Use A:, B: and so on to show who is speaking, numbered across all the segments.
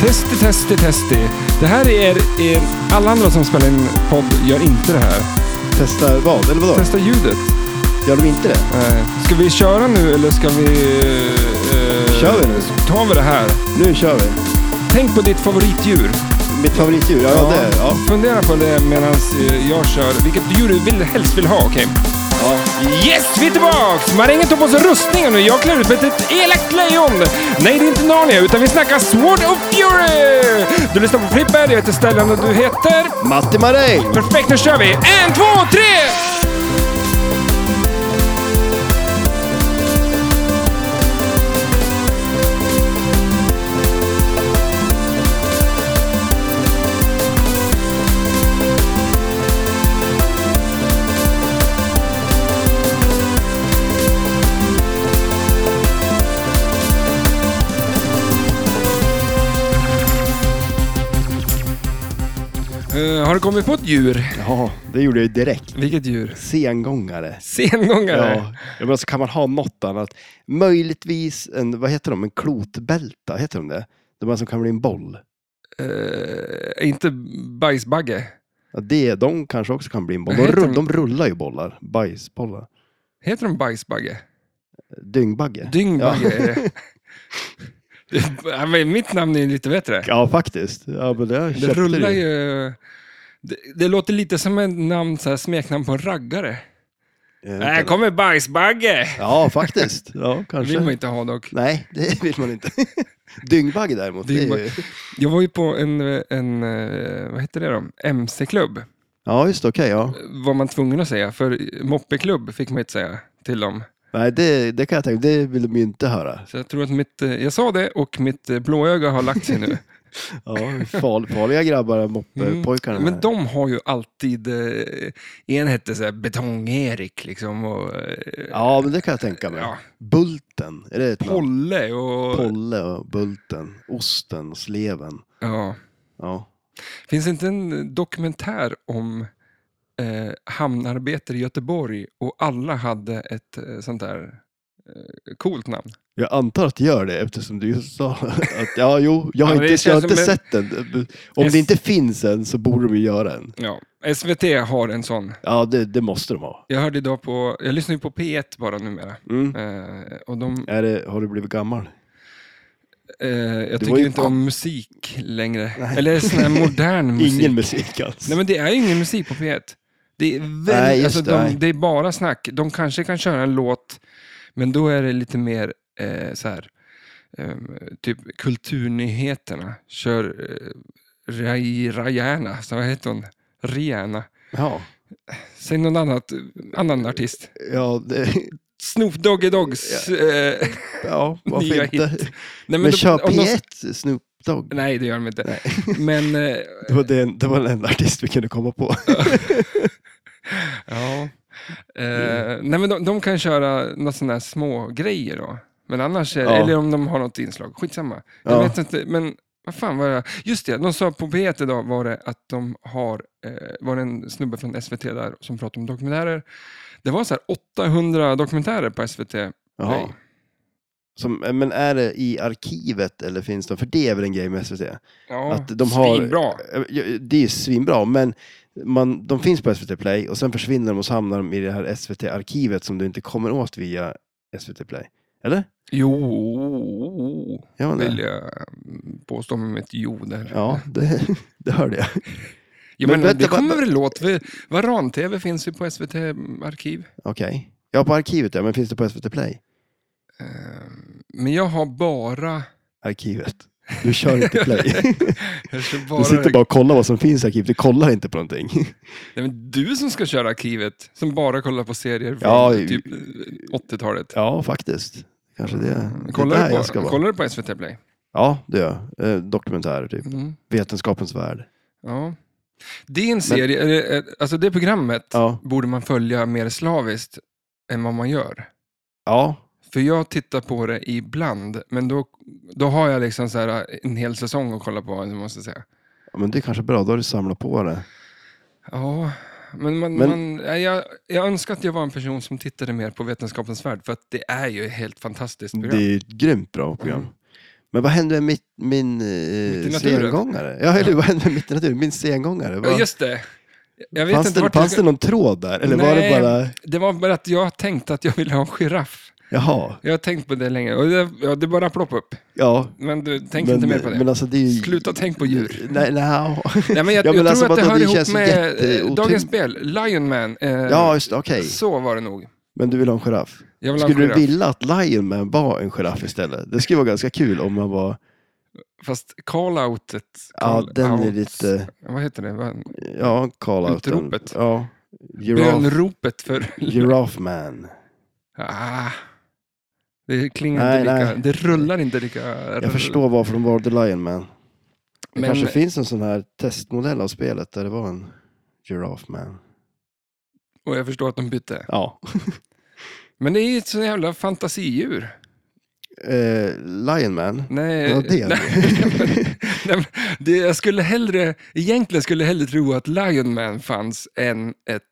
A: Testi, testi, testi. Det här är, är... Alla andra som spelar in podd gör inte det här.
B: Testa vad? Eller vadå?
A: Testa ljudet.
B: Gör de inte det?
A: Nej. Ska vi köra nu eller ska vi... eh,
B: Kör vi nu?
A: Tar vi det här.
B: Nu kör vi.
A: Tänk på ditt favoritdjur.
B: Mitt favoritdjur? Ja, ja. det. Ja.
A: Fundera på det medan jag kör. Vilket djur du vill, helst vill ha, okej?
B: ja.
A: Yes, vi är tillbaks! Marängen tog på sig rustningen och jag klär ut mig till ett elakt lejon. Nej, det är inte Narnia, utan vi snackar Sword of Fury! Du lyssnar på Flipper, jag heter Stellan och du heter...
B: Matti Maräng!
A: Perfekt, nu kör vi! En, två, tre! Eh, har du kommit på ett djur?
B: Ja, det gjorde jag ju direkt.
A: Vilket djur?
B: Sengångare.
A: Sengångare?
B: Ja, jag menar så kan man ha något annat. Möjligtvis en, vad heter de, en klotbälta, heter de det? De här som kan bli en boll.
A: Eh, inte bajsbagge?
B: Ja, det, de kanske också kan bli en boll.
A: Vad
B: De,
A: heter
B: rull,
A: de?
B: de rullar ju bollar, bajsbollar.
A: Heter de bajsbagge?
B: Dyngbagge.
A: Dyngbagge är det. det. ja, men Mitt namn är ju lite bättre.
B: Ja, faktiskt. Ja, men det,
A: Det
B: köpte
A: rullar
B: du.
A: ju... Det, det låter lite som ett namn, så här, smeknamn på en raggare.
B: Eh, vänta.
A: Nej, kommer bajsbagge!
B: Ja, faktiskt. Ja,
A: Det
B: kanske.
A: vill man inte ha dock.
B: Nej, det vill man inte. Dyngbagge däremot. Det är ju...
A: Dyngbagge. Jag var ju på en, en eh, vad heter det då? MC-klubb.
B: Ja, just det, okej. ja.
A: Var man tvungen att säga, för moppeklubb fick man inte säga till dem.
B: Nej, det, det kan jag tänka Det vill de ju inte höra.
A: Så jag tror att mitt, eh, jag sa det och mitt eh, blåöga har lagt sig nu. Mm.
B: Ja, far, farliga grabbar, eh, moppepojkarna.
A: Men de har ju alltid, eh, en hette så här Betong-Erik liksom och eh,
B: Ja, men det kan jag tänka mig.
A: Ja.
B: Bulten, är det ett namn?
A: Polle och...
B: Polle och Bulten, Osten och Sleven.
A: Ja.
B: Ja.
A: Finns det inte en dokumentär om eh, hamnarbetare i Göteborg och alla hade ett eh, sånt där eh, coolt namn?
B: Jag antar att det gör det eftersom du just sa att ja, jo, jag har
A: Ja, men det
B: inte, jag har
A: känns
B: inte
A: som en-
B: sett den. Om
A: Yes.
B: det inte finns en så borde de ju göra en.
A: Ja. SVT har en sån.
B: Ja, det, det måste de ha.
A: Jag hörde idag på, jag lyssnar ju på P1 bara numera.
B: Mm.
A: Eh, och de,
B: Är det, har du blivit gammal?
A: eh, jag
B: var
A: tycker
B: ju-
A: inte om musik längre. Eller sån här modern musik.
B: Ingen musik alltså. alls.
A: Nej men det är ju ingen musik på P1. Det är, väl,
B: Nej, just
A: alltså,
B: det, nej.
A: de, det är bara snack. De kanske kan köra en låt, men då är det lite mer eh, så här, ehm, typ kulturnyheterna. Kör eh, Ray- Rihanna, så vad heter hon? Rihanna.
B: Ja,
A: Säg någon annat,
B: Eh,
A: annan artist.
B: ja, det,
A: Snoop Doggy Doggs. Eh,
B: ja varför
A: Nya
B: inte?
A: hit. nej,
B: Men,
A: då-
B: kör
A: om de-
B: P1 Snoop Dogg.
A: Nej, det gör de inte. Men, eh,
B: Det var, den, det var den enda artist vi kunde komma på.
A: Ja. Eh, nej, men de, de kan köra några sådana här små grejer då. Men annars, är-
B: Ja.
A: eller om de har något inslag, skitsamma. Jag
B: Ja.
A: vet inte, men vad fan var det? Just det, de sa på P1 idag var det att de har, eh, var det en snubbe från SVT där som pratade om dokumentärer. Det var så här 800 dokumentärer på SVT.
B: Jaha. Som, men är det i arkivet eller finns det? För det är väl en grej med SVT?
A: Ja,
B: Att de har-
A: Svinbra.
B: Det är ju svinbra, men man, de finns på SVT Play och sen försvinner de och så hamnar de i det här SVT-arkivet som du inte kommer åt via SVT Play. Eller?
A: Jo,
B: Ja, men
A: vill
B: det,
A: jag påstå med mitt jo där.
B: ja, det, det hörde jag.
A: Jo,
B: Men
A: men
B: vänta,
A: det kommer
B: vad-
A: väl låt. Varan-TV finns ju på SVT Arkiv.
B: Okej. Ja, på arkivet ja, men finns det på SVT Play?
A: Ehm, Men jag har bara...
B: Arkivet. Du kör inte Play.
A: Jag kör bara
B: Du sitter bara och kollar vad som finns i arkivet. Du kollar inte på någonting.
A: Nej, men du som ska köra arkivet, som bara kollar på serier från
B: Ja, i-
A: typ 80-talet.
B: Ja, faktiskt. Kanske det. det är
A: Kollar
B: där
A: du,
B: jag
A: på,
B: ska vara.
A: kollar du på SVT Play?
B: Ja, det gör jag. Eh, Dokumentärer, typ.
A: Mm.
B: Vetenskapens värld.
A: Ja. Det är en serie, eller, eh, alltså det programmet
B: Ja.
A: borde man följa mer slaviskt än vad man gör.
B: Ja.
A: För jag tittar på det ibland, men då, då har jag liksom så här en hel säsong att kolla på, måste jag säga.
B: ja, men det är kanske bra. Då har du samlat på det.
A: Ja, men, man,
B: Men-
A: Man, nej, jag, jag önskar att jag var en person som tittade mer på Vetenskapens värld, för att det är ju ett helt fantastiskt program.
B: Det är ett grymt bra program. Men vad hände med mitt, min
A: Mitt i
B: eh,
A: naturen.
B: sengångare? Ja, eller vad hände med mitt i naturen? Min sengångare?
A: Ja,
B: Vad,
A: just det. Jag vet
B: fanns
A: inte
B: det,
A: vart jag
B: fanns
A: ska-
B: det någon tråd där? Eller var det
A: Nej.
B: bara,
A: Det var bara att jag tänkte att jag ville ha en giraff.
B: jaha,
A: Jag har tänkt på det länge. Och det, ja, det bara ploppade upp.
B: ja.
A: Men du, tänk
B: men,
A: inte mer på det.
B: Men alltså, det är ju...
A: Sluta tänk på djur.
B: Nej, nej.
A: Nej, men jag,
B: Ja, men
A: jag
B: alltså,
A: tror att det
B: vadå,
A: hör
B: det
A: ihop
B: känns
A: med eh,
B: jätteotympligt.
A: dagens spel, Lion Man. Eh,
B: Ja, just det, okej.
A: Så var det nog.
B: Men du vill ha en giraff?
A: Jag vill ha en
B: Skulle
A: giraff.
B: du vilja att Lion Man var en giraff istället? Det skulle vara ganska kul om man var...
A: Fast call-outet.
B: Ja,
A: call
B: den är
A: outs-
B: lite...
A: Vad heter det? Vad-
B: Ja, call out.
A: Utropet.
B: Ja. Giraffe,
A: Bönropet för...
B: giraffe Man.
A: Ah, det klingar
B: Nej,
A: inte lika...
B: nej.
A: Det rullar inte lika...
B: Jag förstår varför de valde Lion Man. Det
A: Men-
B: kanske finns en sån här testmodell av spelet där det var en Giraffe Man.
A: Och jag förstår att de bytte.
B: Ja.
A: Men det är ju ett sånt jävla fantasidjur.
B: Eh, Lion Man.
A: Nej,
B: Ja, det.
A: nej, nej, men det, jag skulle hellre, egentligen skulle jag hellre tro att Lion Man fanns än, ett,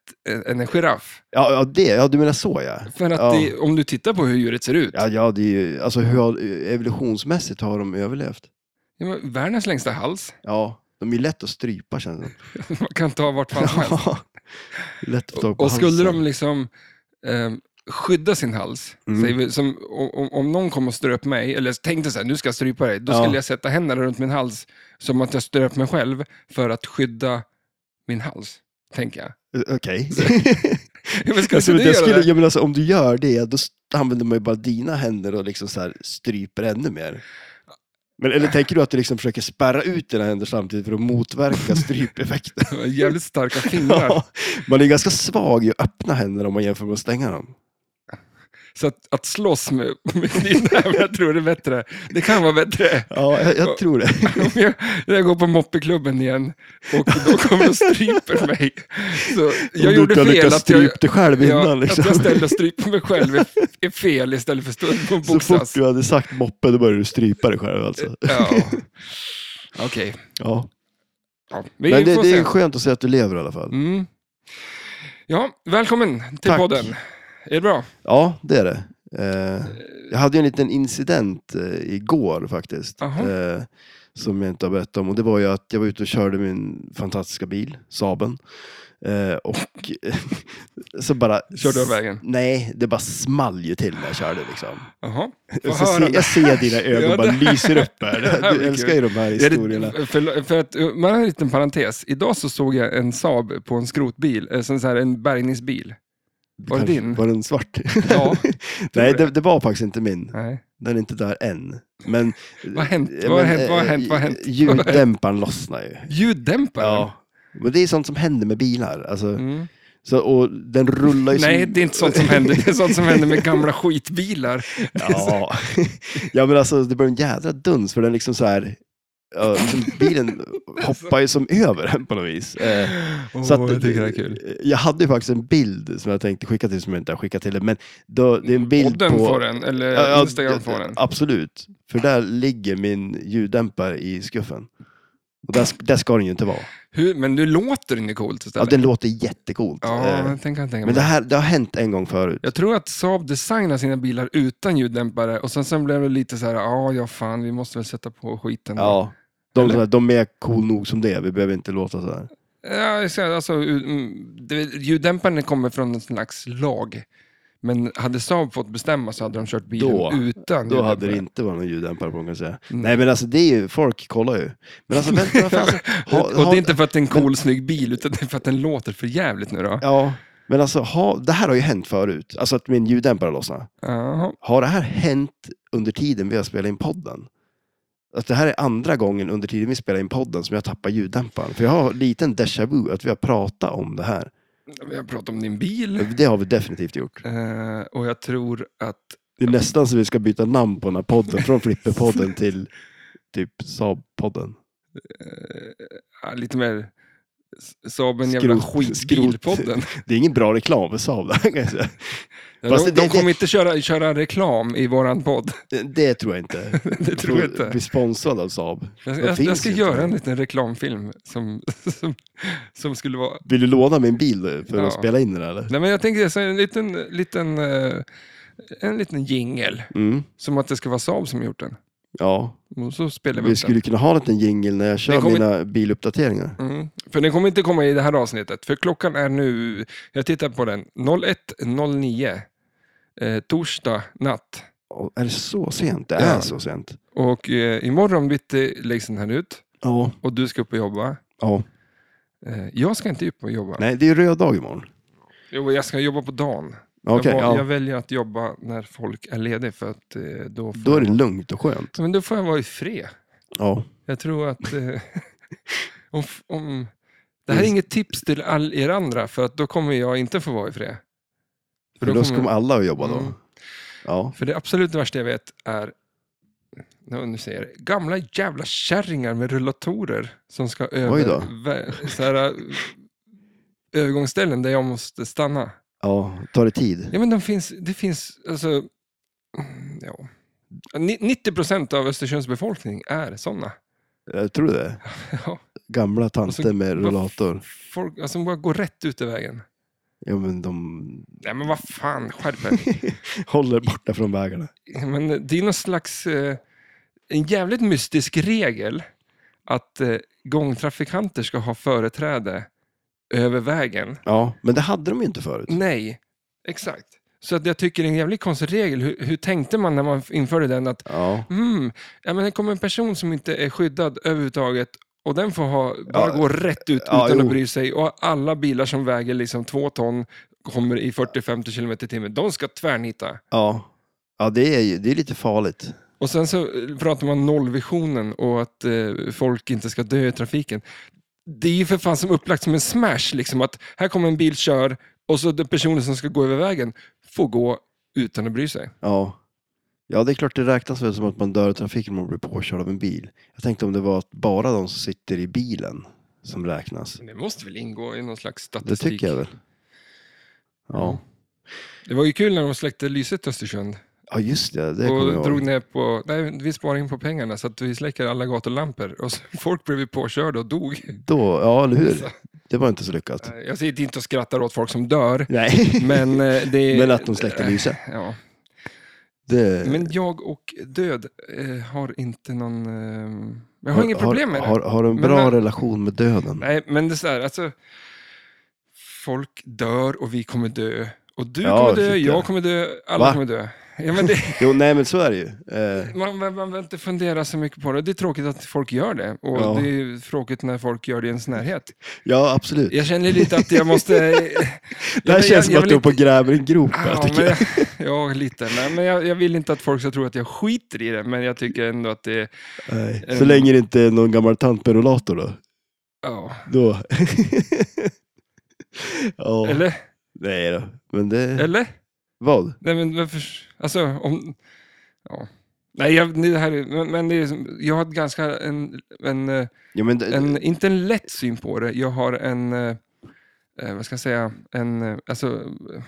A: än en giraff.
B: Ja, ja, det. Ja, du menar så ja.
A: För att
B: Ja.
A: det, om du tittar på hur djuret ser ut,
B: Ja, ja det är ju, alltså hur har, evolutionsmässigt har de överlevt?
A: det var världens längsta hals,
B: Ja, de är ju lätt att strypa känns det
A: man kan ta vart fan som helst.
B: Ja. Lätt att ta på
A: Och skulle
B: halsen.
A: de liksom eh, skydda sin hals,
B: Mm.
A: säger vi, som, om, om någon kom och ströp mig, eller tänkte så här, nu ska jag strypa dig, då
B: Ja.
A: skulle jag sätta händerna runt min hals som att jag ströp mig själv för att skydda min hals, tänker jag.
B: Eh, Okej.
A: Men ska inte
B: alltså, men
A: du
B: jag
A: göra
B: skulle,
A: det?
B: jag menar, alltså, om du gör det, då s- använder man ju bara dina händer och liksom så här stryper ännu mer. Men, eller tänker du att du liksom försöker spärra ut dina händer samtidigt för att motverka strypeffekten?
A: Jävligt starka fingrar.
B: Ja, man är ganska svag i att öppna händer om man jämför med att stänga dem.
A: Så att, att slåss med, med dina, men jag tror det är bättre. Det kan vara bättre.
B: Ja, jag, jag tror det.
A: Om jag, när jag går på moppeklubben igen och då kommer och stryper mig. Så jag
B: Om du
A: gjorde
B: inte har
A: fel
B: lyckats
A: att jag,
B: strypa dig själv innan.
A: jag,
B: liksom.
A: att jag ställde och stryper mig själv är, är fel istället för stund på
B: Så fort
A: boxas.
B: du hade sagt moppe, då började du strypa dig själv alltså.
A: Ja. Okej,
B: Ja.
A: ja. vi
B: Men det,
A: får
B: det
A: se.
B: är skönt att se att du lever i alla fall.
A: Mm. Ja, välkommen till
B: Tack.
A: podden. Är det bra?
B: Ja, det är det. Eh, jag hade ju en liten incident eh, igår faktiskt.
A: Aha.
B: Eh, som jag inte har berättat om. Och det var ju att jag var ute och körde min fantastiska bil, Saben. Eh, och så bara...
A: Körde du av vägen?
B: Nej, det bara small ju till när jag körde liksom.
A: Jaha. Få
B: Så
A: höra
B: se, jag ser dina ögon
A: Ja,
B: bara
A: det-
B: lyser upp
A: det här
B: här. Du
A: blir
B: älskar ju de
A: Ja,
B: här
A: det-
B: historierna.
A: för, för att, uh, man har en liten parentes. Idag så såg jag en Saab på en skrotbil, eh, sån så här, en bärgningsbil. Var det
B: Kanske-
A: din?
B: Var den svart?
A: Ja, det.
B: Nej, det, det var faktiskt inte min.
A: Nej.
B: Den är inte där än. Men,
A: Vad har hänt?
B: eh,
A: Vad har
B: men,
A: hänt? Vad har
B: eh,
A: hänt? Vad har hänt?
B: Ljuddämparen lossnar ju.
A: Ljuddämparen?
B: Ja. Men det är sånt som händer med bilar. Alltså,
A: Mm.
B: så, och den rullar ju
A: Nej,
B: som...
A: det är inte sånt som händer. Det är sånt som händer med gamla skitbilar.
B: Ja. ja, men alltså det blir en jädra duns för den liksom så här... ja, som bilen hoppar ju som över den på något vis. Eh,
A: Åh,
B: så att- eh,
A: jag tycker det är kul.
B: Jag hade ju faktiskt en bild som jag tänkte skicka till som jag inte har skickat till dig, men då, det är en bild
A: Mm. Podden
B: på...
A: får den, eller
B: Ja, ja,
A: Instagram
B: ja,
A: får den.
B: Absolut, för där ligger min ljuddämpare i skuffen. Och där, sk- där ska den ju inte vara.
A: Hur, men nu låter den ju coolt
B: Ja,
A: istället.
B: den låter jättecoolt.
A: ja
B: Eh,
A: jag tänker, jag tänker
B: Men det här det har hänt en gång förut.
A: Jag tror att Saab designar sina bilar utan ljuddämpare och sen, sen blev det lite så här, ja, ja fan, vi måste väl sätta på skiten. då."
B: Ja. De,
A: Eller?
B: sådär, de är cool nog som det är, vi behöver inte låta så här.
A: Ja, jag säger, alltså, mm, det, ljuddämparen kommer från en slags lag. Men hade Saab fått bestämma så hade de kört bilen
B: Då-
A: utan
B: Då hade det
A: ljuddämpare.
B: inte varit någon ljuddämpare på, kan jag säga.
A: Mm.
B: Nej, men alltså det är ju, folk kollar ju. Men alltså vänta, vad fan, ha,
A: Och det
B: ha-
A: är inte för att det är en cool, snygg bil, utan det är för att den låter för jävligt nu då.
B: Ja, men alltså ha, det här har ju hänt förut. Alltså att min ljuddämpare lossnar.
A: Jaha.
B: Har det här hänt under tiden vi har spelat in podden? Att det här är andra gången under tiden vi spelar in podden som jag tappar ljuddämparen. För jag har en liten déjà vu att vi har pratat om det här.
A: Vi har pratat om din bil.
B: Det har vi definitivt gjort.
A: Eh, och jag tror att...
B: Det är nästan så vi ska byta namn på den här podden. Från Flipperpodden till typ Saab-podden.
A: eh, lite mer... Saab en jävla
B: Skrot-
A: skitbilpodden.
B: Det är ingen bra reklam för Saab. det här kan jag säga. Fast
A: de
B: det-
A: de
B: det-
A: kommer inte köra, köra reklam i våran podd.
B: Det- Det tror jag inte.
A: Det tror jag inte.
B: Bli sponsrad av Saab.
A: Jag,
B: De
A: jag, jag
B: finns
A: ska
B: ju
A: göra
B: inte.
A: en liten reklamfilm som, som, som skulle vara...
B: Vill du låna min bil nu för
A: Ja.
B: att spela in den här, eller?
A: Nej, men jag tänker så här, en liten, liten, eh, en liten jingel,
B: Mm.
A: som att det ska vara Saab som gjort den.
B: Ja,
A: Och så spelar vi
B: vi
A: upp den.
B: skulle kunna ha en liten jingel när jag kör
A: Det kommer-
B: mina biluppdateringar.
A: Mm. För den kommer inte komma i det här avsnittet, för klockan är nu, jag tittar på den, 01.09 eh, torsdag natt.
B: Åh, är det så sent? Det
A: Ja.
B: är så sent.
A: Och eh, imorgon bitti läggs den här ut
B: Ja.
A: och du ska upp och jobba.
B: ja.
A: Eh, jag ska inte upp och jobba.
B: Nej, det är ju röd dag imorgon.
A: Jo, jag ska jobba på dagen.
B: Okej,
A: jag, va-
B: ja.
A: jag väljer att jobba när folk är lediga för att eh, då, får
B: Då är det lugnt och skönt.
A: jag, men då får jag vara i fred.
B: Ja.
A: Jag tror att... Eh, om, f- om, det
B: Mm.
A: här är inget tips till all er andra för att då kommer jag inte få vara i fred.
B: För då ska alla att jobba då.
A: Mm.
B: Ja.
A: För det absolut värsta jag vet är nu nu säger jag det, gamla jävla kärringar med rullatorer som ska
B: Oj
A: över
B: då.
A: vä- så här, ö- övergångsställen där jag måste stanna.
B: ja, tar det tid?
A: Ja, men de finns, det finns alltså, mm, ja. Ni- 90 procent av Östersunds befolkning är sådana.
B: Jag Eh, tror det.
A: Ja.
B: Gamla
A: Och så-
B: tanter med rullator.
A: Folk alltså, de bara går rätt ut i vägen.
B: Ja, men de
A: Nej, men vad fan, skärp er.
B: håller borta från vägarna.
A: Ja, Men det är någon slags, eh, en jävligt mystisk regel att eh, gångtrafikanter ska ha företräde över vägen.
B: Ja, men det hade de ju inte förut.
A: Nej, exakt. Så att jag tycker det är en jävligt konstig regel. Hur, hur tänkte man när man införde den? att
B: Ja.
A: mm, ja, men Det kommer en person som inte är skyddad överhuvudtaget och den får ha, bara
B: Ja,
A: gå rätt ut
B: ja,
A: utan att
B: jo.
A: bry sig. Och alla bilar som väger liksom två ton kommer i 40-50 km i timmen. De ska tvärnita.
B: Ja, ja det, är ju, det är lite farligt.
A: Och sen så eh, pratar man nollvisionen och att eh, folk inte ska dö i trafiken. Det är ju för fan som upplagt som en smash, liksom att här kommer en bil, kör och så den personen som ska gå över vägen får gå utan att bry sig.
B: Ja. ja, det är klart det räknas väl som att man dör i trafiken om man blir påkörd av en bil. Jag tänkte om det var att bara de som sitter i bilen som räknas.
A: Det måste väl ingå i någon slags
B: Det
A: statistik?
B: tycker jag väl. Ja,
A: Det var ju kul när de släckte lyset i Östersund
B: ja just det. Det kommer
A: och
B: jag
A: drog
B: ihåg.
A: ner på, nej vi sparar in på pengarna så att vi släcker alla gatulampor och så, folk blev ju påkörda och dog.
B: Då, ja, eller
A: Så,
B: hur? Det var inte så lyckat.
A: eh, jag sitter inte och skrattar åt folk som dör,
B: Nej, men,
A: men eh, det är...
B: att de släckte lyset.
A: Ja.
B: Det...
A: Men jag och död eh, har inte någon... Eh, jag har, inget problem med det.
B: Har, har du en
A: Men
B: bra
A: när-
B: relation med döden?
A: Nej, men det är så här, alltså... Folk dör och vi kommer dö. Och du
B: Ja,
A: kommer dö,
B: shit,
A: jag
B: ja.
A: kommer dö, alla
B: Va?
A: kommer dö. Ja, men det,
B: Jo, nej, men så är det ju. Eh,
A: man, man, man vill inte fundera så mycket på det. Det är tråkigt att folk gör det. Och
B: Ja.
A: det är tråkigt när folk gör det i ens närhet.
B: ja, absolut.
A: Jag känner lite att jag måste...
B: det här
A: men jag-
B: känns som
A: jag
B: att
A: vill
B: du är
A: inte-
B: på och gräver en grop. här,
A: Ja,
B: tycker
A: men
B: jag.
A: jag, ja, lite. Nej, men jag, jag vill inte att folk ska tro att jag skiter i det, men jag tycker ändå att det är...
B: Nej.
A: Eh,
B: Så länge det inte är någon gammal tant med rullator då.
A: Ja.
B: då. ja,
A: Eller?
B: nej då. Men det...
A: Eller?
B: Vad?
A: Nej, men varför... Alltså, om... Ja. Nej, jag, det här, är- men, men det är, som- jag har ett ganska en, en, eh,
B: Ja, men det...
A: en, inte en lätt syn på det. Jag har en, eh, eh, vad ska jag säga, en, eh, alltså, eh,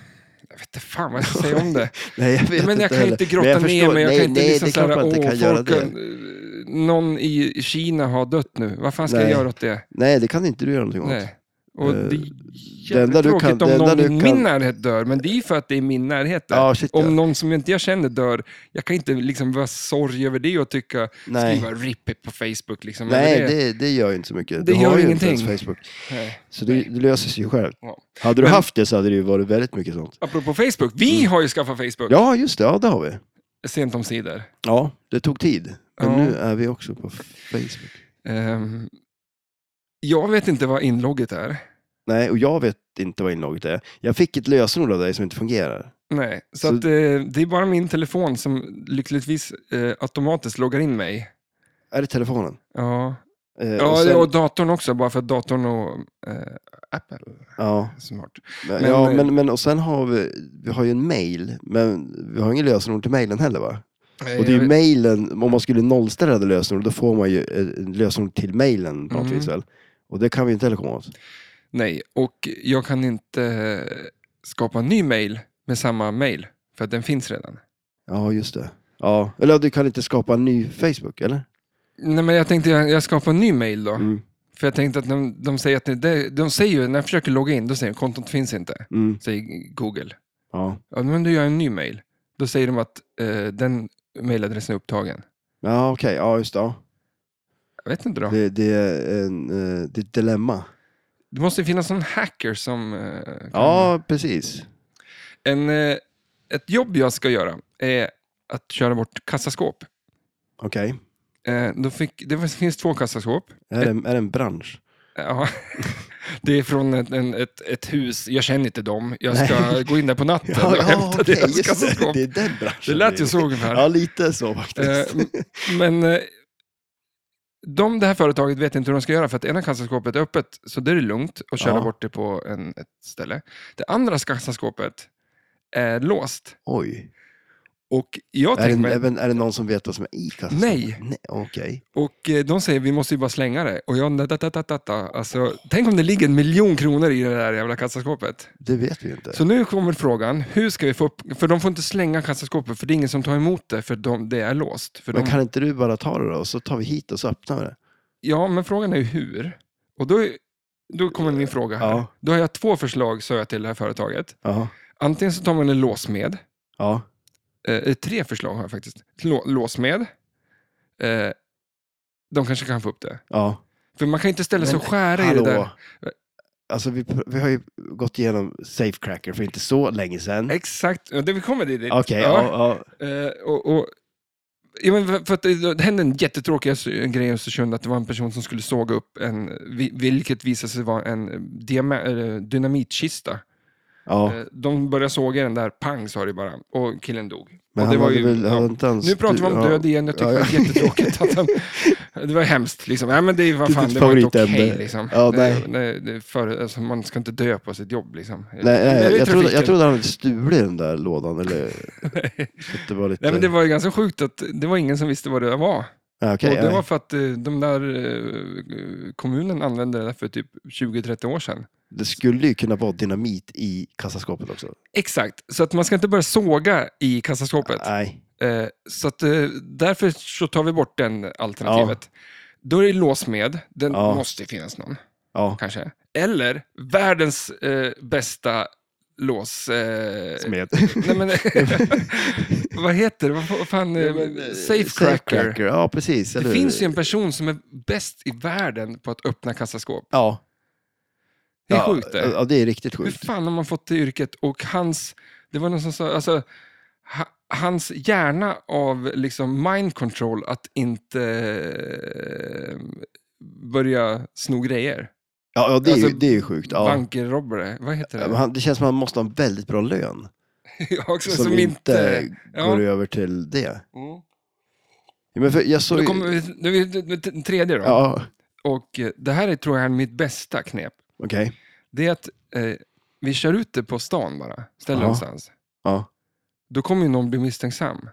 A: jag vet inte fan vad jag ska säga om det.
B: Nej, jag vet
A: men jag
B: inte
A: kan
B: heller.
A: inte grotta
B: Men jag
A: ner
B: förstår.
A: mig, jag
B: nej,
A: kan inte
B: nej,
A: liksom
B: det är klart
A: såhär,
B: man inte
A: åh,
B: kan göra
A: folk,
B: det.
A: eh, någon i Kina har dött nu, vad fan ska jag
B: Nej.
A: göra åt det?
B: Nej, det kan inte du göra någonting åt.
A: Nej. Och
B: Eh,
A: det är
B: det
A: jävligt
B: enda du
A: tråkigt
B: kan-
A: om
B: det enda
A: någon i
B: du
A: min
B: kan-
A: närhet dör, men det är ju för att det är min närhet. där.
B: Ja, shit ja.
A: Om någon som inte jag känner dör, jag kan inte liksom vara sorg över det och tycka,
B: Nej.
A: skriva RIP it på Facebook. Liksom,
B: Nej,
A: eller
B: det, det gör ju inte så mycket.
A: Det
B: du
A: gör
B: har ju
A: ingenting.
B: inte ens Facebook.
A: Nej.
B: Så det, det löser sig ju själv.
A: Ja.
B: Hade du
A: Men-
B: haft det så hade det ju varit väldigt mycket sånt.
A: Apropå Facebook, vi har ju skaffat Facebook,
B: Mm. Ja, just det. Ja, det har vi.
A: sent om sidor.
B: Ja, det tog tid. Men
A: Ja.
B: nu är vi också på Facebook.
A: Ehm, jag vet inte vad inlogget är.
B: Nej, och jag vet inte vad inlogget är. Jag fick ett lösenord av dig som inte fungerar.
A: Nej, så,
B: Så-
A: Att, eh, det är bara min telefon som lyckligtvis eh, automatiskt loggar in mig.
B: Är det telefonen?
A: Ja,
B: Eh,
A: ja och,
B: och sen-
A: datorn också, bara för att datorn och eh, Apple.
B: ja,
A: Smart.
B: men,
A: Men- eh,
B: ja men, men och sen har vi, vi har ju en mail, men vi har ingen lösenord till mailen heller va?
A: Nej,
B: Och det är
A: jag vet-
B: ju mailen, om man skulle nollställa det lösenordet, då får man ju eh, en lösenord till mailen på något
A: Mm.
B: vis väl? Och det kan vi inte heller komma åt.
A: Nej, och jag kan inte eh, skapa en ny mail med samma mail, för att den finns redan.
B: Ja, just det. Ja, eller ja, du kan inte skapa en ny Facebook, eller?
A: Nej, men jag tänkte jag, jag skapar en ny mail då.
B: Mm.
A: För jag tänkte att de, de säger att det- det, de säger ju, när jag försöker logga in, då säger de kontot finns inte,
B: Mm.
A: säger Google.
B: Ja.
A: Ja, men då gör jag en ny mail. Då säger de att eh, den mailadressen är upptagen.
B: Ja, okej. Ja, just det. Ja.
A: Jag vet inte då.
B: Det, det, är en, eh, det är ett dilemma.
A: Det måste ju finnas någon hacker som... eh, kan-
B: Ja, precis.
A: En, eh, ett jobb jag ska göra är att köra bort kassaskåp.
B: Okej.
A: Eh, Då fick, det finns två kassaskåp.
B: Är, det, en- är det en bransch?
A: Ja. Det är från ett, en, ett, ett hus, jag känner inte dem. Jag ska
B: Nej.
A: gå in där på natten och hämta
B: okej,
A: deras
B: just det.
A: kassaskåp.
B: Det
A: Det,
B: är den branschen.
A: lät ju så ungefär.
B: Ja, lite så faktiskt.
A: Eh, m- Men eh, de, det här företaget vet inte hur de ska göra för att ena kassaskåpet är öppet så det är lugnt att köra
B: Ja.
A: bort det på en, ett ställe. Det andra kassaskåpet är låst.
B: Oj.
A: Och jag
B: Är
A: tänker
B: det,
A: mig,
B: även, är det någon som vet vad som är i kassan?
A: Nej.
B: Nej Okej.
A: och eh, de säger vi måste ju bara slänga det. Och jag, da, da, da, da, da. Alltså, tänk om det ligger en miljon kronor i det där jävla kassaskåpet.
B: Det vet vi ju inte.
A: Så nu kommer frågan, hur ska vi få upp, för de får inte slänga kassaskåpet för det är ingen som tar emot det för de, det är låst. För
B: Men
A: de,
B: kan inte du bara ta det då och så tar vi hit och så öppnar vi det?
A: Ja, men frågan är ju hur. Och då, är- då kommer min fråga här.
B: Ja.
A: Då har jag två förslag, sa jag till det här företaget.
B: Ja.
A: Antingen så tar man en låsmed.
B: Ja.
A: Eh, tre förslag har jag faktiskt. Lå, låsmed. Eh, de kanske kan få upp det.
B: Ja.
A: För man kan ju inte ställa sig och
B: Men
A: skära i
B: Hallå.
A: det där.
B: Alltså vi, pr- vi har ju gått igenom Safecracker för inte så länge sedan. Okej,
A: Exakt, ja, det vi kommer dit.
B: ja. Ja,
A: Eh, och, och, ja, men för- för att det, det hände en jättetråkig s- grej i Östersund, att det var en person som skulle såga upp en, vi- vilket visade sig vara en diama- eller dynamitkista.
B: ja.
A: Eh, De började såga den där, pang sa det bara, och killen dog.
B: Men
A: och
B: han
A: det var
B: hade
A: ju,
B: väl,
A: ja.
B: han hade inte ens,
A: Nu pratar vi om
B: ja.
A: död igen, jag tycker
B: Ja,
A: det
B: ja.
A: var jättetråkigt att han... Det var hemskt, liksom. Nej, men det var
B: Det är
A: fan,
B: ditt
A: det var inte okej,
B: Typ favoritämne.
A: liksom.
B: Ja, nej.
A: Det- Det, det, är för, alltså, man ska inte dö på sitt jobb, liksom.
B: Nej,
A: Det är
B: nej, jag,
A: trafiken.
B: trodde, jag trodde han hade stulit den där lådan. Eller, så att det var lite...
A: Nej, men det var ju ganska sjukt att det var ingen som visste vad det var.
B: ja, okej,
A: och det
B: ja.
A: var för att eh, de där eh, kommunen använde det där för typ 20-30 år sedan.
B: det skulle ju kunna vara dynamit i kassaskåpet också.
A: Exakt, så att man ska inte börja såga i kassaskåpet.
B: Nej.
A: Eh, så att, eh, därför så tar vi bort den alternativet. Då är det låsmed, den
B: Ja.
A: måste ju finnas någon
B: Ja.
A: kanske. Eller världens eh, bästa lås... Eh,
B: Smed.
A: nej men, vad heter det? Vad fa- fan?
B: Ja,
A: Eh,
B: men, eh,
A: safecracker.
B: safecracker. Ja, precis.
A: Det
B: eller hur?
A: finns ju en person som är bäst i världen på att öppna kassaskåp.
B: Ja.
A: Det är
B: ja, eh,
A: sjukt det.
B: Ja, det är riktigt
A: Hur
B: sjukt.
A: fan har man fått det yrket? Och hans, det var någon som sa, alltså, ha, hans hjärna av liksom mind control att inte eh, börja sno grejer.
B: Ja, ja det, är ju,
A: Alltså,
B: det är ju sjukt. Ja.
A: Bankerrobbare, vad heter
B: Ja,
A: det?
B: men han- Det känns som att han måste ha en väldigt bra lön.
A: Också,
B: Som, inte
A: ja.
B: går över till det.
A: Mm.
B: Ja, men för jag såg...
A: Då kommer vi, nu är vi nu är den tredje då.
B: Ja,
A: Och eh, det här är, tror jag är mitt bästa knep.
B: okej.
A: Det är att eh, vi kör ut det på stan bara, ställer
B: Ja.
A: någonstans.
B: Ja.
A: Då kommer ju någon bli misstänksam.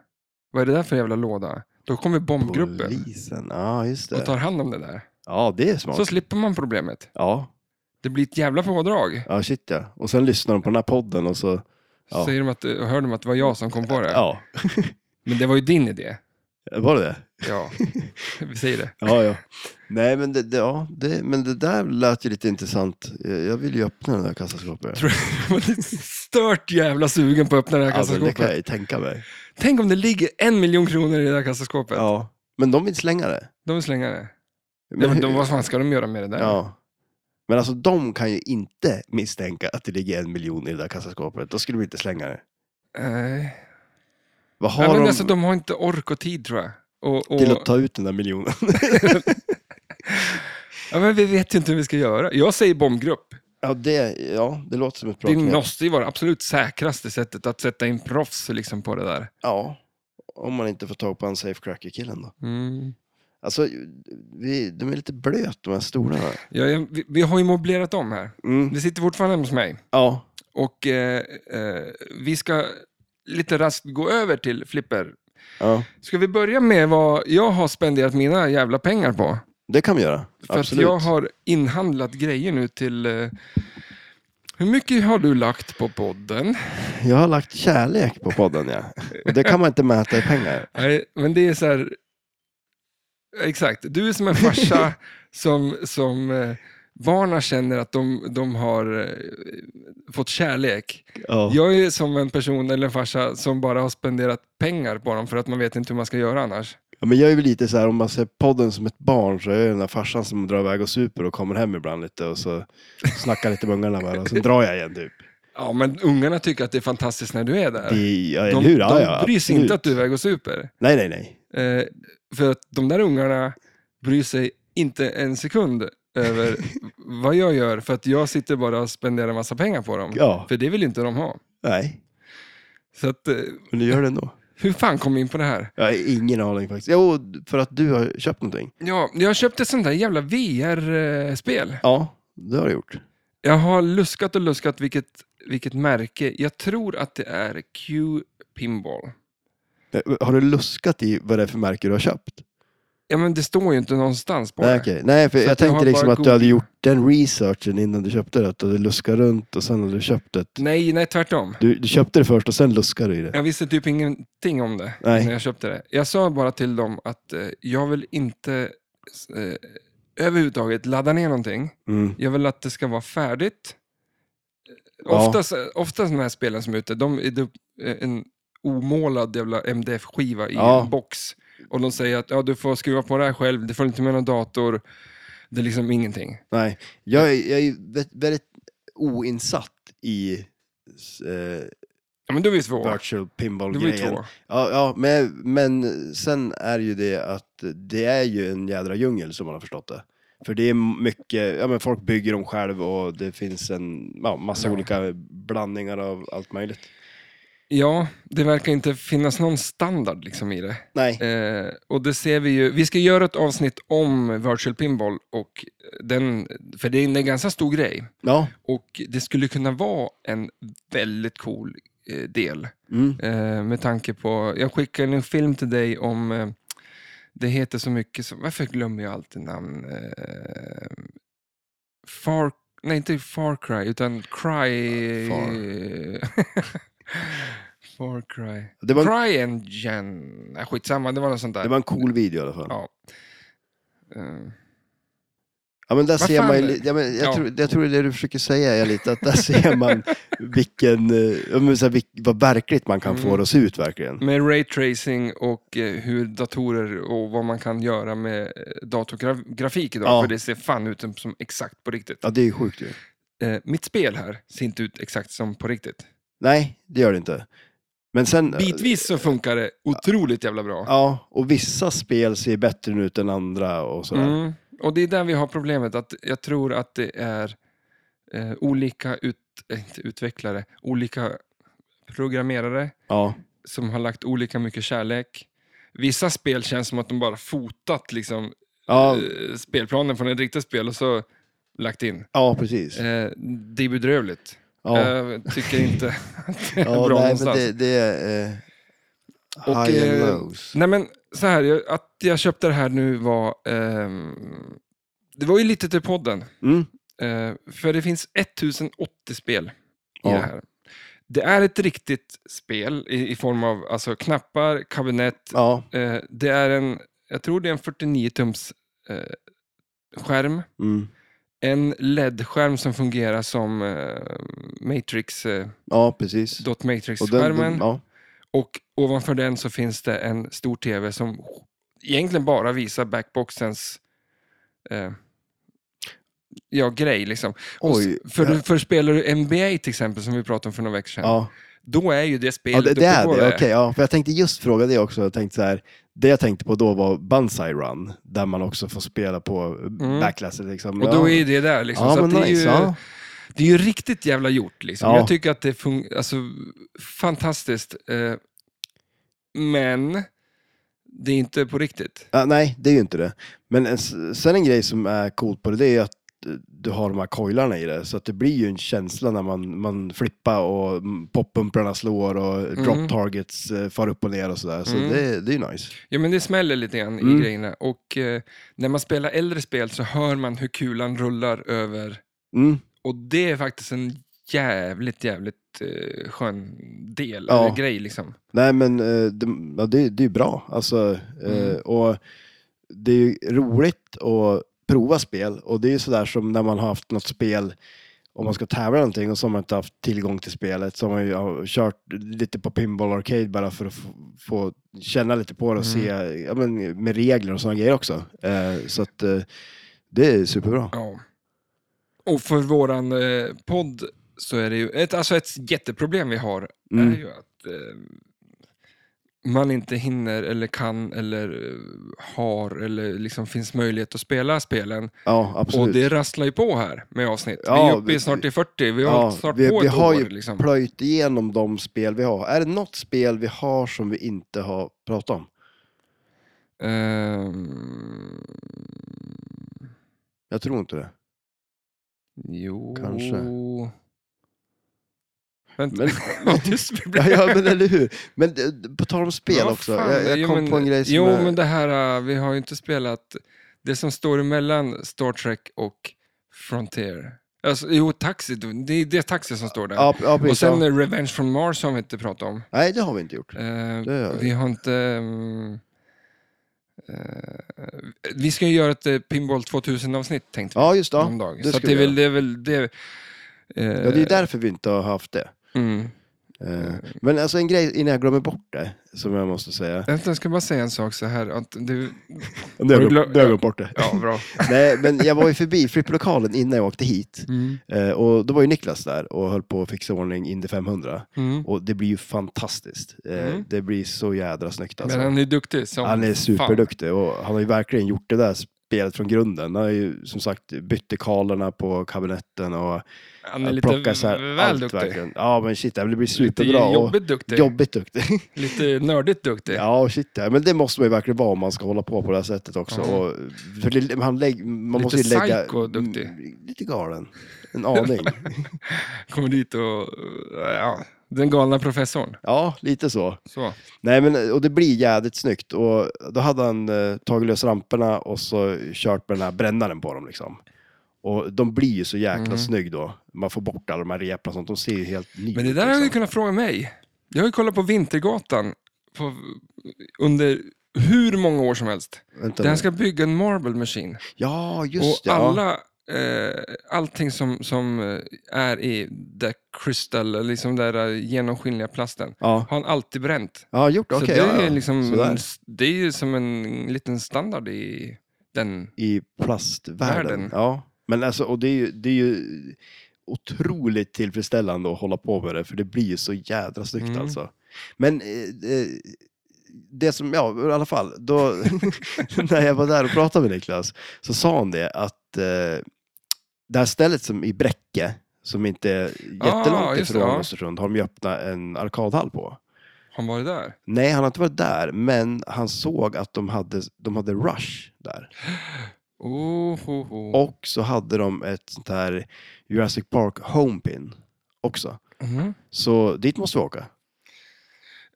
A: Vad är det där för jävla låda? Då kommer bombgruppen.
B: Polisen. Ja, just
A: och
B: det.
A: tar hand om det där.
B: Ja, det är smart.
A: Så slipper man problemet.
B: Ja,
A: Det blir ett jävla pådrag.
B: ja shit ja. Och sen lyssnar de på den här podden och så... Ja.
A: Säger de att, och hör de att det var jag som kom på det.
B: Ja,
A: Men det var ju din idé.
B: var det det?
A: Ja, vi säger det.
B: Ja, ja. Nej, men det, det, ja, det, men det där lät ju lite intressant. Eh, Jag vill ju öppna den där kassaskåpet.
A: Tror Jag var lite stört jävla sugen på att öppna det här
B: Alltså, det
A: kassaskåpet.
B: kan jag ju tänka mig.
A: Tänk om det ligger en miljon kronor i det där kassaskåpet.
B: Ja. Men de vill slänga det.
A: De vill slänga det. Men,
B: Men,
A: men
B: hur-
A: de, vad fan ska de göra med det där?
B: ja. men alltså de kan ju inte misstänka att det ligger en miljon i det där kassaskåpet. Då skulle de inte slänga det.
A: Nej.
B: Vad har
A: Nej, men
B: de
A: alltså, de har inte ork och tid tror jag. Och, och,
B: till att ta ut den där miljonen?
A: ja, men vi vet ju inte hur vi ska göra. Jag säger bombgrupp.
B: ja, det, ja, det låter som ett bra
A: Det
B: knep.
A: måste ju vara det absolut säkraste sättet att sätta in proffs liksom, på det där.
B: Ja, om man inte får tag på en safecracker-killen då.
A: Mm.
B: Alltså, vi, de är lite blöt de här stolarna.
A: Ja, jag, vi, vi har ju möblerat om här.
B: Mm.
A: Det sitter fortfarande hos mig.
B: Ja,
A: Och eh, eh, vi ska lite raskt gå över till Flipper.
B: ja,
A: Ska vi börja med vad jag har spenderat mina jävla pengar på?
B: det kan vi göra.
A: För
B: Absolut.
A: att jag har inhandlat grejer nu till... Eh, hur mycket har du lagt på podden?
B: jag har lagt kärlek på podden, ja. Och det kan man inte mäta i pengar.
A: Nej, men det är så här... Exakt, du är som en farsa som, som eh, barna känner att de, de har eh, fått kärlek.
B: Ja,
A: Jag är som en person eller en farsa som bara har spenderat pengar på dem för att man vet inte hur man ska göra annars.
B: Ja, men jag är väl lite så här, om man ser podden som ett barn så är jag den där farsan som drar iväg och super och kommer hem ibland lite och så snackar lite med ungarna bara och sen drar jag igen typ.
A: Ja, men ungarna tycker att det är fantastiskt när du är där.
B: Det, ja, eller
A: de
B: hur? Ja, ja,
A: de bryr sig
B: absolut.
A: inte att du är iväg och super.
B: Nej, nej, nej.
A: Eh, för att de där ungarna bryr sig inte en sekund över vad jag gör, för att jag sitter bara och spenderar en massa pengar på dem.
B: Ja,
A: För det vill inte de ha.
B: nej.
A: Så att, eh,
B: Men du gör det ändå.
A: hur fan kom vi in på det här?
B: Jag har ingen aning faktiskt. Jo, för att du har köpt någonting.
A: Ja, jag köpte sånt där jävla eh, VR-spel.
B: Ja, det har du gjort.
A: Jag har luskat och luskat vilket, vilket märke. Jag tror att det är Q-pinball.
B: Eh, Har du luskat i vad det är för märke du har köpt?
A: Ja, men det står ju inte någonstans på
B: Nej,
A: det.
B: okej. Nej, för
A: Så
B: jag
A: att jag har
B: tänkte liksom
A: bara
B: att du hade
A: googlat.
B: gjort den researchen innan du köpte det. Att du hade luskat runt och sen hade du köpt det.
A: Nej, nej, tvärtom.
B: Du, du köpte det först och sen luskade du i det.
A: Jag visste typ ingenting om det
B: Nej.
A: när jag köpte det. Jag sa bara till dem att eh, jag vill inte eh, överhuvudtaget ladda ner någonting.
B: Mm.
A: Jag vill att det ska vara färdigt.
B: Ja.
A: Oftast, oftast de här spelen som är ute, de är det en omålad jävla MDF-skiva i
B: Ja.
A: en box. Och de säger att ja, du får skruva på det här själv, det får inte med någon dator. Det är liksom ingenting.
B: Nej, jag är, jag är ju vä- väldigt oinsatt i eh,
A: Ja, men då är vi två.
B: virtual
A: Då är vi
B: pinball-grejen.
A: två.
B: Ja, ja men, men sen är ju det att det är ju en jädra djungel som man har förstått det. För det är mycket, ja men folk bygger dem själv och det finns en ja, massa
A: Ja.
B: olika blandningar av allt möjligt.
A: Ja, det verkar inte finnas någon standard liksom i det.
B: Nej,
A: Eh, och det ser vi ju. Vi ska göra ett avsnitt om virtual pinball, och den, för det är en ganska stor grej.
B: ja.
A: Och det skulle kunna vara en väldigt cool eh, del.
B: Mm.
A: Eh, med tanke på, jag skickade en film till dig om, eh, det heter så mycket som, varför glömmer jag alltid namn? Eh, far, nej inte Far Cry, utan Cry... far Cry.
B: Det, var en,
A: Cry Engine, nej skitsamma, det var något sånt där.
B: det var en cool video i alla fall.
A: Ja.
B: Ja,
A: Eh,
B: men där
A: Vad
B: ser
A: fan
B: man ju,
A: är det?
B: li- ja, men jag,
A: Ja.
B: tror, jag tror det du försöker säga är lite att där ser man vilken, eh, ja, men så här, vilk, vad verkligt man kan få
A: Mm.
B: det att se ut verkligen.
A: Med ray tracing och eh, hur datorer och vad man kan göra med eh, datorgrafik idag,
B: Ja.
A: för det ser fan ut som, som exakt på riktigt.
B: Ja, det är ju sjukt ju.
A: Eh, mitt spel här ser inte ut exakt som på riktigt.
B: Nej, det gör det inte. Men sen... eh,
A: Bitvis så funkar det otroligt jävla bra.
B: Ja, och vissa spel ser bättre ut än andra och sådär.
A: Mm. Och det är där vi har problemet, att jag tror att det är eh, olika ut, eh, inte utvecklare, olika programmerare
B: Ja,
A: som har lagt olika mycket kärlek. Vissa spel känns som att de bara fotat liksom,
B: ja,
A: eh, spelplanen från ett riktigt spel och så lagt in.
B: ja precis.
A: Eh, det är bedrövligt.
B: Ja,
A: Jag tycker inte att det är
B: ja
A: bra
B: nej, men
A: någonstans.
B: det, det är... Eh,
A: Och,
B: high and
A: eh,
B: lows.
A: Nej men så här, jag, att jag köpte det här nu var... ehm, det var ju lite till podden.
B: Mm.
A: Eh, för det finns 1080 spel i
B: Ja.
A: det här. Det är ett riktigt spel i, i form av alltså, knappar, kabinett.
B: Ja,
A: Eh, det är en, jag tror det är en 49-tums eh, skärm.
B: mm.
A: En LED-skärm som fungerar som eh, Matrix, eh,
B: ja, precis.
A: dot
B: Och den-
A: Matrix-skärmen.
B: den- ja.
A: Och ovanför den så finns det en stor tv som egentligen bara visar backboxens eh, ja, grej. Liksom. Och
B: Oj.
A: s- för,
B: ja.
A: för spelar du NBA till exempel, som vi pratade om för några veckor sedan,
B: Ja,
A: då är ju det
B: ja
A: spelet
B: det, det är
A: uppe på
B: det. Okej, ja. För jag tänkte just fråga det också. Jag tänkte så här, det jag tänkte på då var Banzai Run, där man också får spela på mm. backlasset. Liksom.
A: Och då är det där. Liksom.
B: ja,
A: så
B: men
A: att det, är
B: nice.
A: ju,
B: ja.
A: det är ju riktigt jävla gjort. Liksom.
B: Ja.
A: Jag tycker att det fungerar alltså, fantastiskt. Eh, men det är inte på riktigt.
B: Ja, nej, det är ju inte det. Men en, sen en grej som är coolt på det, det är att eh, du har de här coilarna i det, så att det blir ju en känsla när man, man flippar och mm, poppumprarna slår och drop targets eh, far upp och ner och sådär. Så
A: Mm.
B: det, det är ju nice.
A: Ja, men det smäller lite grann
B: Mm.
A: i grejerna. Och eh, när man spelar äldre spel så hör man hur kulan rullar över.
B: Mm.
A: Och det är faktiskt en jävligt, jävligt eh, skön del,
B: Ja.
A: eller grej liksom.
B: Nej, men eh, det, ja, det, det är ju bra. Alltså, eh,
A: Mm.
B: och det är ju roligt att prova spel och det är ju sådär som när man har haft något spel om man ska tävla någonting och så har man inte haft tillgång till spelet så har man ju ja, kört lite på Pinball Arcade bara för att få, få känna lite på det
A: Mm.
B: och se ja, men, med regler och sådana grejer också. Eh, så att eh, det är superbra.
A: Ja. Och för våran eh, podd så är det ju ett, alltså ett jätteproblem vi har är
B: Mm.
A: ju att eh, man inte hinner eller kan eller eh, har eller liksom finns möjlighet att spela spelen.
B: Ja, absolut.
A: Och det rasslar ju på här med avsnitt. vi är
B: Ja,
A: uppe i
B: vi-
A: snart i 40, vi har
B: Ja,
A: hållit snart
B: vi-
A: på
B: vi
A: ett
B: har
A: år.
B: ju
A: Liksom.
B: plöjt igenom de spel vi har. Är det något spel vi har som vi inte har pratat om?
A: Ehm,
B: Jag tror inte det.
A: jo...
B: Kanske.
A: Vänta,
B: Men-
A: vad tyst vi blev.
B: Ja, ja men eller hur. Men eh, på tal om spel
A: Vad
B: också.
A: fan,
B: Jag, jag
A: jo,
B: kom
A: men-
B: på en grej som
A: Jo,
B: är...
A: men det här, uh, vi har ju inte spelat det som står emellan Star Trek och Frontier. Alltså, jo, Taxi, det är det Taxi som står där.
B: ja, ja,
A: och
B: precis,
A: sen
B: ja.
A: eh, Revenge from Mars har vi inte pratat om.
B: Nej, det har vi inte gjort.
A: Eh,
B: gör vi.
A: vi har inte... mm, eh, vi ska ju göra ett eh, Pinball 2000-avsnitt tänkte vi.
B: Ja, just det. Ja.
A: någon dag.
B: det
A: Så att
B: ska
A: det, är
B: vi
A: väl, det är väl det. eh,
B: Ja, det är därför vi inte har haft det.
A: mm.
B: Eh, Men alltså en grej innan jag glömmer bort det, som jag måste säga.
A: Vänta, jag ska bara säga en sak så här. Att du,
B: Nu har
A: du
B: jag
A: glö-
B: glömt- nu har jag glömt bort det.
A: ja, bra.
B: Nej, men jag var ju förbi flipplokalen innan jag åkte hit.
A: Mm.
B: Eh, Och då var ju Niklas där och höll på att fixa ordning Indy 500.
A: Mm.
B: Och det blir ju fantastiskt. Eh,
A: Mm.
B: Det blir så jädra snyggt alltså.
A: Men han är duktig. Som
B: Han är
A: fan.
B: superduktig och han har ju verkligen gjort det där spelet från grunden. Han har ju som sagt bytt dekalerna på kabinetten och
A: Han är
B: eh,
A: lite
B: plockat så här
A: väl
B: allt
A: duktig.
B: verkligen. Ja men shit, det blir
A: Lite
B: superbra. och-
A: jobbigt duktig.
B: Jobbigt duktig.
A: Lite nördigt duktig.
B: Ja, shit ja. Men det måste man ju verkligen vara om man ska hålla på på det här sättet också.
A: Ja.
B: Och, för det, han lägg, man
A: Lite
B: måste ju lägga...
A: psycho duktig.
B: Mm, Lite galen. En aning.
A: Kommer dit och... Ja, den galna professorn.
B: ja, lite så.
A: Så.
B: Nej, men och det blir jädrigt snyggt. Och då hade han eh, tagit lös ramperna och så kört med den här brännaren på dem liksom. Och de blir ju så jäkla
A: Mhm.
B: snygg då. Man får bort alla de här reporna och sånt. De ser ju helt nya
A: Men det där har du
B: liksom.
A: kunnat fråga mig. Jag har ju kollat på Vintergatan på, under hur många år som helst.
B: Vänta
A: Där han
B: nu.
A: ska bygga en marble machine.
B: Ja, just
A: och
B: det. ja.
A: alla, eh, allting som, som eh, är i the crystal, liksom den där eh, genomskinliga plasten,
B: Ja.
A: har han alltid bränt.
B: ja, gjort det.
A: så
B: Okej.
A: det,
B: ja,
A: är
B: ja.
A: liksom,
B: Sådär.
A: det är ju som en liten standard i den.
B: i plastvärlden.
A: Världen.
B: Ja. Men alltså, och det är, ju, det är ju otroligt tillfredsställande att hålla på med det, för det blir ju så jädra snyggt
A: Mm.
B: alltså. Men eh, eh, det som, ja i alla fall, då, när jag var där och pratade med Niklas så sa han det att eh, det här stället som i Bräcke, som inte är jättelångt
A: Ah, just det,
B: ifrån
A: ja.
B: Östersund, har de ju öppnat en arkadhall på.
A: Har han varit där?
B: Nej, han har inte varit där, men han såg att de hade, de hade Rush där.
A: Oh, ho, ho.
B: Och så hade de ett sånt här Jurassic Park Homepin också.
A: Mhm.
B: Så dit måste vi åka.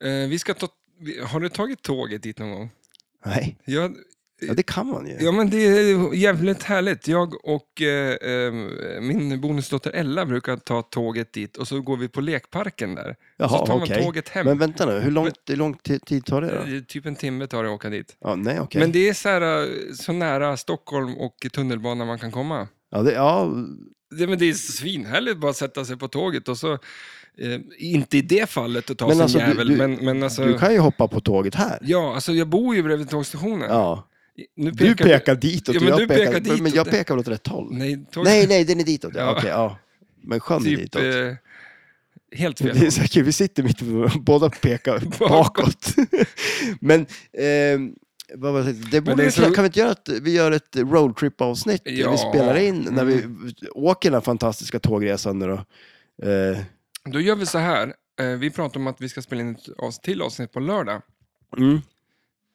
A: Eh, vi ska ta, vi- har du tagit tåget dit någon gång?
B: Nej,
A: Jag,
B: ja, det kan man ju.
A: ja, men det är jävligt härligt. Jag och eh, eh, min bonusdotter Ella brukar ta tåget dit och så går vi på lekparken där.
B: Jaha,
A: så tar man
B: okej.
A: tåget hem.
B: Men vänta nu, hur lång, hur lång ti- tid tar det då?
A: Eh, Typ en timme tar det att åka dit.
B: Ja, nej, okej.
A: Men det är så, här, eh, så nära Stockholm och tunnelbanan man kan komma.
B: Ja, det, ja,
A: Det, men det är svinhärligt bara att sätta sig på tåget och så, eh, inte i det fallet att ta
B: Men
A: sin
B: alltså, du-
A: jävel,
B: du-
A: men, men alltså,
B: du kan ju hoppa på tåget här.
A: ja, alltså jag bor ju bredvid tågstationen.
B: Ja.
A: Nu
B: Du pekar ditåt
A: Ja,
B: och
A: men du
B: jag
A: pekar
B: pekar
A: ditåt.
B: Men jag pekar väl åt rätt håll?
A: Nej, tåg,
B: Nej, nej, den är ditåt. Ja,
A: Ja.
B: okej, ja. Men sjön är
A: typ,
B: ditåt.
A: eh, helt fel.
B: Det är säkert, vi sitter mitt på, båda pekar bakåt. Men, ehm, vad var det, det borde
A: det är
B: vi,
A: så-
B: kunna- kan vi inte göra att vi gör ett roadtrip-avsnitt där
A: Ja. Mm.
B: vi spelar in när vi åker den här fantastiska tågresan nu då? Eh,
A: Då gör vi så här, eh, vi pratar om att vi ska spela in ett avs- till avsnitt på lördag.
B: mm.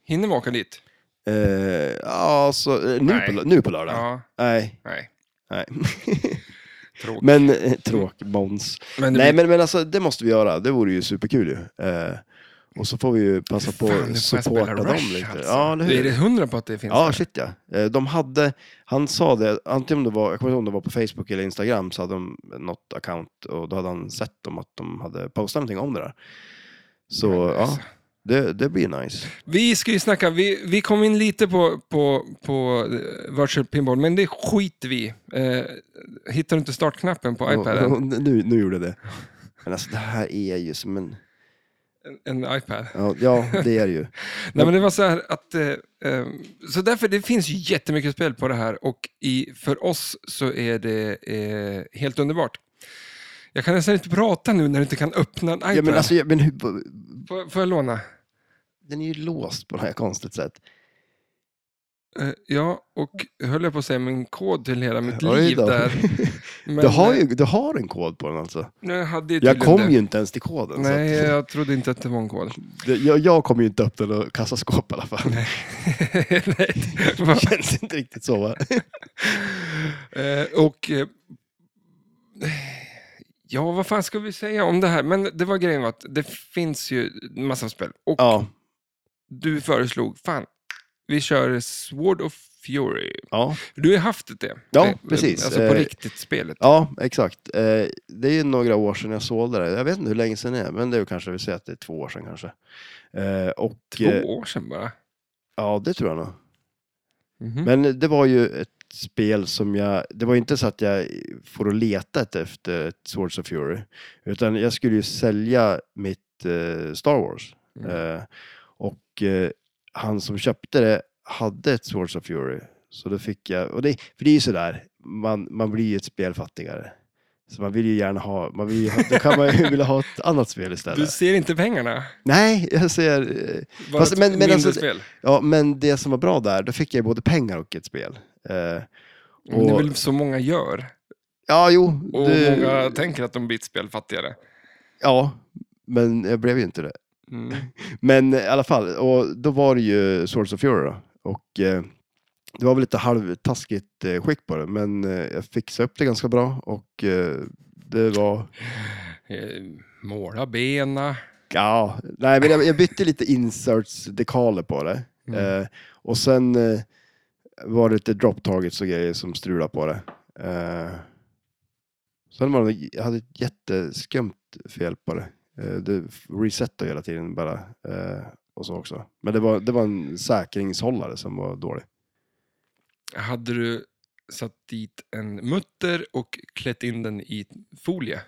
A: Hinner vi åka dit?
B: eh, ja, så, eh, nu,
A: Nej.
B: på, lö- nu på lördag?
A: Ja,
B: Nej.
A: nej,
B: nej.
A: tråkigt. Men,
B: men, eh, tråk, Måns.
A: det
B: Nej,
A: blir-
B: men, men alltså, det måste vi göra. Det vore ju superkul ju. Eh, och så får vi ju passa alltså, på
A: Fan, nu får
B: att
A: jag
B: supporta
A: spela
B: dem
A: Rush,
B: lite.
A: alltså.
B: Ja, eller hur?
A: Är det hundra på att det finns?
B: Ja,
A: där?
B: shit ja. Eh, De hade, han sa det, antingen om det var, jag kommer inte ihåg om det var på Facebook eller Instagram, så hade de något account och då hade han sett dem att de hade postat någonting om det där. Så
A: Men,
B: ja,
A: alltså,
B: Det, det blir nice.
A: Vi ska ju snacka, vi, vi kom in lite på, på, på eh, virtual pinball, men det skiter vi i. eh, Hittar du inte startknappen på iPaden?
B: Och- och Nu, nu gjorde jag det. Men alltså det här är ju som en...
A: En, en iPad?
B: Ja, ja det är det ju.
A: Nej, men det var så här att... Eh, eh, så därför, det finns ju jättemycket spel på det här och i, för oss så är det eh, helt underbart. Jag kan nästan inte prata nu när du inte kan öppna en iPad.
B: Ja, men alltså, jag- men hur,
A: får, får jag låna?
B: den är ju låst på det här konstigt sätt.
A: Eh, ja, och höll jag på att säga min kod till hela mitt
B: Oj
A: liv
B: då.
A: där. Men,
B: Du har,
A: eh,
B: ju, du har en kod på den alltså.
A: nu hade
B: Jag
A: tydligen
B: kom
A: det.
B: ju inte ens till koden.
A: Nej,
B: Så att,
A: jag trodde inte att det var en kod.
B: det, jag, jag kom ju inte upp den och kassaskåp i alla fall.
A: Nej, det var-
B: Det känns inte riktigt så va?
A: Eh, och... eh, Ja, vad fan ska vi säga om det här? Men det var grejen var att det finns ju en massa spel. Och
B: Ja.
A: du föreslog, fan, vi kör Sword of Fury.
B: ja.
A: Du har ju haft det.
B: Ja,
A: det,
B: precis.
A: Alltså på
B: Eh,
A: riktigt spelet.
B: Ja, exakt. Eh, det är ju några år sedan jag sålde det. Jag vet inte hur länge sedan det är, men det är ju kanske, vi säger att det är två år sedan kanske. Eh, och, eh,
A: Två år sedan bara.
B: ja, det tror jag nog.
A: Mhm.
B: Men det var ju ett spel som jag, det var ju inte så att jag får att leta ett- efter ett Swords of Fury, utan jag skulle ju sälja mitt eh, Star Wars.
A: Mm.
B: Eh, och eh, han som köpte det hade ett Swords of Fury, så då fick jag, och det, för det är ju sådär, man, man blir ju ett spel fattigare. Så man vill ju gärna ha, man vill ju, ha- då kan man ju vilja ha ett annat spel
A: du
B: istället.
A: ser inte pengarna.
B: Nej, jag ser, eh,
A: Bara
B: Fast-
A: ett
B: men- men
A: mindre
B: alltså-
A: spel.
B: ja men det som var bra där, då fick jag ju både pengar och ett spel. Eh,
A: Men det är
B: och-
A: väl så många gör.
B: Ja, jo.
A: Och
B: det-
A: många tänker att de blir ett spel fattigare.
B: Ja, men jag blev ju inte det.
A: Mm.
B: Men i alla fall, och då var det ju Swords of Fury då. Och eh, det var väl lite halvtaskigt eh, skick på det, men eh, jag fixade upp det ganska bra och eh, det var...
A: Eh, måla bena.
B: Ja, nej men jag, jag bytte lite inserts-dekaler på det.
A: Mm.
B: Eh, och sen eh, var det lite drop targets och grejer som strulade på det. Eh, sen var det, jag hade ett jätteskumt fel på det. Eh, det resetade hela tiden bara. Eh, och så också. Men det var, det var en säkringshållare som var dålig.
A: Hade du satt dit en mutter och klätt in den i folie?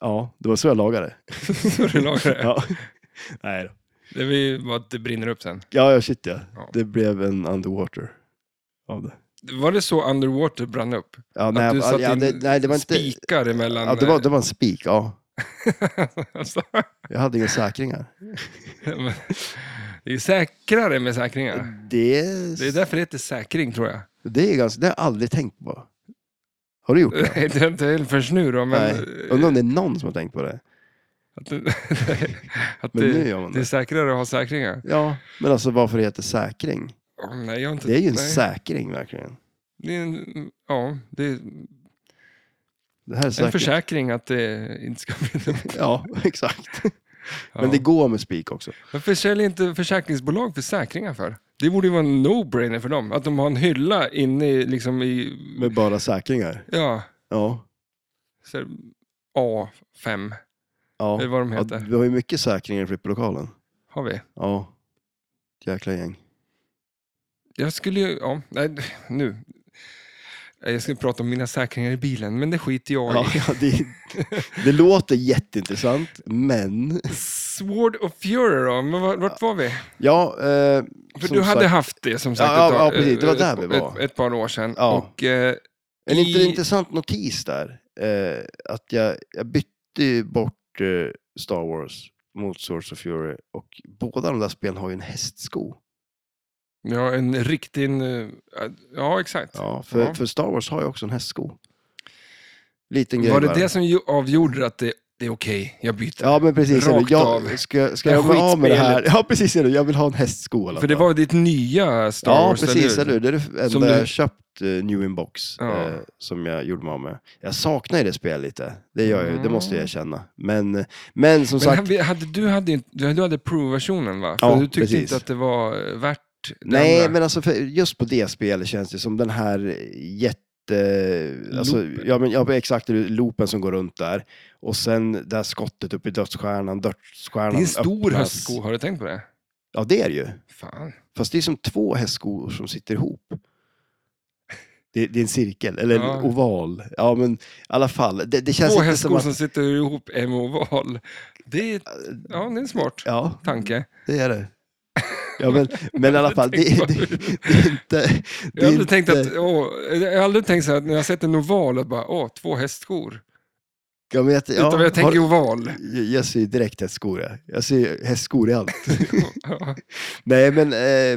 B: Ja, det var så jag lagade det.
A: Så du lagade det?
B: ja. Nej då.
A: Det var ju bara att det brinner upp sen.
B: Ja, ja, shit ja.
A: Ja.
B: Det blev en underwater av det.
A: Var det så Underwater brann upp?
B: Ja,
A: att
B: nej,
A: du satt
B: ja,
A: in
B: det, nej, det var inte...
A: spikar emellan?
B: Ja, det, var, det var en spik, ja.
A: Alltså,
B: Jag hade inga säkringar.
A: men det är ju säkrare med säkringar.
B: Det,
A: Det är därför det heter säkring, tror jag.
B: Det är ganska, det har jag aldrig tänkt på. Har du gjort det?
A: Det är inte helt förrän nu då, Eh, men... eh,
B: Nej. Undrar om det är någon som har tänkt på det.
A: Att, det- att
B: Men nu
A: det,
B: gör man
A: det är
B: det.
A: säkrare att ha säkringar.
B: Ja, men alltså varför det heter säkring?
A: Åh, nej, jag har inte,
B: Det är ju en
A: nej.
B: säkring verkligen.
A: Det är en, ja, det är
B: Det här är
A: En
B: säkring.
A: försäkring att det inte ska bli dumt.
B: Ja, exakt.
A: Ja.
B: Men det går med spik också.
A: Varför säljer inte försäkringsbolag försäkringar för? Det borde ju vara en no-brainer för dem. Att de har en hylla inne i, liksom i
B: Med bara säkringar.
A: ja,
B: Ja.
A: så här, A5.
B: ja.
A: Det är vad de
B: ja
A: heter.
B: vi har ju mycket säkringar i flipplokalen.
A: Har vi.
B: Ja. Jäkla gäng.
A: Jag skulle ju, ja, nej, nu. Jag skulle prata om mina säkringar i bilen, men det skiter jag
B: Ja,
A: i.
B: ja, det, det låter jätteintressant, men...
A: Sword of Fury då, men var- vart var vi?
B: Ja, eh,
A: För
B: Som
A: du hade
B: sagt-
A: haft det som sagt
B: Ja, ja,
A: ett, tag-
B: ja, precis. Det var
A: ett-
B: där vi var.
A: Ett, ett par år sedan.
B: Ja.
A: Och, eh,
B: En inte
A: I-
B: intressant notis där, eh, att jag, jag bytte ju bort eh, Star Wars mot Swords of Fury och båda de där spelen har ju en hästsko.
A: ja, en riktig, eh, ja exakt.
B: Ja, för,
A: Ja.
B: för Star Wars har ju också en hästsko. Liten grej
A: Var det
B: bara.
A: det som ju- avgjorde att det, det är okej, jag byter?
B: Ja, men precis.
A: Rakt av.
B: jag, ska, ska
A: Det
B: jag
A: här
B: vara av med det här?
A: skitspelet.
B: Ja, precis. Eller? hur? Jag vill ha en hästsko. i alla
A: För det
B: fall.
A: var ditt nya Star
B: Ja,
A: Wars,
B: precis. Eller hur? Det är det enda
A: Eh, Som du-
B: jag har köpt, eh, New In Box,
A: Ja.
B: eh, som jag gjorde mig av med. Jag saknar ju det spelet lite. Det gör jag ju. Det måste jag erkänna. Men, men som
A: Mm. Men
B: sagt,
A: hade- hade, du hade, inte- du hade Pro-versionen va? För
B: Ja,
A: du tyckte
B: precis.
A: inte att det var eh, värt det
B: Nej,
A: andra.
B: men alltså för just på det spelet känns det som den här jätte eh, alltså,
A: Loopen.
B: ja, men, ja, men exakt, det är loopen som går runt där. Och sen det här skottet upp i dödsstjärnan, dödsstjärnan
A: Det är en stor
B: öppnas.
A: hästsko, har du tänkt på det?
B: Ja, det är det ju.
A: Fan.
B: Fast det är som två hästskor som sitter ihop. Det, det är en cirkel, eller
A: Ja.
B: en oval. Ja, men i alla fall. Det, det känns
A: Två
B: inte som
A: hästskor
B: att...
A: som sitter ihop i en oval. Det är, ja, det är en smart
B: Ja,
A: tanke.
B: det är det. Ja, men, men i alla fall, det, det, det, är inte... Det
A: Jag
B: är
A: har, aldrig tänkt
B: inte,
A: att, åh, jag har aldrig tänkt så här, när jag sett en oval, att bara, åh, två hästskor.
B: Ja, men jag, ja,
A: Utan jag tänker
B: har,
A: oval.
B: jag ser ju direkt hästskor. Jag, jag ser ju hästskor i allt.
A: Ja,
B: Nej, men eh,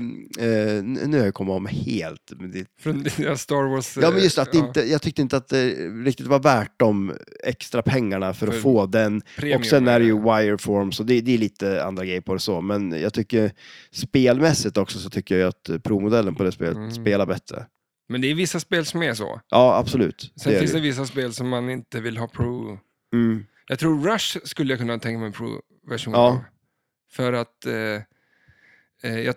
B: eh, nu har jag kommit om helt. Men det,
A: Från dina Star Wars...
B: Ja, men just att det
A: eh,
B: inte, jag tyckte inte att det riktigt var värt de extra pengarna för att
A: För
B: få den.
A: premium,
B: och sen är det ju
A: ja.
B: wireform, så det, det är lite andra grejer på det så. Men jag tycker spelmässigt också så tycker jag att provmodellen på det spelet
A: Mm.
B: spelar bättre.
A: Men det är vissa spel som är så.
B: Ja, absolut.
A: Sen
B: är
A: finns det
B: ju.
A: vissa spel som man inte vill ha pro.
B: Mm.
A: Jag tror Rush skulle jag kunna tänka mig en pro-version
B: Ja.
A: av. För att... Eh, eh, jag,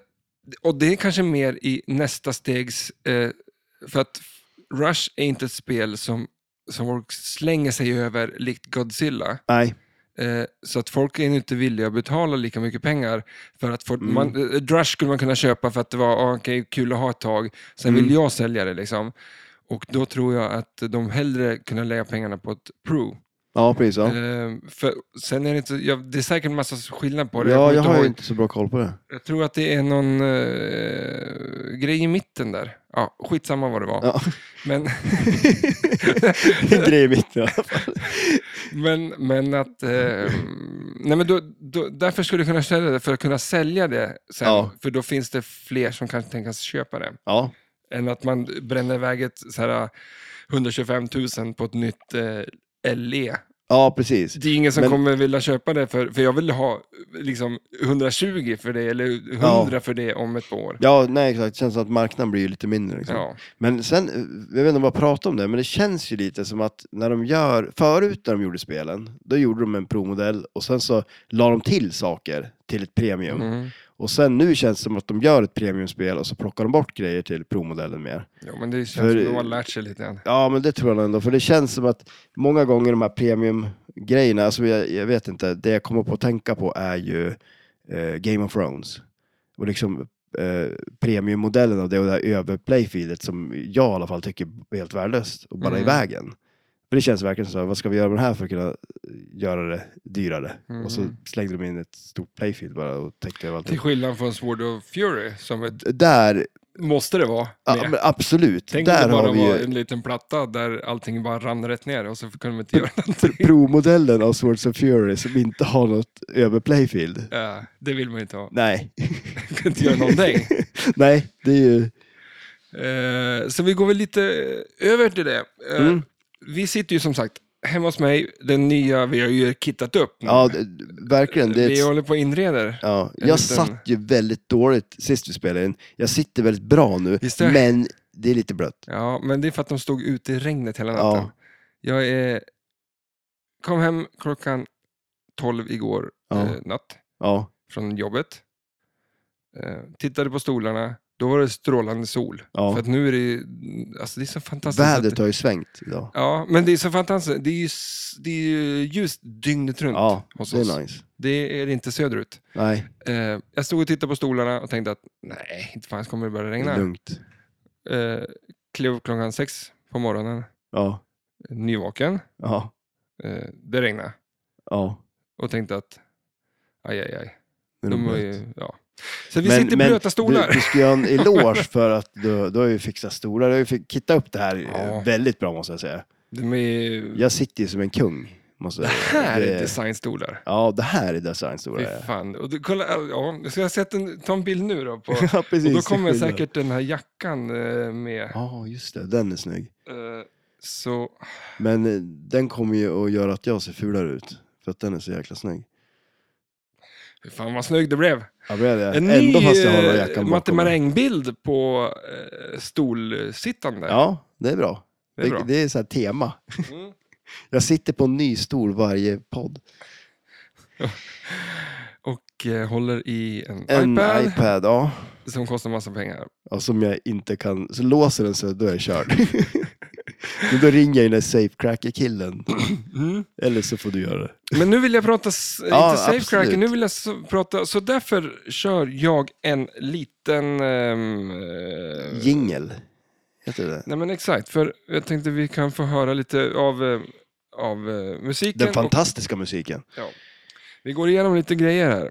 A: och det är kanske mer i nästa stegs... Eh, för att Rush är inte ett spel som, som folk slänger sig över likt Godzilla.
B: Nej,
A: Eh, så att folk är inte villiga att betala lika mycket pengar. För att få,
B: Mm.
A: man, eh, Drush skulle man kunna köpa för att det var ah, okej, kul att ha ett tag. Sen
B: Mm.
A: vill jag sälja det liksom. Och då tror jag att de hellre kunde lägga pengarna på ett Pro.
B: ja precis. Ja.
A: Eh, för sen är det inte, jag, det är säkert en massa skillnad på det.
B: Ja,
A: kommer
B: jag
A: inte
B: har ju
A: ihåg.
B: inte så bra koll på det.
A: jag tror att det är någon eh, grej i mitten där. Ja, skitsamma vad det var.
B: Ja.
A: Men,
B: Det är en grej i mitten i alla fall.
A: Men, men att... Eh, nej men då, då, därför skulle du kunna sälja det, för att kunna sälja det sen.
B: Ja.
A: För då finns det fler som kan tänkas köpa det.
B: Ja,
A: Än att man bränner iväg ett så här, 125 000 på ett nytt eh, LE.
B: ja precis.
A: Det är ingen som
B: Men-
A: kommer vilja köpa det, för, för jag vill ha liksom 120 för det, eller 100 för det om ett par år.
B: Ja, nej exakt. Det känns som att marknaden blir ju lite mindre. Liksom.
A: Ja.
B: Men sen, eh, jag vet inte om jag pratar om det, men det känns ju lite som att när de gör, förut när de gjorde spelen, då gjorde de en provmodell och sen så la de till saker till ett premium.
A: Mm.
B: Och sen nu känns det som att de gör ett premiumspel och så plockar de bort grejer till provmodellen mer.
A: ja, men det känns
B: För-
A: som att de har lärt sig lite grann.
B: Ja, men det tror jag ändå, för det känns som att många gånger de här premiumgrejerna, alltså jag, jag vet inte, det jag kommer på att tänka på är ju eh, Game of Thrones. Och liksom eh, premiummodellen av det och det här överplayfieldet som jag i alla fall tycker är helt värdelöst och bara i
A: Mm.
B: vägen. För det känns verkligen så, här, vad ska vi göra med det här för att kunna göra det dyrare? Och så
A: Mm.
B: slängde de in ett stort playfield bara och täckte över
A: Till
B: allting.
A: skillnad från Sword of Fury, som ett,
B: Där,
A: måste det vara.
B: ja,
A: med.
B: men absolut,
A: Tänk om
B: där
A: det bara
B: har vi
A: var
B: ju
A: en liten platta där allting bara rann rätt ner och så kunde man inte göra någonting.
B: provmodellen av Swords of Fury som inte har något överplayfield.
A: Ja, det vill man ju inte ha.
B: Nej.
A: Man kan inte göra någonting.
B: Nej, det är
A: Mm.
B: ju...
A: Eh, så vi går väl lite över till det. Eh,
B: Mm.
A: Vi sitter ju som sagt hemma hos mig, den nya, vi har ju kittat upp nu.
B: Ja, det- verkligen. Det är
A: Vi
B: ett...
A: håller på och inreder.
B: ja.
A: en liten-
B: Jag satt ju väldigt dåligt sist vi spelade in. Jag sitter väldigt bra nu,
A: Visst är det?
B: men det är lite blött.
A: Ja, men det är för att de stod ute i regnet hela natten.
B: Ja.
A: Jag är... kom hem klockan 12 igår
B: Ja.
A: eh, natt
B: Ja,
A: från jobbet. Eh, tittade på stolarna, då var det strålande sol.
B: ja.
A: För att nu är det ju, alltså det är så fantastiskt.
B: Vädret
A: att,
B: har ju svängt idag.
A: Ja, men det är så fantastiskt. Det är ju, s- det är ju ljust dygnet runt
B: Ja,
A: hos
B: det
A: oss.
B: är nice.
A: Det är det inte söderut.
B: Nej,
A: Eh, jag stod och tittade på stolarna och tänkte att nej, inte fan kommer det börja
B: det är
A: regna.
B: lugnt.
A: Eh, klev upp klockan sex på morgonen,
B: Ja,
A: nyvaken.
B: ja,
A: Eh, det regnade
B: ja.
A: och tänkte att aj, aj, aj.
B: det är
A: De
B: nog
A: var
B: blött.
A: ju, ja. Så vi
B: Men-
A: sitter i
B: men
A: blöta stolar.
B: Du, du ska göra en eloge för att du, du har ju fixat stolar. Du har ju fick- kittat upp det här
A: Ja.
B: väldigt bra måste jag säga.
A: De är,
B: Jag sitter ju som en kung. Måste
A: det
B: jag säga.
A: här är designstolar.
B: Ja, det här är designstolar.
A: Fy
B: ja.
A: fan. Och du, kolla, ja, jag ska jag sätta en, ta en bild nu då? På,
B: Ja, precis.
A: och då kommer
B: det är skillnad.
A: säkert den här jackan eh, med.
B: Ja, just det. Den är snygg.
A: Eh, Så,
B: Men eh, den kommer ju att göra att jag ser fulare ut. För att den är så jäkla snygg.
A: fy fan vad snygg det blev.
B: Ja, det är det.
A: En
B: Ändå
A: ny
B: fast jag har jackan
A: eh, Matte
B: bakom. mig.
A: Maräng-bild på eh, stolsittande.
B: Ja, det är bra.
A: det är bra.
B: Det, det är så här tema.
A: Mm.
B: Jag sitter på en ny stol varje podd.
A: Och eh, håller i en,
B: En
A: iPad
B: iPad, ja.
A: som kostar massa pengar.
B: ja. Som jag inte kan... Så låser den sig, då är jag körd. Men då ringer jag ju den där safecracker-killen.
A: Mm.
B: Eller så får du göra det.
A: Men nu vill jag prata, s-
B: Ja,
A: inte safecracker,
B: absolut.
A: nu vill jag så, prata, så därför kör jag en liten... ehm, eh,
B: Jingel. Heter det
A: nej men exakt, för jag tänkte vi kan få höra lite av, eh, av eh, musiken.
B: Den
A: och-
B: fantastiska musiken.
A: Vi går igenom lite grejer här.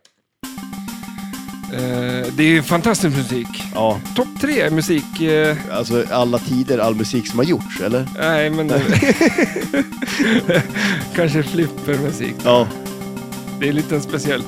A: Eh, det är ju fantastisk musik.
B: Ja,
A: Topp tre musik. eh,
B: alltså alla tider, all musik som har gjorts, eller?
A: nej, men... Kanske flippermusik.
B: Ja.
A: Det är lite speciell.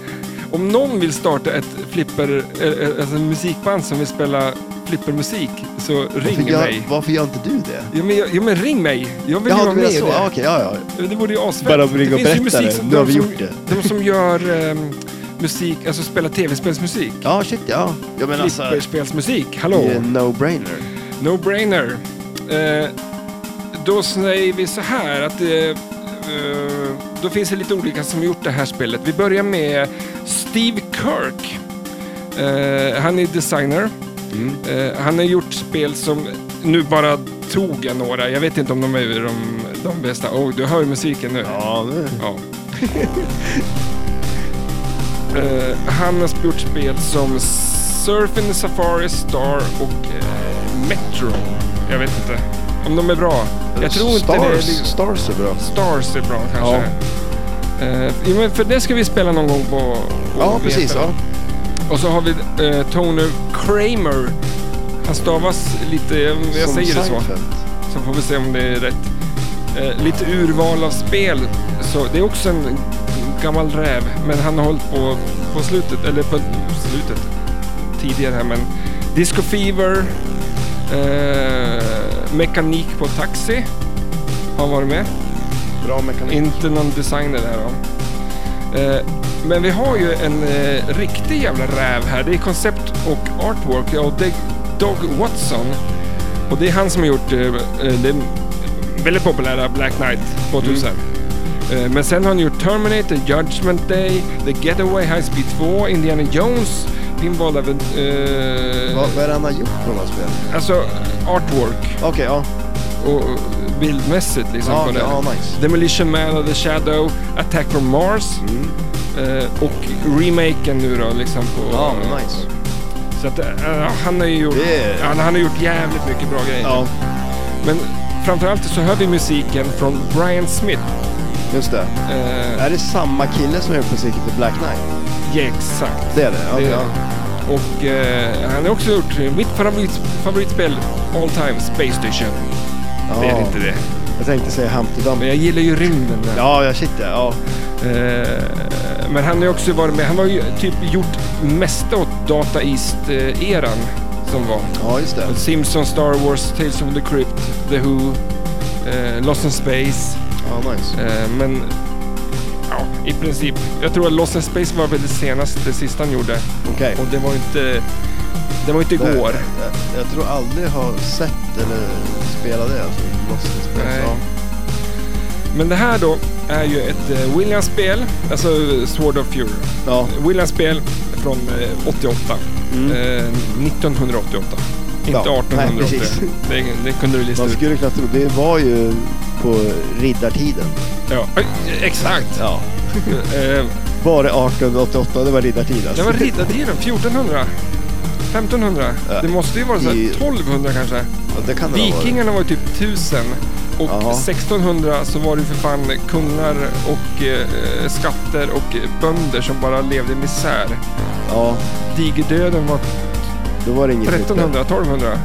A: Om någon vill starta ett flipper, eh, eh, alltså en musikband som vill spela flippermusik, så
B: Varför
A: ring mig.
B: gör, varför gör inte du det?
A: Jo men, jag- jo, men ring mig! Jag vill ju
B: Jaha,
A: vara
B: du
A: med
B: menar
A: i
B: så?
A: det.
B: Ja, okej, ja, ja.
A: Det vore ju asfett.
B: Bara ring och
A: finns ju
B: berätta
A: musik
B: det.
A: som-
B: Nu
A: de
B: har vi
A: som-
B: gjort det.
A: De som gör ehm, musik, alltså spelar tv-spelsmusik.
B: Ja, shit, ja. Ja, men alltså, det
A: Flipperspelsmusik, hallå!
B: är en no-brainer.
A: No-brainer. Eh, då säger vi så här att eh, eh, då finns det lite olika som gjort det här spelet. Vi börjar med Steve Kirk. Eh, han är designer.
B: Mm.
A: Eh, han har gjort spel som, nu bara tog jag några, jag vet inte om de är de, de bästa. Oh, du hör ju musiken nu.
B: Ja, nu.
A: Ja. Eh, han har gjort spel som Surfing Safari, Star och eh, Metro. Jag vet inte om de är bra. Jag tror inte det.
B: Stars,
A: Är, liksom-
B: Stars är bra.
A: Stars är bra kanske.
B: Ja.
A: Eh, jo, men för det ska vi spela någon gång på... på
B: Ja, precis.
A: veta.
B: Ja.
A: Och så har vi eh, Tony Kramer. Han stavas lite, jag
B: Som
A: säger det så.
B: Seinfeld.
A: Så får vi se om det är rätt. Eh, lite urval av spel. Så det är också en gammal räv, men han har hållit på på slutet, eller på slutet tidigare här, men Disco Fever, eh, Mekanik på Taxi har varit med.
B: Bra mekanik.
A: Inte någon designer där då. Eh, Men vi har ju en eh, riktig jävla räv här. Det är koncept och artwork. Ja, och det är Doug Watson. Och det är han som har gjort eh, eh, den väldigt populära Black Knight 2000. Eh, Men sen har han gjort Terminator, Judgment Day, The Getaway, High Speed 2, Indiana Jones, Pinball Even... eh,
B: Vad, vad är det han har gjort på de här spelen?
A: alltså artwork
B: Okej, ja.
A: och och bildmässigt liksom.
B: Ja,
A: på
B: okej,
A: det.
B: ja, nice.
A: Demolition Man of the Shadow, Attack from Mars
B: Mm.
A: eh, och remaken nu då liksom på...
B: Ja, nice.
A: Så att eh, han har ju gjort,
B: Det är-
A: han, han har gjort jävligt mycket bra grejer.
B: Ja,
A: Men framförallt så hör vi musiken från Brian Smith.
B: just det.
A: Eh,
B: Är det samma kille som har gjort musiken till Black Knight?
A: ja, exakt.
B: Det är det? Okej,
A: Det-
B: ja.
A: Eh, Och eh, han har också gjort eh, mitt favorit, favoritspel all time, Space Station. Det är
B: Ja.
A: inte det.
B: Jag tänkte säga Humpty Dumpty.
A: Men jag gillar ju rymden. där.
B: Ja, jag shit ja. ja.
A: Eh, men han har ju också varit med. Han har ju typ gjort mesta åt Data East-eran som var.
B: Ja, just det.
A: Simpsons, Star Wars, Tales of the Crypt, The Who, eh, Lost in Space.
B: Ja, nice.
A: Eh, men ja, i princip. Jag tror att Lost in Space var väl det senaste, det sista han gjorde.
B: Okej.
A: Och det var ju inte, det var ju inte
B: Det- eh,
A: igår.
B: Jag, jag tror aldrig jag har sett eller spelat det. Alltså, Lost in Space.
A: Nej.
B: Ja.
A: Men det här då är ju ett eh, Williams-spel, alltså Sword of Fury.
B: ja.
A: Williams-spel från eh, 88.
B: Mm.
A: Eh, 1988. Inte
B: Ja,
A: 1888.
B: nej, precis.
A: det, det kunde du lista
B: Man
A: ut.
B: skulle knappt tro. Det var ju på riddartiden.
A: Ja, eh, exakt!
B: Ja.
A: Eh,
B: Var det 1888? Det var riddartiden.
A: det var riddartiden, 1400. 1500.
B: Ja.
A: Det måste ju vara så här,
B: I-
A: 1200 kanske.
B: Ja, det kan det ha varit.
A: Vikingarna var ju typ 1000. Och
B: Jaha.
A: 1600 så var det ju för fan kungar och eh, skatter och bönder som bara levde i misär.
B: Ja,
A: Digerdöden var
B: då var det inget
A: 1300, 1200.
B: nytt.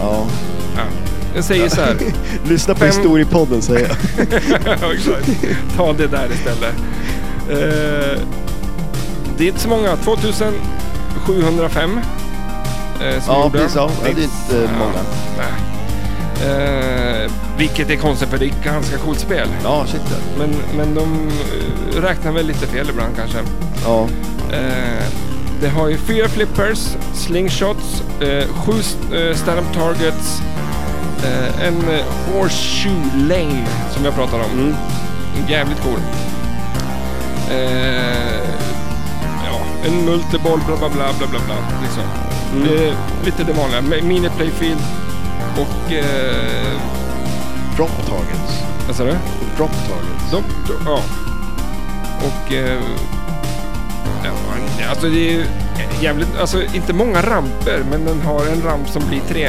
B: Ja.
A: Ja. Jag säger så här.
B: Lyssna på
A: Fem-
B: historiepodden säger jag.
A: Ja, exakt. Ta det där istället. Eh, det är inte så många. 2705 eh, som
B: Ja,
A: gjorde.
B: precis. Ja, det är inte många.
A: nej. Eh, vilket är konstigt för det är ganska coolt spel.
B: Ja, shit ja.
A: Men, men de eh, räknar väl lite fel ibland kanske.
B: Ja,
A: Eh, det har ju fyra flippers, slingshots, eh, sju eh, stand-up targets, eh, en eh, horseshoe lane som jag pratade om.
B: mm.
A: Jävligt cool. Eh, ja, en multiboll, bla bla bla bla bla. bla liksom.
B: Mm.
A: det, är lite det vanliga. Mi- Mini playfield och eh,
B: Drop targets.
A: Vad sa du?
B: Drop targets.
A: De, de, ja. Och... Eh, ja, men, alltså det är ju jävligt... Alltså inte många ramper, men den har en ramp som blir tre.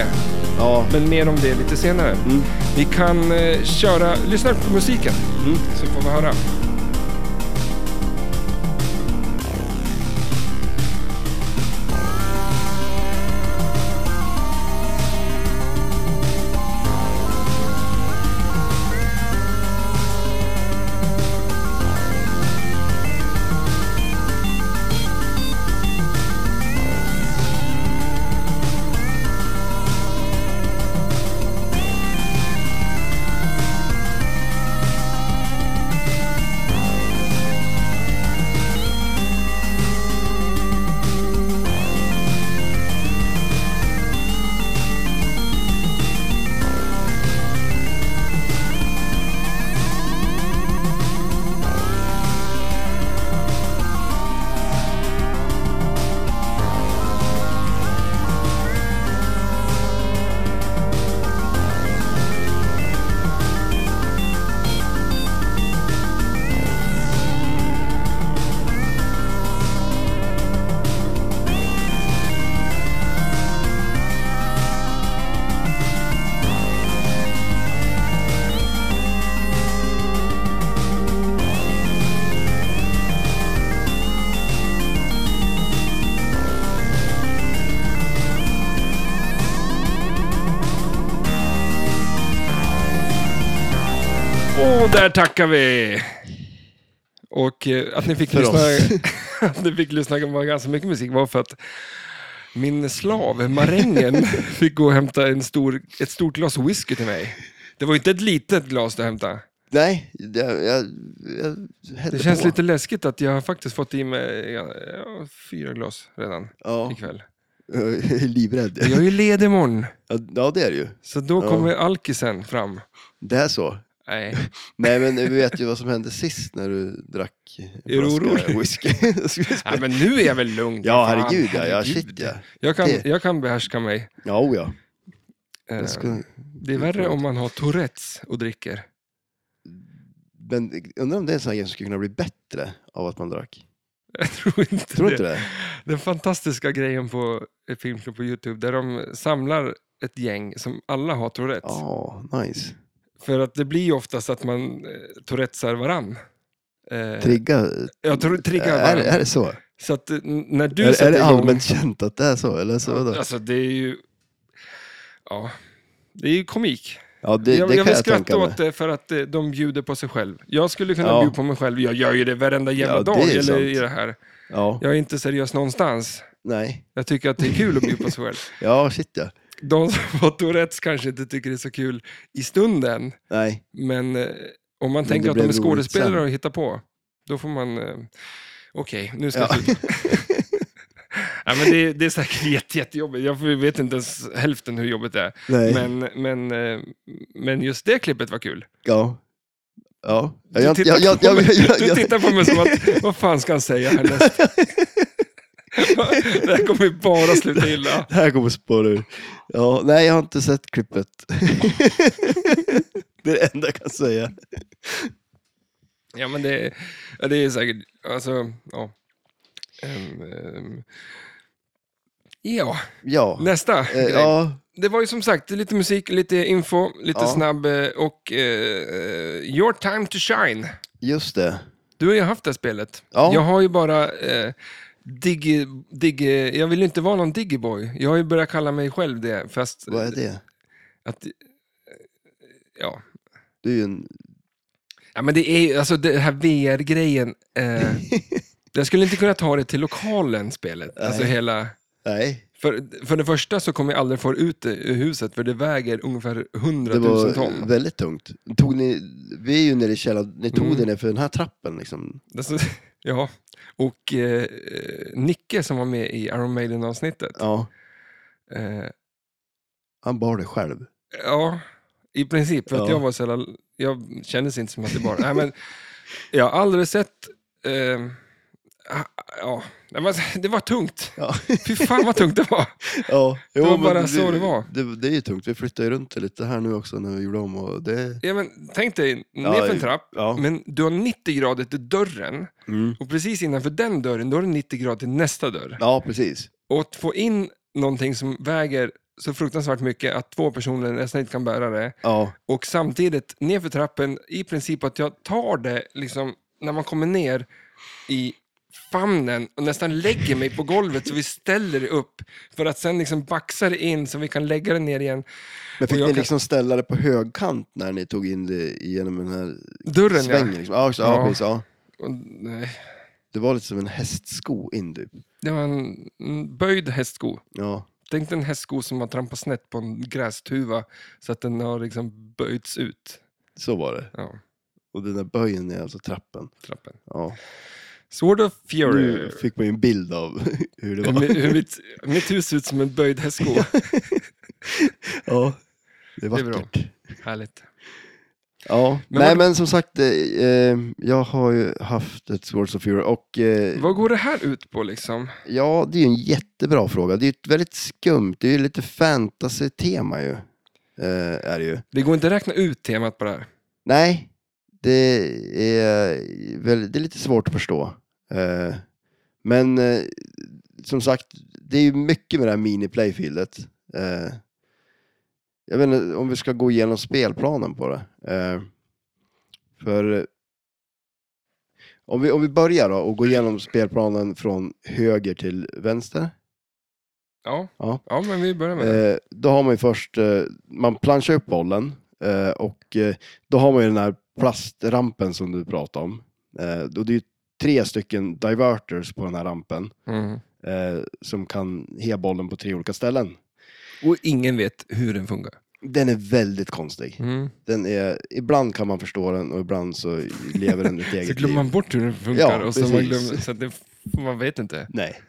B: Ja.
A: Men mer om det lite senare.
B: Mm.
A: Vi kan eh, köra... Lyssna på musiken,
B: Mm.
A: så får vi höra. Och där tackar vi! Och eh, att ni fick
B: För
A: lyssna...
B: oss.
A: att ni fick lyssna på ganska mycket musik var för att min slav, marängen, fick gå och hämta en stor, ett stort glas whisky till mig. Det var ju inte ett litet glas du hämtade.
B: Nej, det, jag, jag, jag hällde
A: Det känns
B: på.
A: lite läskigt att jag har faktiskt fått i mig ja, ja, fyra glas redan
B: Ja,
A: ikväll.
B: jag är livrädd.
A: Men Jag är ju ledig imorgon,
B: Ja, det är det ju.
A: så då
B: Ja.
A: kommer alkisen fram.
B: Det är så.
A: Nej.
B: Nej, men vi vet ju vad som hände sist när du drack en
A: Är du
B: flaska
A: orolig?
B: whisky.
A: Nej, men nu är jag väl lugn.
B: ja,
A: Fan,
B: herregud ja. ja
A: herregud.
B: shit ja.
A: Jag kan,
B: Det-
A: jag kan behärska mig.
B: Ja, o, ja.
A: Eh,
B: Jag ska...
A: Det
B: Mm,
A: är värre om man har Tourettes och dricker.
B: Men undrar om det är en sån här grej som skulle kunna bli bättre av att man drack?
A: Jag tror inte
B: Tror du
A: det.
B: inte det?
A: Den fantastiska grejen på ett filmklubb på Youtube där de samlar ett gäng som alla har Tourettes.
B: Ja, nice.
A: För att det blir ju oftast att man eh, Tourettesar varann. Eh,
B: Trigga.
A: jag tror triggar
B: är,
A: varann.
B: är det så?
A: Så att eh, n- när du
B: Är,
A: sätter
B: är det
A: igång...
B: allmänt känt att det är så? Eller så vadå?
A: Alltså det är ju... Ja. Det är ju komik.
B: Ja, det,
A: jag,
B: det
A: jag
B: kan
A: vill
B: jag
A: skratta
B: tänka mig.
A: åt det för att eh, de bjuder på sig själv. Jag skulle kunna
B: Ja.
A: bjuda på mig själv. Jag gör ju det varenda jävla
B: Ja, det
A: dag
B: är ju
A: eller
B: sant.
A: i det här.
B: Ja,
A: Jag är inte seriös någonstans.
B: nej.
A: Jag tycker att det är kul att bjuda på sig själv.
B: Ja, shit ja.
A: De som har Tourettes kanske inte tycker det är så kul i stunden,
B: Nej.
A: men eh, om man
B: det
A: tänker att de
B: blir
A: är
B: roligt
A: skådespelare
B: sen.
A: och hittar på, då får man... eh, Okej, nu ska
B: Ja.
A: jag sluta. Ja, men det, det är säkert jätte, jättejobbigt. Jag vet inte ens hälften hur jobbigt det är.
B: nej.
A: Men, men, eh, men just det klippet var kul.
B: Ja. Ja.
A: Du
B: Jag-
A: tittar
B: jag- jag-
A: på
B: jag-
A: mig-
B: jag-
A: Du
B: jag-
A: tittar på mig som att, vad fan ska han säga härnäst? det här kommer ju bara sluta illa.
B: Det här kommer spåra ur. Ja, nej, jag har inte sett klippet. det är det enda jag kan säga.
A: Ja, men det, ja, det är säkert... Alltså, ja. Ehm, ehm. ja,
B: Ja.
A: nästa
B: Eh,
A: grej.
B: ja.
A: Det var ju som sagt lite musik, lite info, lite
B: Ja.
A: snabb eh, och eh, Your time to shine.
B: Just det.
A: Du har ju haft det här spelet.
B: Ja.
A: Jag har ju bara... Eh, Digi, digi, jag vill ju inte vara någon digiboy. Jag har ju börjat kalla mig själv det, fast...
B: Vad är det?
A: Att, eh, ja.
B: Du är ju en...
A: ja, men det är ju... Alltså den här VR-grejen... Eh, jag skulle inte kunna ta det till lokalen, spelet. Alltså
B: Nej.
A: hela...
B: Nej.
A: För, för det första så kommer jag aldrig få ut det ur huset, för det väger ungefär
B: Det
A: 100 000
B: var
A: ton.
B: väldigt tungt. Tog ni... Vi är ju nere i källaren. Ni tog
A: Mm.
B: det ner för den här trappen liksom.
A: Alltså, ja. Och eh, eh, Nicke som var med i Iron Maiden-avsnittet,
B: Ja.
A: eh,
B: Han bar det själv.
A: Ja, i princip. För att
B: Ja.
A: jag var så jävla... Jag kändes inte som att det bara... Nej, men, jag har aldrig sett... Eh, ah, ja, det var, det var tungt.
B: Ja.
A: Fy fan vad tungt det var.
B: Ja, jo,
A: var
B: men
A: bara så det var.
B: Det, det är ju tungt. Vi flyttar ju runt det lite här nu också när vi gjorde om. Och det,
A: Ja, men, tänk dig
B: Ja,
A: nerför en trapp,
B: ja.
A: men du har 90 grader till dörren
B: Mm.
A: och precis innanför den dörren, då har du 90 grader till nästa dörr.
B: ja, precis.
A: Och att få in någonting som väger så fruktansvärt mycket att två personer nästan inte kan bära det
B: Ja,
A: och samtidigt nerför trappen, i princip att jag tar det liksom när man kommer ner i famnen och nästan lägger mig på golvet så vi ställer det upp för att sen liksom baxa det in så vi kan lägga det ner igen.
B: men
A: Och
B: fick
A: jag
B: ni
A: kan-
B: liksom ställa det på högkant när ni tog in det genom den här
A: Dörren
B: svängen? Liksom? Ja, så, ja.
A: Ja.
B: precis. Ja.
A: ja. Och, nej,
B: Det var lite som en hästsko in typ.
A: det var en en böjd hästsko.
B: Ja,
A: Tänk dig en hästsko som har trampat snett på en grästuva så att den har liksom böjts ut.
B: så var det.
A: Ja,
B: Och den där böjen är alltså trappen.
A: trappen.
B: Ja.
A: Sword of Fury.
B: Nu fick man ju en bild av hur det var.
A: Hur mitt, mitt hus ser ut som en böjd hästsko.
B: Ja, det är
A: Det är bra.
B: vackert.
A: Härligt.
B: ja.
A: Men
B: Nej,
A: vad-
B: men som sagt, eh, eh, jag har ju haft ett Swords of Fury och eh,
A: Vad går det här ut på liksom?
B: Ja, det är ju en jättebra fråga. Det är ju ett väldigt skumt, det är ju lite fantasy-tema ju. Eh, är det ju.
A: Det går inte att räkna ut temat på det här.
B: Nej, det är, väl, det är lite svårt att förstå. Eh, men eh, som sagt, det är ju mycket med det här mini-playfieldet. Eh, jag vet inte om vi ska gå igenom spelplanen på det. Eh, för eh, om vi, om vi börjar då och går igenom spelplanen från höger till vänster.
A: Ja,
B: Ja.
A: ja. men vi börjar med det.
B: Eh, då har man ju först, eh, man planchar upp bollen eh, och eh, då har man ju den här plastrampen som du pratade om. Eh, och det är ju tre stycken diverters på den här rampen
A: Mm.
B: eh, som kan he bollen på tre olika ställen.
A: Och ingen vet hur den funkar.
B: Den är väldigt konstig.
A: Mm.
B: Den är, ibland kan man förstå den och ibland så lever den ett
A: Så
B: eget
A: glömmer
B: liv.
A: man bort hur den funkar.
B: Ja,
A: och så man,
B: precis.
A: glömmer, så att det, man vet inte.
B: Nej,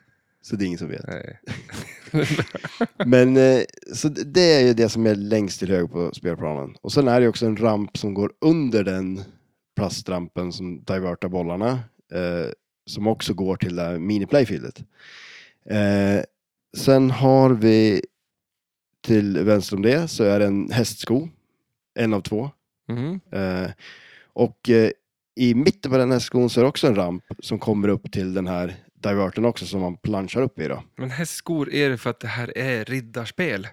B: så det är ingen som vet.
A: Nej.
B: Men eh, så det- det är ju det som är längst till höger på spelplanen. Och sen är det ju också en ramp som går under den plastrampen som divertar bollarna. Eh, som också går till det här miniplayfieldet. Eh, sen har vi till vänster om det så är det en hästsko. En av två.
A: Mm.
B: Eh, och eh, i mitten på den här skon så är det också en ramp som kommer upp till den här diverten också som man planchar upp i då.
A: Men hästskor är det för att det här är riddarspel.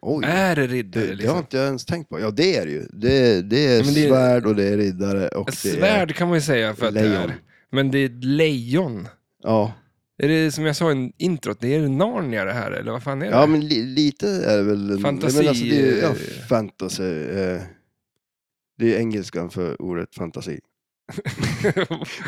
B: Oj.
A: Är det
B: Det,
A: riddare
B: det har
A: liksom?
B: inte jag ens tänkt på. Ja, det är det ju. Det, det är
A: Ja, men det är-
B: svärd och det är riddare och det
A: Svärd kan man ju säga för
B: är
A: att
B: lejon.
A: det är. Men det är ett lejon.
B: Ja.
A: Är det som jag sa i introt, det är Narnia det här eller vad fan är det?
B: ja, men li, lite är det väl... en-
A: Fantasi,
B: Men alltså, det är, ju- ja,
A: eh,
B: fantasy. Eh, det är ju engelskan för ordet fantasi.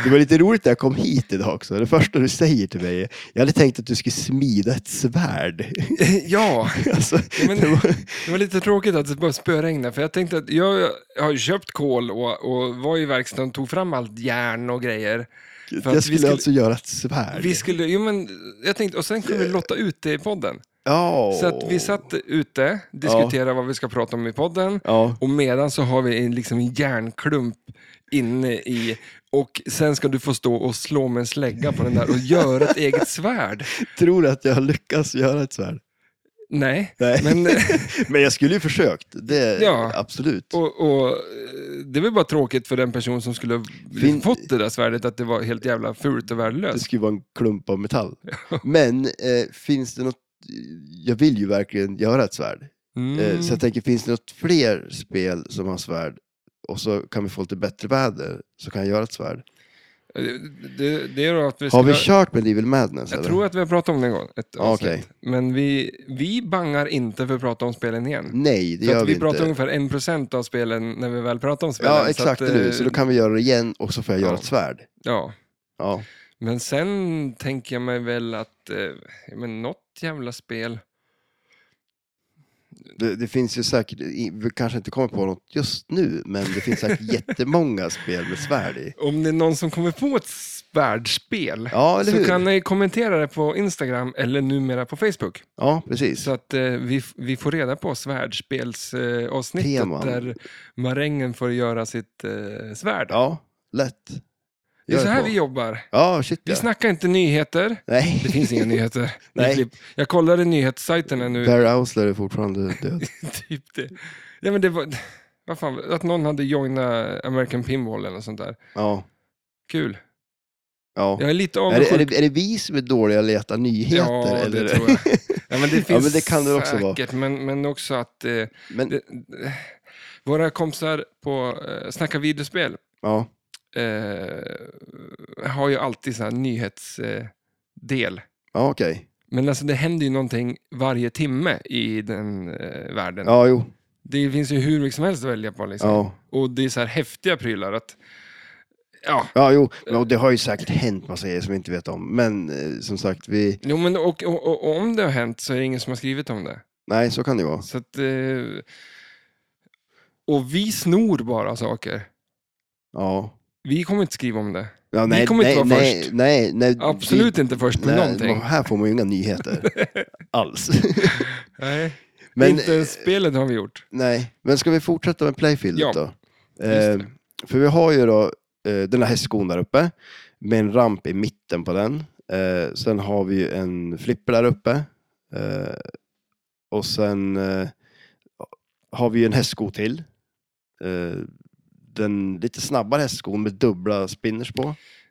B: Det var lite roligt när jag kom hit idag också. Det första du säger till mig är, jag hade tänkt att du skulle smida ett svärd.
A: ja.
B: alltså,
A: men-
B: det var,
A: Det var lite tråkigt att det bara spöregnade, för jag tänkte att jag har ju köpt kol och, och var i verkstaden och tog fram allt järn och grejer. att vi
B: jag skulle,
A: skulle-
B: alltså göra ett svärd.
A: Vi skulle, jo men, jag tänkte, och sen kunde vi lotta ut det i podden.
B: Ja.
A: Så att vi satt ute, diskuterade vad vi ska prata om i podden,
B: Ja.
A: och medan så har vi en, liksom en järnklump inne i, och sen ska du få stå och slå med en slägga på den där och göra ett eget svärd.
B: Tror du att jag lyckas göra ett svärd?
A: Nej,
B: Nej.
A: men eh,
B: Men jag skulle ju försökt, det,
A: Ja.
B: absolut.
A: och, och, eh, det var bara tråkigt för den person som skulle ha
B: Fin-
A: fått det där svärdet att det var helt jävla fult och
B: Det
A: värdelöst.
B: skulle vara en klump av metall. Men eh, finns det något, jag vill ju verkligen göra ett svärd.
A: Mm.
B: Eh, så jag tänker, finns det något fler spel som har svärd och så kan vi få lite bättre väder så kan jag göra ett svärd.
A: Eh, det, det är då att vi
B: Har vi
A: skulle-
B: kört med Evil Madness
A: Jag
B: eller? Ah,
A: tror att vi har pratat om det en gång. Ett
B: Okej.
A: avsnitt. Men vi, vi bangar inte för att prata om spelen igen.
B: Nej, Mm, det
A: För
B: gör
A: att
B: vi
A: vi
B: inte.
A: pratar ungefär 1% av spelen när vi väl pratar om spelen.
B: ja, exakt,
A: Så att,
B: eller hur?
A: eh,
B: Så då kan vi göra det igen och så får jag göra
A: ja.
B: ett svärd.
A: ja.
B: Ja.
A: Men sen tänker jag mig väl att eh, ja, men något jävla spel...
B: Det, det finns ju säkert, i- vi kanske inte kommer på något just nu, men det finns säkert jättemånga spel med svärd i.
A: Om det är någon som kommer på ett svärdspel
B: Ja, eller
A: så
B: hur?
A: kan ni kommentera det på Instagram eller numera på Facebook.
B: Ja, precis.
A: Så att eh, vi, f- vi får reda på svärdspelsavsnittet eh, avsnittet
B: Teman.
A: där marängen får göra sitt eh, svärd.
B: Ja, lätt.
A: Det är
B: Gör
A: så här
B: på.
A: vi jobbar.
B: Ja, shit
A: Vi
B: ja.
A: snackar inte nyheter.
B: Nej.
A: Det finns inga nyheter.
B: Nej.
A: Nej. Jag kollade nyhetssajterna nu.
B: Per Ausler är fortfarande död.
A: typ det. Ja, men det var, vad fan, att någon hade joinat American Pinball eller något sånt där.
B: Ja.
A: Kul.
B: ja.
A: Jag är lite
B: Är, det,
A: avundsjuk.
B: är, det, är det vi som är dåliga att leta nyheter?
A: Ja, det
B: eller?
A: tror jag. Ja, men det finns
B: Ja, men det kan det också vara.
A: säkert, men, men också att eh,
B: Men,
A: det, eh, våra kompisar på eh, Snacka videospel
B: ja.
A: eh, har ju alltid så här nyhetsdel. Eh, del.
B: Ja, okej.
A: men alltså det händer ju någonting varje timme i den eh, världen.
B: Ja, jo.
A: Det finns ju hur mycket som helst att välja på. Liksom.
B: Ja.
A: Och det är så här häftiga prylar. Att, ja,
B: Ja, jo. Men, och det har ju säkert hänt massa grejer som vi inte vet om. Men eh, som sagt, vi...
A: jo, men och, och, och, och om det har hänt så är det ingen som har skrivit om det.
B: Nej, så kan det ju vara.
A: Så att, eh, och vi snor bara saker.
B: Ja.
A: Vi kommer inte skriva om det.
B: ja
A: Vi kommer inte vara
B: nej,
A: först.
B: Nej, nej.
A: Absolut inte först
B: vi,
A: med någonting.
B: nej, Här får man ju inga nyheter. Alls.
A: Nej,
B: men,
A: inte
B: eh,
A: ens spelet har vi gjort.
B: nej. men ska vi fortsätta med Playfield
A: Ja,
B: då?
A: det.
B: Eh, för vi har ju då eh, den här hästskon där uppe med en ramp i mitten på den. Eh, sen har vi ju en flipper där uppe. Eh, och sen eh, har vi ju en hästsko till. Eh, den lite snabbare hästskon med dubbla spinners på.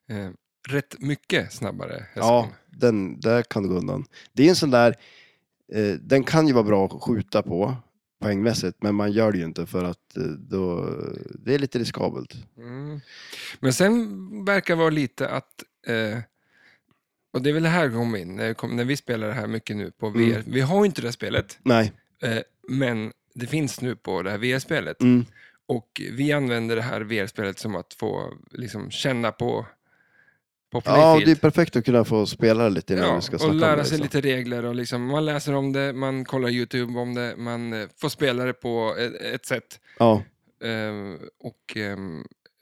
A: Eh, rätt mycket snabbare. hästskon.
B: Ja, den, där kan det gå undan. Det är en sån där, eh, den kan ju vara bra att skjuta på poängmässigt, men man gör det ju inte för att eh, då, det är lite riskabelt.
A: Mm. Men sen verkar vara lite att, eh, och det är väl det här vi kommer in, när vi, kom, när vi spelar det här mycket nu på VR.
B: Mm.
A: Vi har ju inte det här spelet,
B: Nej.
A: eh, men det finns nu på det här VR-spelet.
B: Mm.
A: Och vi använder det här VR-spelet som att få liksom, känna på, på
B: Ja,
A: Playfield.
B: det är perfekt att kunna få spela det lite innan
A: Ja,
B: vi ska snacka
A: och
B: om
A: lära
B: det,
A: sig
B: liksom.
A: lite regler. Och liksom, man läser om det, man kollar YouTube om det, man eh, får spela det på ett, ett sätt.
B: Ja,
A: Ehm, och, ehm,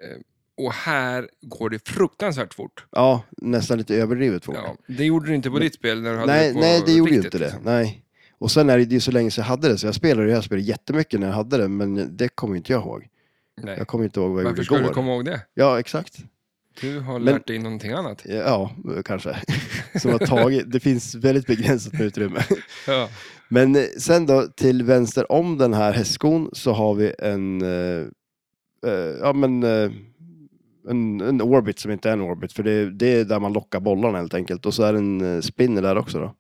A: eh, och här går det fruktansvärt fort.
B: ja, nästan lite överdrivet fort.
A: Ja, det gjorde du inte på
B: Men-
A: ditt spel när du hade
B: nej,
A: det på
B: nej, det gjorde ju
A: riktigt,
B: inte det.
A: liksom.
B: Nej. Och sen är det ju så länge sedan jag hade det, så jag spelade det här spelet jättemycket när jag hade det, men det kommer inte jag ihåg.
A: Nej.
B: Jag kommer inte ihåg vad jag
A: Varför ska
B: gjorde
A: du
B: igår.
A: komma ihåg det?
B: Ja, exakt.
A: Du har
B: Men-
A: lärt dig någonting annat.
B: Ja, kanske. Som har tagit, det finns väldigt begränsat med utrymme.
A: Ja.
B: Men eh, sen då, till vänster om den här hästskon så har vi en, eh, eh, ja men, eh, en, en orbit som inte är en orbit, för det, det är där man lockar bollarna helt enkelt. Och så är det en eh, spinner där också då.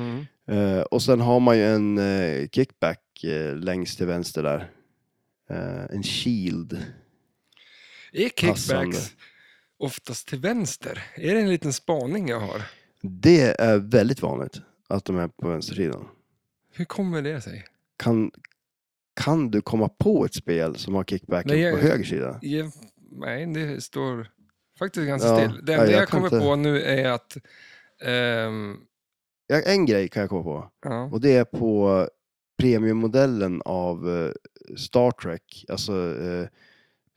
A: Mm.
B: Eh, och sen har man ju en eh, kickback eh, längst till vänster där. Eh, en shield.
A: Är
B: Passande.
A: kickbacks oftast till vänster? Är det en liten spaning jag har?
B: Det är väldigt vanligt att de är på vänstersidan.
A: Hur kommer det sig?
B: Kan, kan du komma på ett spel som har kickbacken
A: Nej, jag-
B: på höger sida?
A: Jag, nej, det står faktiskt ganska
B: Ja,
A: still. Det
B: nej,
A: enda jag,
B: jag kan
A: kommer
B: inte-
A: på nu är att... ehm,
B: Ja, en grej kan jag komma på.
A: ja.
B: Och det är på eh, premiummodellen av eh, Star Trek, alltså eh,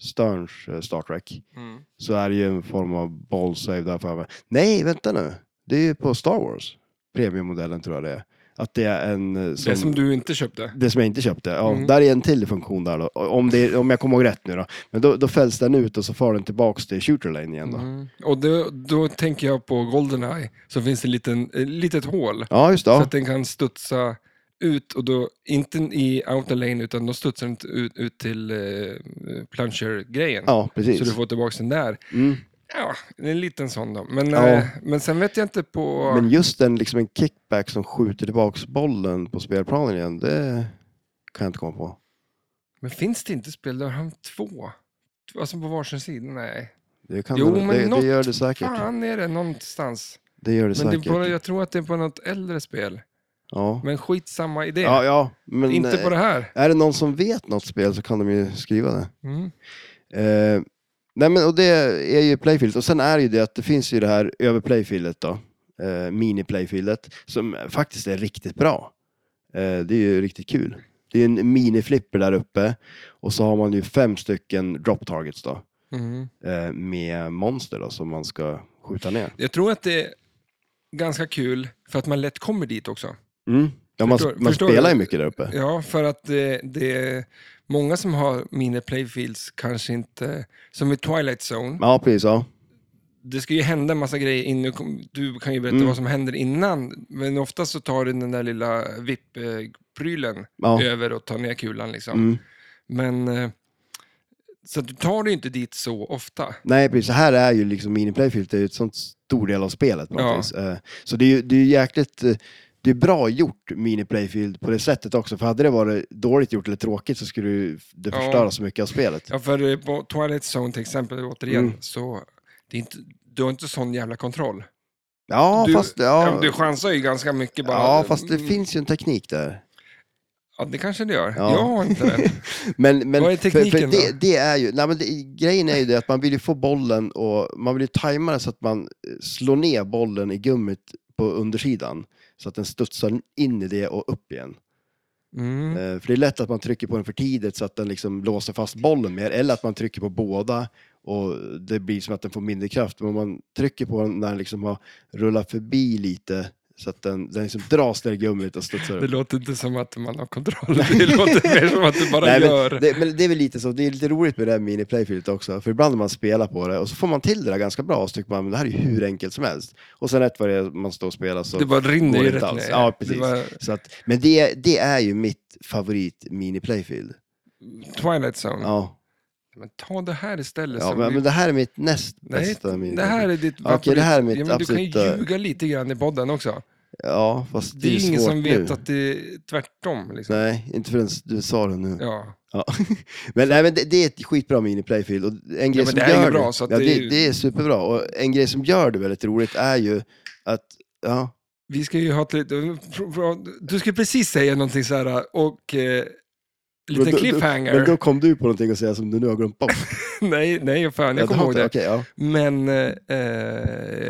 B: Sterns eh, Star Trek,
A: mm.
B: så är det ju en form av ball save där för mig. Nej, vänta nu. Det är ju på Star Wars, premiummodellen tror jag det är. Att det är en... eh, Som,
A: Det som du inte köpte.
B: det som jag inte köpte. Ja,
A: Mm.
B: Där är en till funktion där då. Om, det, om jag kommer ihåg rätt nu då. Men då, då fälls den ut och så far den tillbaks till shooter lane igen då.
A: Mm. Och då, då tänker jag på Goldeneye, så finns det en liten, ett litet hål.
B: Ja, just det.
A: Så
B: Ja.
A: att den kan studsa ut, och då, inte i outer lane, utan då studsar den ut, ut till eh, plunger-grejen.
B: ja,
A: Mm. Så du
B: precis.
A: får tillbaka den där.
B: Mm.
A: Ja, det är en liten sån då. Men,
B: Ja.
A: eh, men sen vet jag inte på...
B: Men just en, liksom en kickback som skjuter tillbaks bollen på spelplanen igen, det kan jag inte komma på.
A: Men finns det inte spel där han två? Alltså på varsin sida? Nej.
B: Det, kan
A: Jo,
B: det,
A: men
B: det,
A: något
B: det gör det säkert.
A: Fan är det någonstans.
B: Det gör det
A: Men det
B: säkert.
A: är bara, jag tror att det är på något äldre spel.
B: ja.
A: Men skitsamma idé.
B: ja, ja, men eh,
A: inte på det här.
B: är det någon som vet något spel så kan de ju skriva det.
A: Mm.
B: Eh, nej men, och det är ju playfield. Och sen är det ju det att det finns ju det här över playfieldet då. Eh, mini-playfieldet. Som faktiskt är riktigt bra. Eh, det är ju riktigt kul. Det är en mini-flipper där uppe. Och så har man ju fem stycken drop targets då.
A: Mm.
B: Eh, med monster då som man ska skjuta ner.
A: Jag tror att det är ganska kul för att man lätt kommer dit också.
B: Mm. Ja, man,
A: Förstår-
B: man
A: förstår
B: spelar
A: du?
B: ju mycket där uppe.
A: Ja, för att det, det är många som har mini playfields kanske inte, som i Twilight Zone,
B: Ja, precis. Ja.
A: det ska ju hända en massa grejer innan, du kan ju berätta
B: Mm.
A: vad som händer innan, men oftast så tar du den där lilla VIP-prylen
B: Ja.
A: över och tar ner kulan liksom.
B: Mm.
A: Men, eh, så att du tar det ju inte dit så ofta.
B: Nej, precis. Så här är ju liksom miniplayfield, det är ju ett sånt stor del av spelet. på något
A: Ja.
B: vis. Eh, Så det är ju det är ju jäkligt... eh, Det är bra gjort, miniplayfield, på det sättet också. För hade det varit dåligt gjort eller tråkigt så skulle ju det
A: Ja.
B: förstöra så mycket av spelet.
A: Ja, för eh, på Twilight Zone till exempel, återigen,
B: Mm.
A: så det är inte, du har inte sån jävla kontroll.
B: Ja,
A: Du-
B: fast...
A: Ja.
B: Ja,
A: men du chansar ju ganska mycket bara.
B: ja, fast det
A: Mm,
B: finns ju en teknik där.
A: Ja, det kanske det gör.
B: Ja.
A: Jag har inte den.
B: Men, men,
A: Vad är
B: för,
A: tekniken
B: för det, det är ju, nej men det, Grejen är ju det att man vill ju få bollen och man vill ju tajma den så att man eh, slår ner bollen i gummit på undersidan. Så att den studsar in i det och upp igen.
A: Mm.
B: Eh, För det är lätt att man trycker på den för tidigt så att den liksom låser fast bollen mer, eller att man trycker på båda och det blir som att den får mindre kraft. Men om man trycker på den när den liksom har rullat förbi lite så att den, den liksom dras ner i gummit och studsar
A: Det
B: upp.
A: låter inte som att man har kontroll. Det låter mer som att du bara
B: Nej,
A: gör.
B: men, det, men det är väl lite så, det är lite roligt med det här miniplayfieldet också, för ibland när man spelar på det och så får man till det där ganska bra och så tycker man men det här är ju hur enkelt som helst. Och sen rätt vad det är man står och spelar så
A: Det bara rinner
B: går
A: ju
B: det
A: rätt
B: inte alls.
A: ner.
B: Ja, precis.
A: Det var
B: Så att, men det, det är ju mitt favorit miniplayfield.
A: Twilight Zone.
B: Ja.
A: Men ta det här istället.
B: Ja,
A: som
B: men,
A: vi-
B: men det här är mitt näst
A: Nej,
B: bästa. min-
A: det här är ditt
B: Okej, det här är mitt eh,
A: ja, men Du kan ju
B: absoluta-
A: ljuga lite grann i podden också.
B: Ja, fast
A: Det är, ingen
B: svårt
A: som vet
B: nu.
A: att det är tvärtom. Liksom.
B: Nej, inte förrän du sa det nu.
A: Ja.
B: Ja. Men, nej, men det, det är ett skitbra miniplayfield. Och en grej
A: men
B: som
A: det här är
B: gör
A: ju bra,
B: det,
A: så att
B: ja,
A: det
B: det,
A: är ju-
B: det, är superbra. Och en grej som gör det väldigt roligt är ju att, ja,
A: Vi ska ju ha ett litet... pro- pro- Du ska precis säga någonting så här och... Eh,
B: Men
A: lite
B: då-
A: cliffhanger.
B: men då kom du på någonting att säga som du nu har glömt bort.
A: nej, nej, fan, jag kommer ihåg det.
B: Okej, ja.
A: Men eh, eh,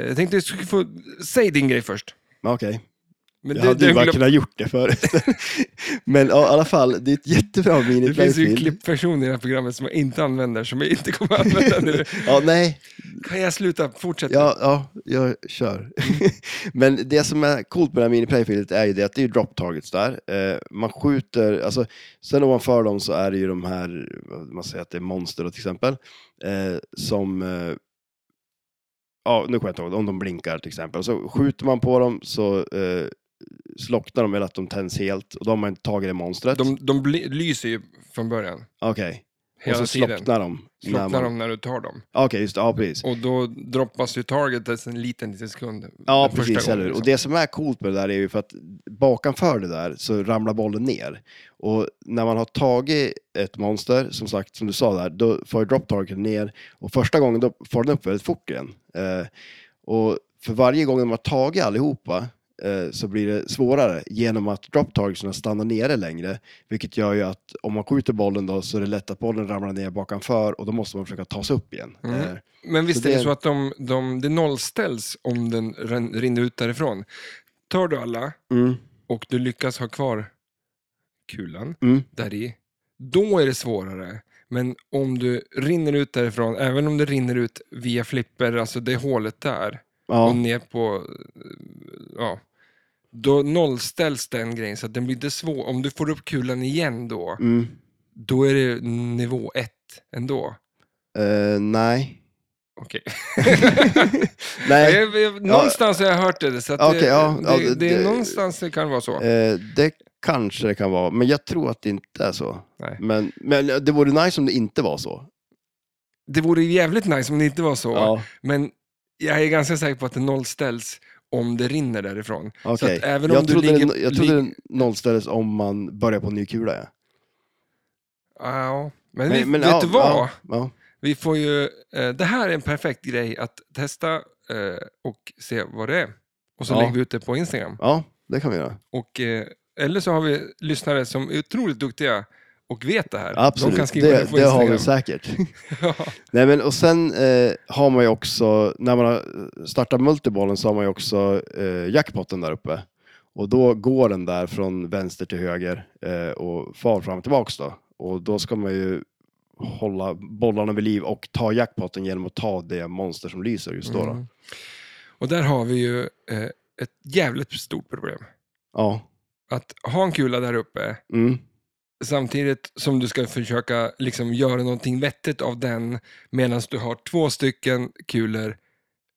A: jag tänkte att du skulle få... Säg din grej först.
B: Men okej.
A: Men
B: Jag hade ju
A: den
B: bara
A: glöm-
B: kunnat gjort det förut. men ja, i alla fall, det är ett jättebra
A: det finns ju
B: miniplayfield.
A: klipppersoner i det här programmet som jag inte använder, som jag inte kommer att använda nu.
B: Ja, nej,
A: Kan jag sluta? Fortsätt.
B: Ja, ja, jag kör. Men det som är coolt med det här miniplayfieldet är ju det att det är ju drop targets där. Eh, man skjuter, alltså, sen ovanför dem så är det ju de här, vad man säger att det är monster då, till exempel, eh, som, eh, ja nu kommer jag inte ihåg, om de blinkar till exempel, så skjuter man på dem så eh, slocknar de eller att de tänds helt och då har man inte tagit det monstret.
A: De, de bli- lyser ju från början,
B: Okej,
A: hela
B: och så
A: tiden.
B: slocknar de. när
A: Slocknar
B: man-
A: de när du tar dem.
B: Okej, just det, ja precis.
A: Och då droppas ju targetet en liten, liten sekund.
B: Ja,
A: Den första
B: precis.
A: gången,
B: Eller? hur? Och
A: liksom.
B: det som är coolt med det där är ju för att bakanför det där så ramlar bollen ner. Och när man har tagit ett monster, som sagt, som du sa där, då får ju drop targeten ner och första gången då får den upp väldigt fort igen. Eh, och för varje gång de har tagit allihopa eh, så blir det svårare genom att drop targetsna stannar nere längre, vilket gör ju att om man skjuter bollen då så är det lätt att bollen ramlar ner bakanför och då måste man försöka ta sig upp igen.
A: Mm.
B: Eh,
A: Men visst
B: så
A: är det
B: det-
A: så att de, de, det nollställs om den ren- rinner ut därifrån. Tar du alla
B: mm,
A: och du lyckas ha kvar kulan
B: mm.
A: där i, då är det svårare. Men om du rinner ut därifrån, även om det rinner ut via flipper, alltså det hålet där,
B: Ja.
A: och ner på, eh, ja, då nollställs den grejen så att den blir inte svår. Om du får upp kulan igen då,
B: Mm.
A: då är det nivå ett ändå.
B: Eh, nej.
A: Okej.
B: Nej,
A: Jag- jag- någonstans har jag hört det, så att
B: Okej,
A: det,
B: ja, ja,
A: det, det,
B: det-
A: är
B: det-
A: någonstans det kan vara så.
B: eh, det kanske det kan vara, men jag tror att det inte är så.
A: Nej.
B: Men, men det vore nice om det inte var så.
A: Det vore ju jävligt nice om det inte var så,
B: Ja,
A: men jag är ganska säker på att det nollställs om det rinner därifrån. Så
B: okej.
A: att även om
B: Jag
A: du
B: trodde,
A: ligger-
B: den, jag trodde den nollställdes om man börjar på en ny kula. Ja.
A: Ja, men, vi, vet
B: ja,
A: du vad?
B: Ja, ja.
A: Vi får ju, eh, det här är en perfekt grej att testa eh, och se vad det är. Och så
B: Ja.
A: lägger vi ut det på Instagram.
B: ja, det kan vi göra.
A: Och, eh, eller så har vi lyssnare som är otroligt duktiga och vet det här.
B: Absolut,
A: De kan skriva det,
B: det,
A: på
B: det har
A: Instagram.
B: vi säkert.
A: ja.
B: Nej, men, och sen eh, har man ju också, när man har startat multibollen så har man ju också eh, jackpotten där uppe. Och då går den där från vänster till höger eh, och far fram och tillbaks då. Och då ska man ju hålla bollarna vid liv och ta jackpotten genom att ta det monster som lyser just då. då.
A: Mm. Och där har vi ju eh, ett jävligt stort problem.
B: Ja.
A: Att ha en kula där uppe
B: Mm.
A: samtidigt som du ska försöka liksom, göra någonting vettigt av den medan du har två stycken kulor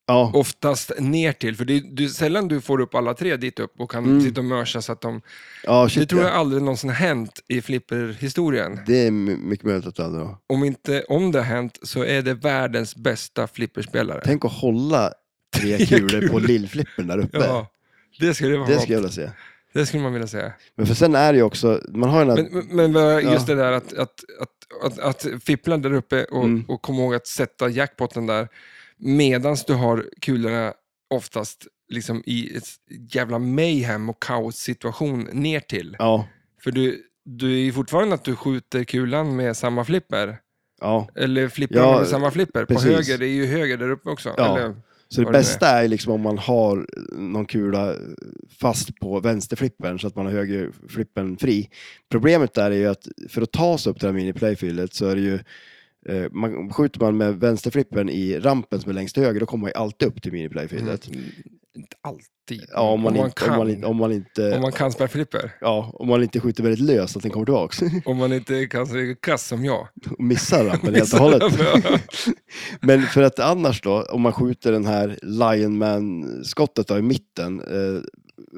B: Ja,
A: Oftast ner till, för det är det är sällan du får upp alla tre dit upp och kan
B: Mm.
A: sitta och mörsa så att de...
B: ja shit,
A: Det tror jag
B: ja.
A: aldrig någonsin hänt i flipperhistorien.
B: det är m- mycket möjligt att det aldrig var.
A: Om inte om det har hänt så är det världens bästa flipperspelare.
B: Tänk att hålla tre
A: Tre
B: kulor på
A: kulor.
B: lillflippen där uppe.
A: ja, det skulle vara
B: Det
A: något.
B: skulle jag vilja se.
A: det skulle man vilja säga.
B: Men för sen är det ju också, man har ju den här,
A: Men, men vad- just
B: Ja.
A: det där att, att, att, att, att fippla där uppe och,
B: Mm.
A: och komma ihåg att sätta jackpotten där medan du har kulorna oftast liksom i ett jävla mayhem och kaossituation ner till.
B: ja,
A: För du, du är ju fortfarande att du skjuter kulan med samma flipper.
B: ja.
A: Eller flipprarna
B: Ja,
A: med samma flipper. På
B: precis.
A: höger, det är ju höger där uppe också.
B: Ja.
A: Eller,
B: Så det
A: Vad det nu
B: bästa är ju liksom om man har någon kula fast på vänsterflippen så att man har högerflippen fri. Problemet där är ju att för att ta sig upp till det här miniplayfieldet så är det ju eh, man, skjuter man med vänsterflippen i rampen som är längst till höger, då kommer man ju alltid upp till miniplayfieldet.
A: Inte alltid.
B: Ja, om man, inte,
A: Mm. kan,
B: om man, inte- om man inte,
A: om man kan spela flipper.
B: ja, om man inte skjuter väldigt löst så att den kommer tillbaka
A: Om man inte kan så är det kass som jag.
B: och missar rampen helt och hållet. Men för att annars då, om man skjuter den här Lionman-skottet då i mitten, eh,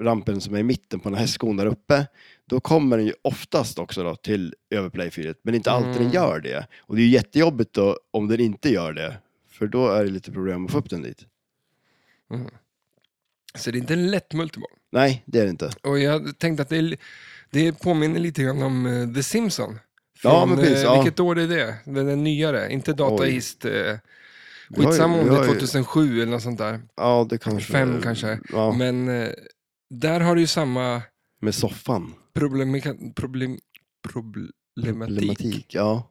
B: rampen som är i mitten på den här hästskon där uppe, då kommer den ju oftast också då till överplayfieldet, men inte alltid
A: Mm.
B: den gör det. Och det är ju jättejobbigt då om den inte gör det, för då är det lite problem att få upp den dit.
A: Så det är inte en lätt multiboll.
B: Nej, det är det inte.
A: Och jag tänkte att det, är- det påminner lite grann om eh, The Simpsons.
B: Ja, men precis, ja.
A: Vilket år är det? Den är nyare, inte Data
B: Oj.
A: East. Eh,
B: Vi har ju-
A: skitsamma om
B: vi
A: det
B: har
A: är
B: ju-
A: 2007 eller något sånt där.
B: Ja, det kanske...
A: Fem kanske.
B: Ja,
A: Men eh, där har du ju samma
B: med soffan.
A: problemika- problem, problematik.
B: Ja.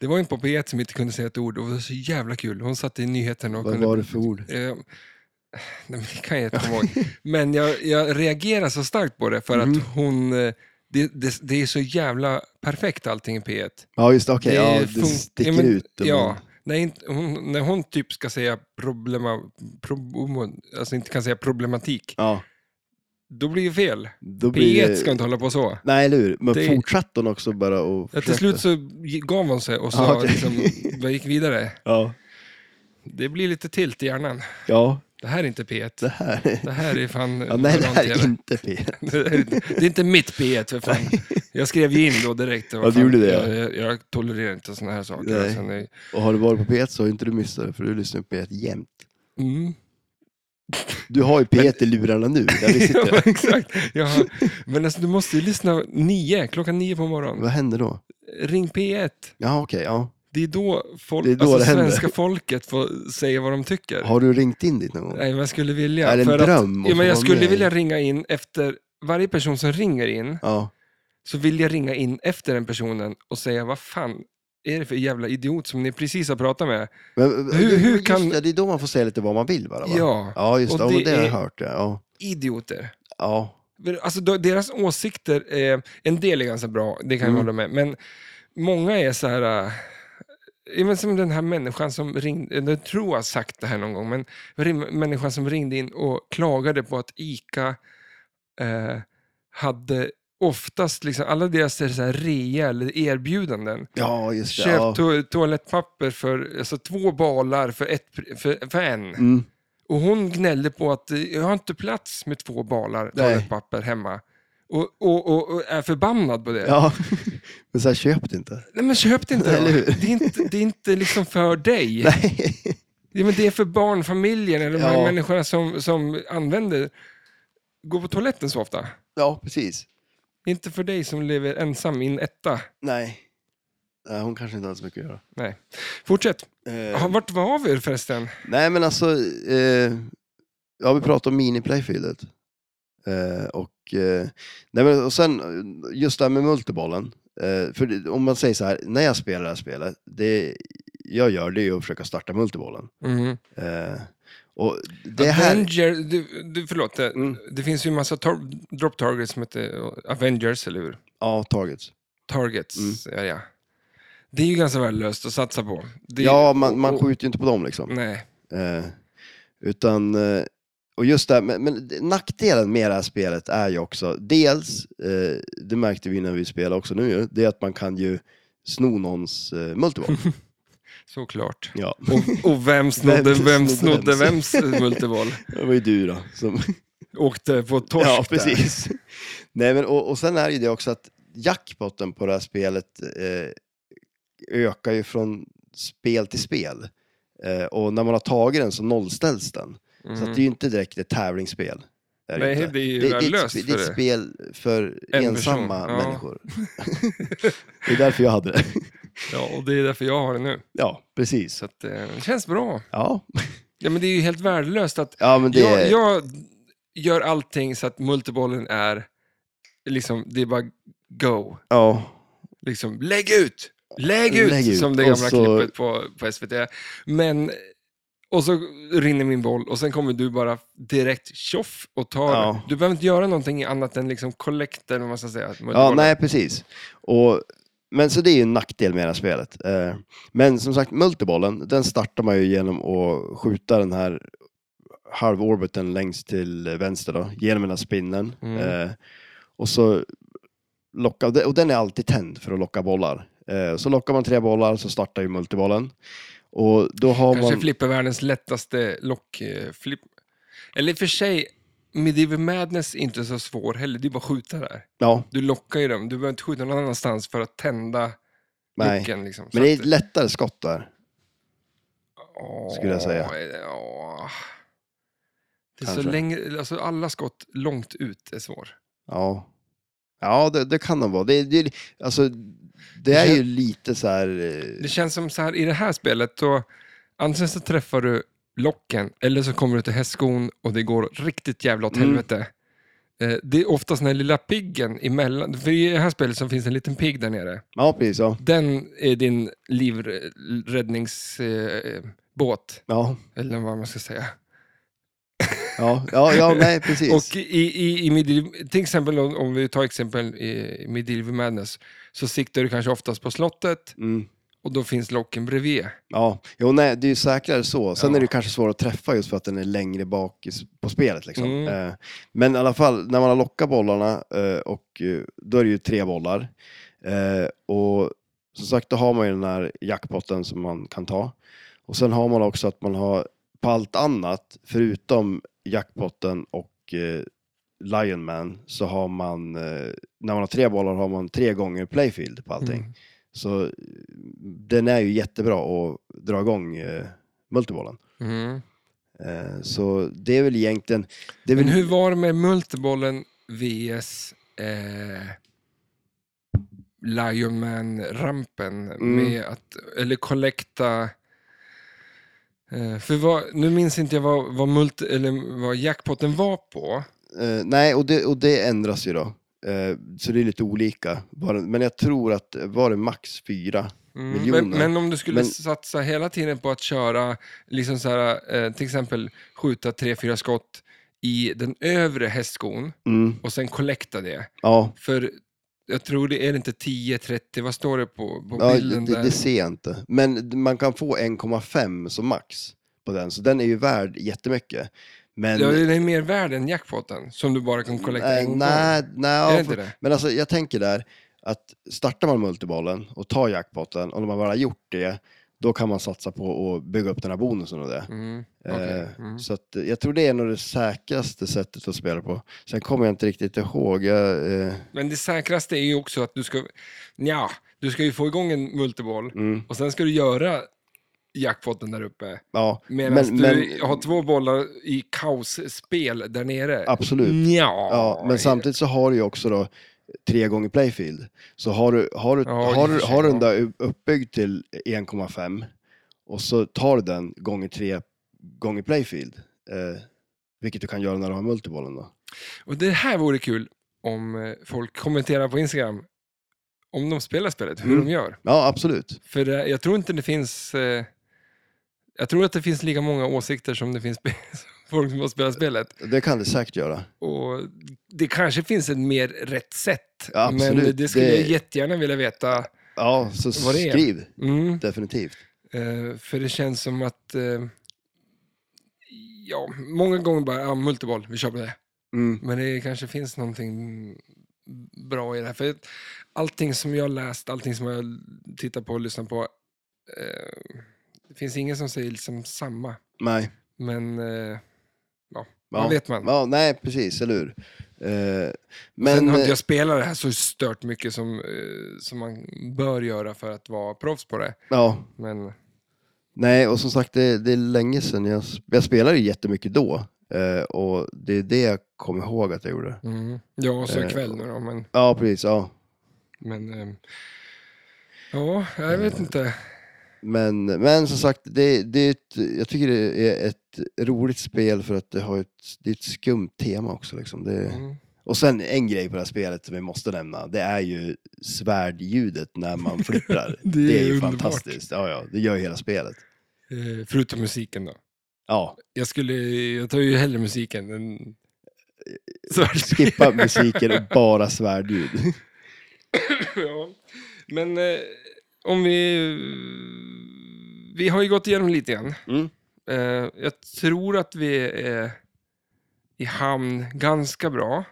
A: Det var en på P1 som inte kunde säga ett ord och det var så jävla kul. Hon satt i nyheten och
B: Vad
A: kunde...
B: var det för ord?
A: Eh, nej, men det kan jag inte komma ihåg. Men jag, jag reagerar så starkt på det för
B: Mm.
A: att hon... eh, Det, det, det är så jävla perfekt allting i P1.
B: Ja, just det. Okej,
A: Det
B: ja, det
A: fun-
B: sticker
A: Ja, men-
B: ut.
A: Ja, när, inte, hon, när hon typ ska säga problema, problem, alltså inte kan säga problematik,
B: ja.
A: då blir det fel.
B: Då blir
A: P1
B: det...
A: ska inte hålla på så.
B: Nej, eller hur? Men
A: Det-
B: fortsatte hon också bara och
A: Ja, till
B: försökte?
A: slut så gi- gav hon sig och så
B: Ja, okej.
A: liksom, jag gick vidare.
B: Ja.
A: Det blir lite tilt i hjärnan.
B: ja,
A: Det här är inte P1.
B: det här.
A: Det här är fan...
B: Ja, nej, det här
A: någonting.
B: är inte P1.
A: Det är inte- det är inte mitt P1 för fan. Jag skrev ju in då direkt.
B: Ja, du gjorde det, ja.
A: Jag, jag, jag tolererar inte sådana här saker. alltså,
B: Nej.
A: Sen är-
B: Och har du varit på P1 så har inte du missat det, för du lyssnar på P1 jämt.
A: mm.
B: Du har ju P1 i lurarna nu, där
A: ja,
B: vi sitter.
A: men exakt. Jag har, men alltså, du måste ju lyssna nio, klockan nio på morgonen.
B: Vad händer då?
A: Ring P1.
B: Ja, okej. ja.
A: Det är då, folk,
B: Det är då
A: alltså,
B: det händer.
A: svenska folket får säga vad de tycker.
B: Har du ringt in dit någon gång?
A: Nej, men jag skulle vilja.
B: Är det en
A: för
B: dröm
A: Att,
B: att
A: ja, men
B: få
A: jag
B: vara
A: skulle
B: med
A: vilja
B: i?
A: ringa in efter varje person som ringer in,
B: Ja.
A: så vill jag ringa in efter den personen och säga vad fan är det för jävla idiot som ni precis har pratat med?
B: Men,
A: hur
B: just
A: kan-
B: det, det är då man får säga lite vad man vill bara, va?
A: Ja,
B: Ja, just
A: Och
B: det. Ja, men
A: det
B: det har jag
A: är-
B: hört. Ja. Ja.
A: idioter.
B: ja.
A: Men, Alltså, de- deras åsikter, eh, en del är ganska bra, det kan jag
B: Mm.
A: hålla med, men många är så här, eh, ja, men som den här människan som ringde, eh, jag tror jag har sagt det här någon gång, men rim- människan som ringde in och klagade på att ICA eh, hade oftast, liksom, alla deras är så här rea eller erbjudanden,
B: ja, just det.
A: Köp
B: Ja.
A: to- toalettpapper för alltså, två balar för, ett, pri- för, för en.
B: Mm.
A: Och hon gnällde på att eh, jag har inte plats med två balar
B: Nej.
A: toalettpapper hemma. Och, och, och, och är förbannad på det.
B: Ja, men så här, köp det inte.
A: Nej men köp det inte då.
B: Eller hur?
A: Det är inte, det är inte liksom för dig.
B: Nej.
A: Ja, men det är för barnfamiljen eller de här
B: Ja.
A: människorna som, som använder, går på toaletten så ofta.
B: Ja, precis.
A: Det är inte för dig som lever ensam i en etta.
B: Nej. Nej, hon kanske inte har så mycket att göra.
A: Nej. Fortsätt.
B: Eh,
A: Ha, vart var vi förresten?
B: Nej, men alltså, eh, ja, vi pratade om mini-playfieldet. Eh, och, eh, nej, men, och sen eh, just det här med multibollen. Eh, för det- om man säger så här, när jag spelar det här spelet, det jag gör det är ju att försöka starta multibollen.
A: Mm.
B: Eh, och det
A: Det
B: här...
A: Avenger, du, du, förlåt, det,
B: Mm.
A: det finns ju en massa tar- drop targets som heter eh, Avengers, eller hur?
B: Ja, targets. Mm.
A: targets. Ja, ja. Det är ju ganska värdelöst att satsa på. Det,
B: Ja, man, man
A: och-
B: skjuter ju inte på dem liksom.
A: Nej.
B: Eh, utan, eh, och just det, här, men, men nackdelen med det här spelet är ju också, dels, eh, det märkte vi när vi spelade också nu ju, det är att man kan ju sno någons eh, multiboll.
A: Såklart.
B: Ja.
A: Och, och vem snodde
B: Vem
A: vem
B: snodde
A: snodde
B: vems?
A: vems multiboll?
B: Det var ju du då. Som...
A: Åkte på torsk
B: Ja,
A: där.
B: precis. Nej, men, och, och sen är det ju det också att jackpotten på det här spelet eh, ökar ju från spel till spel. Eh, och när man har tagit den så nollställs den.
A: Mm.
B: Så att det är ju inte direkt ett tävlingsspel. Är det
A: Nej,
B: inte.
A: det är ju
B: Det, det, är ett,
A: värdelöst
B: sp- det är ett
A: för det.
B: spel för
A: En
B: ensamma
A: person, ja.
B: människor. det är därför jag hade det.
A: Ja, och det är därför jag har det nu.
B: Ja, precis.
A: Så att, eh, det känns bra.
B: Ja,
A: Ja, men det är ju helt värdelöst att
B: ja men det
A: jag,
B: är...
A: jag gör allting så att multibollen är liksom, det är bara go.
B: Ja,
A: Liksom, lägg ut! Lägg ut!
B: Lägg ut.
A: Som det
B: Och
A: gamla
B: så-
A: klippet på, på SVT. Men, och så rinner min boll och sen kommer du bara direkt tjoff och tar
B: Ja.
A: den. Du behöver inte göra någonting annat än liksom collect eller vad man ska säga.
B: Ja,
A: multibollen.
B: nej precis. Och, men så det är ju en nackdel med det här spelet. Eh, Men som sagt, multibollen, den startar man ju genom att skjuta den här halvorbiten längst till vänster då, genom den här spinnen.
A: Mm.
B: Eh, Och så locka, och den är alltid tänd för att locka bollar. Eh, Så lockar man tre bollar så startar ju multibollen. Och då har
A: Kanske
B: man...
A: flipper världens lättaste lockflipp. Eller i och för sig, Medieval Madness är inte så svår heller. Det är bara att skjuta där.
B: Ja,
A: Du lockar ju dem. Du behöver inte skjuta någon annanstans för att tända
B: nej.
A: lyckan. Liksom. Så
B: Men det är
A: att-
B: ett lättare skott där.
A: Ja,
B: skulle jag säga.
A: ja. Det är så
B: Kanske.
A: länge, alltså alla skott långt ut är svår.
B: Ja, ja det, det kan de vara. Det, det, alltså, det är ju lite så här... eh,
A: Det känns som så här i det här spelet, då, antingen så träffar du locken eller så kommer du till hästskon och det går riktigt jävla åt
B: Mm.
A: helvete. Eh, Det är oftast den här lilla piggen emellan, för i det här spelet så finns det en liten pigg där nere.
B: Ja, precis. Ja.
A: Den är din livräddningsbåt,
B: Ja,
A: eller vad man ska säga.
B: ja, ja, ja nej, precis.
A: Och i, i, i Medieval- till exempel om, om vi tar exempel i Medieval Madness så siktar du kanske oftast på slottet
B: Mm,
A: och då finns locken bredvid.
B: ja, jo, nej, det är ju säkrare så. Sen
A: Ja.
B: är det ju kanske svårt att träffa just för att den är längre bak i s- på spelet. Liksom.
A: Mm.
B: Eh, Men i alla fall, när man har lockat bollarna, eh, och, eh, då är det ju tre bollar. Eh, Och som sagt, då har man ju den här jackpotten som man kan ta. Och sen har man också att man har på allt annat, förutom jackpotten och eh, Lionman, så har man, eh, när man har tre bollar har man tre gånger playfield på allting.
A: Mm.
B: Så eh, den är ju jättebra att dra igång eh, multibollen.
A: Mm.
B: Eh, så det är väl egentligen... Det är väl,
A: Men hur var det med multibollen vs eh, Lionman-rampen?
B: Mm.
A: Med att, eller kollekta... Eh, för vad, nu minns inte jag vad, vad, multi, eller vad jackpotten var på.
B: eh, nej, och det, och det ändras ju då. Eh, så det är lite olika. Bara- Men jag tror att var det max fyra?
A: Mm,
B: miljoner.
A: men, men om du skulle
B: Men-
A: satsa hela tiden på att köra, liksom så här, eh, till exempel skjuta tre, fyra skott i den övre hästskon
B: Mm,
A: och sen kollekta det.
B: ja,
A: För jag tror det är inte 10, 30, vad står det på, på
B: ja det,
A: bilden
B: det
A: där?
B: det ser jag inte. Men man kan få 1,5 som max på den, så den är ju värd jättemycket. Men,
A: Ja, det är mer värd än jackpoten som du bara kan kollekta en
B: Eh,
A: gång.
B: nej, nej,
A: är
B: ja,
A: det inte det?
B: Men alltså, jag tänker där att startar man multibollen och tar jackpotten och när man väl har gjort det, då kan man satsa på att bygga upp den här bonusen och det.
A: Mm, okej.
B: Eh,
A: mm.
B: Så att, eh, jag tror det är nog det säkraste sättet att spela på. Sen kommer jag inte riktigt ihåg. Jag, eh,
A: Men det säkraste är ju också att du ska, ja, du ska ju få igång en multiboll
B: mm,
A: och sen ska du göra jackpotten där uppe.
B: ja,
A: Medan
B: Men-
A: du
B: men-
A: har två bollar i kaosspel där nere.
B: absolut.
A: Nja.
B: Ja, men samtidigt så har du ju också då tre gånger playfield. Så har du, har du,
A: Ja, i
B: har
A: och för
B: du,
A: sig,
B: har du den
A: ja.
B: där uppbyggd till 1,5 och så tar du den gånger tre gånger playfield. Eh, vilket du kan göra när du har multibollen då.
A: Och det här vore kul om eh, folk kommenterar på Instagram om de spelar spelet, hur
B: Mm.
A: de gör.
B: Ja, absolut.
A: För eh, jag tror inte det finns... eh, Jag tror att det finns lika många åsikter som det finns spe- folk som har spelat spelet.
B: Det kan det säkert göra.
A: Och det kanske finns ett mer rätt sätt.
B: Ja,
A: men
B: absolut.
A: det skulle
B: Det-
A: jag jättegärna vilja veta.
B: Ja, så
A: Vad det är.
B: skriv.
A: Mm.
B: Definitivt.
A: Eh, för det känns som att... Eh, ja, många gånger bara, ja, multiboll, vi kör på det.
B: Mm.
A: Men det kanske finns någonting bra i det här. För allting som jag har läst, allting som jag tittar på och lyssnar på eh, det finns ingen som säger liksom samma.
B: Nej.
A: Men eh, ja,
B: Ja.
A: vad vet man.
B: Ja, nej, precis, eller hur? Eh,
A: Sen
B: men,
A: har
B: eh,
A: inte jag spelat det här så stört mycket som, eh, som man bör göra för att vara proffs på det.
B: ja,
A: Men
B: nej, och som sagt, det, det är länge sedan jag, jag spelade ju jättemycket då. Eh, och det är det jag kommer ihåg att jag gjorde.
A: mm, ja, och så
B: Eh,
A: ikväll nu då. Men,
B: Ja, precis, ja.
A: men eh, ja, jag vet inte.
B: Men, men som sagt, det, det är ett, jag tycker det är ett roligt spel för att det har ett, det är ett skumt tema också. Liksom. Det,
A: Mm.
B: Och sen en grej på det här spelet som vi måste nämna, det är ju svärdljudet när man flipprar.
A: Det
B: det
A: är
B: är ju
A: underbart.
B: fantastiskt. Ja, ja, det gör ju hela spelet.
A: Eh, förutom musiken då.
B: Ja,
A: Jag, skulle, jag tar ju hellre musiken än eh, svärd.
B: skippa musiken och bara svärdljud.
A: ja. Men eh, om vi... Vi har ju gått igenom lite grann.
B: Mm.
A: Eh, jag tror att vi är i hamn ganska bra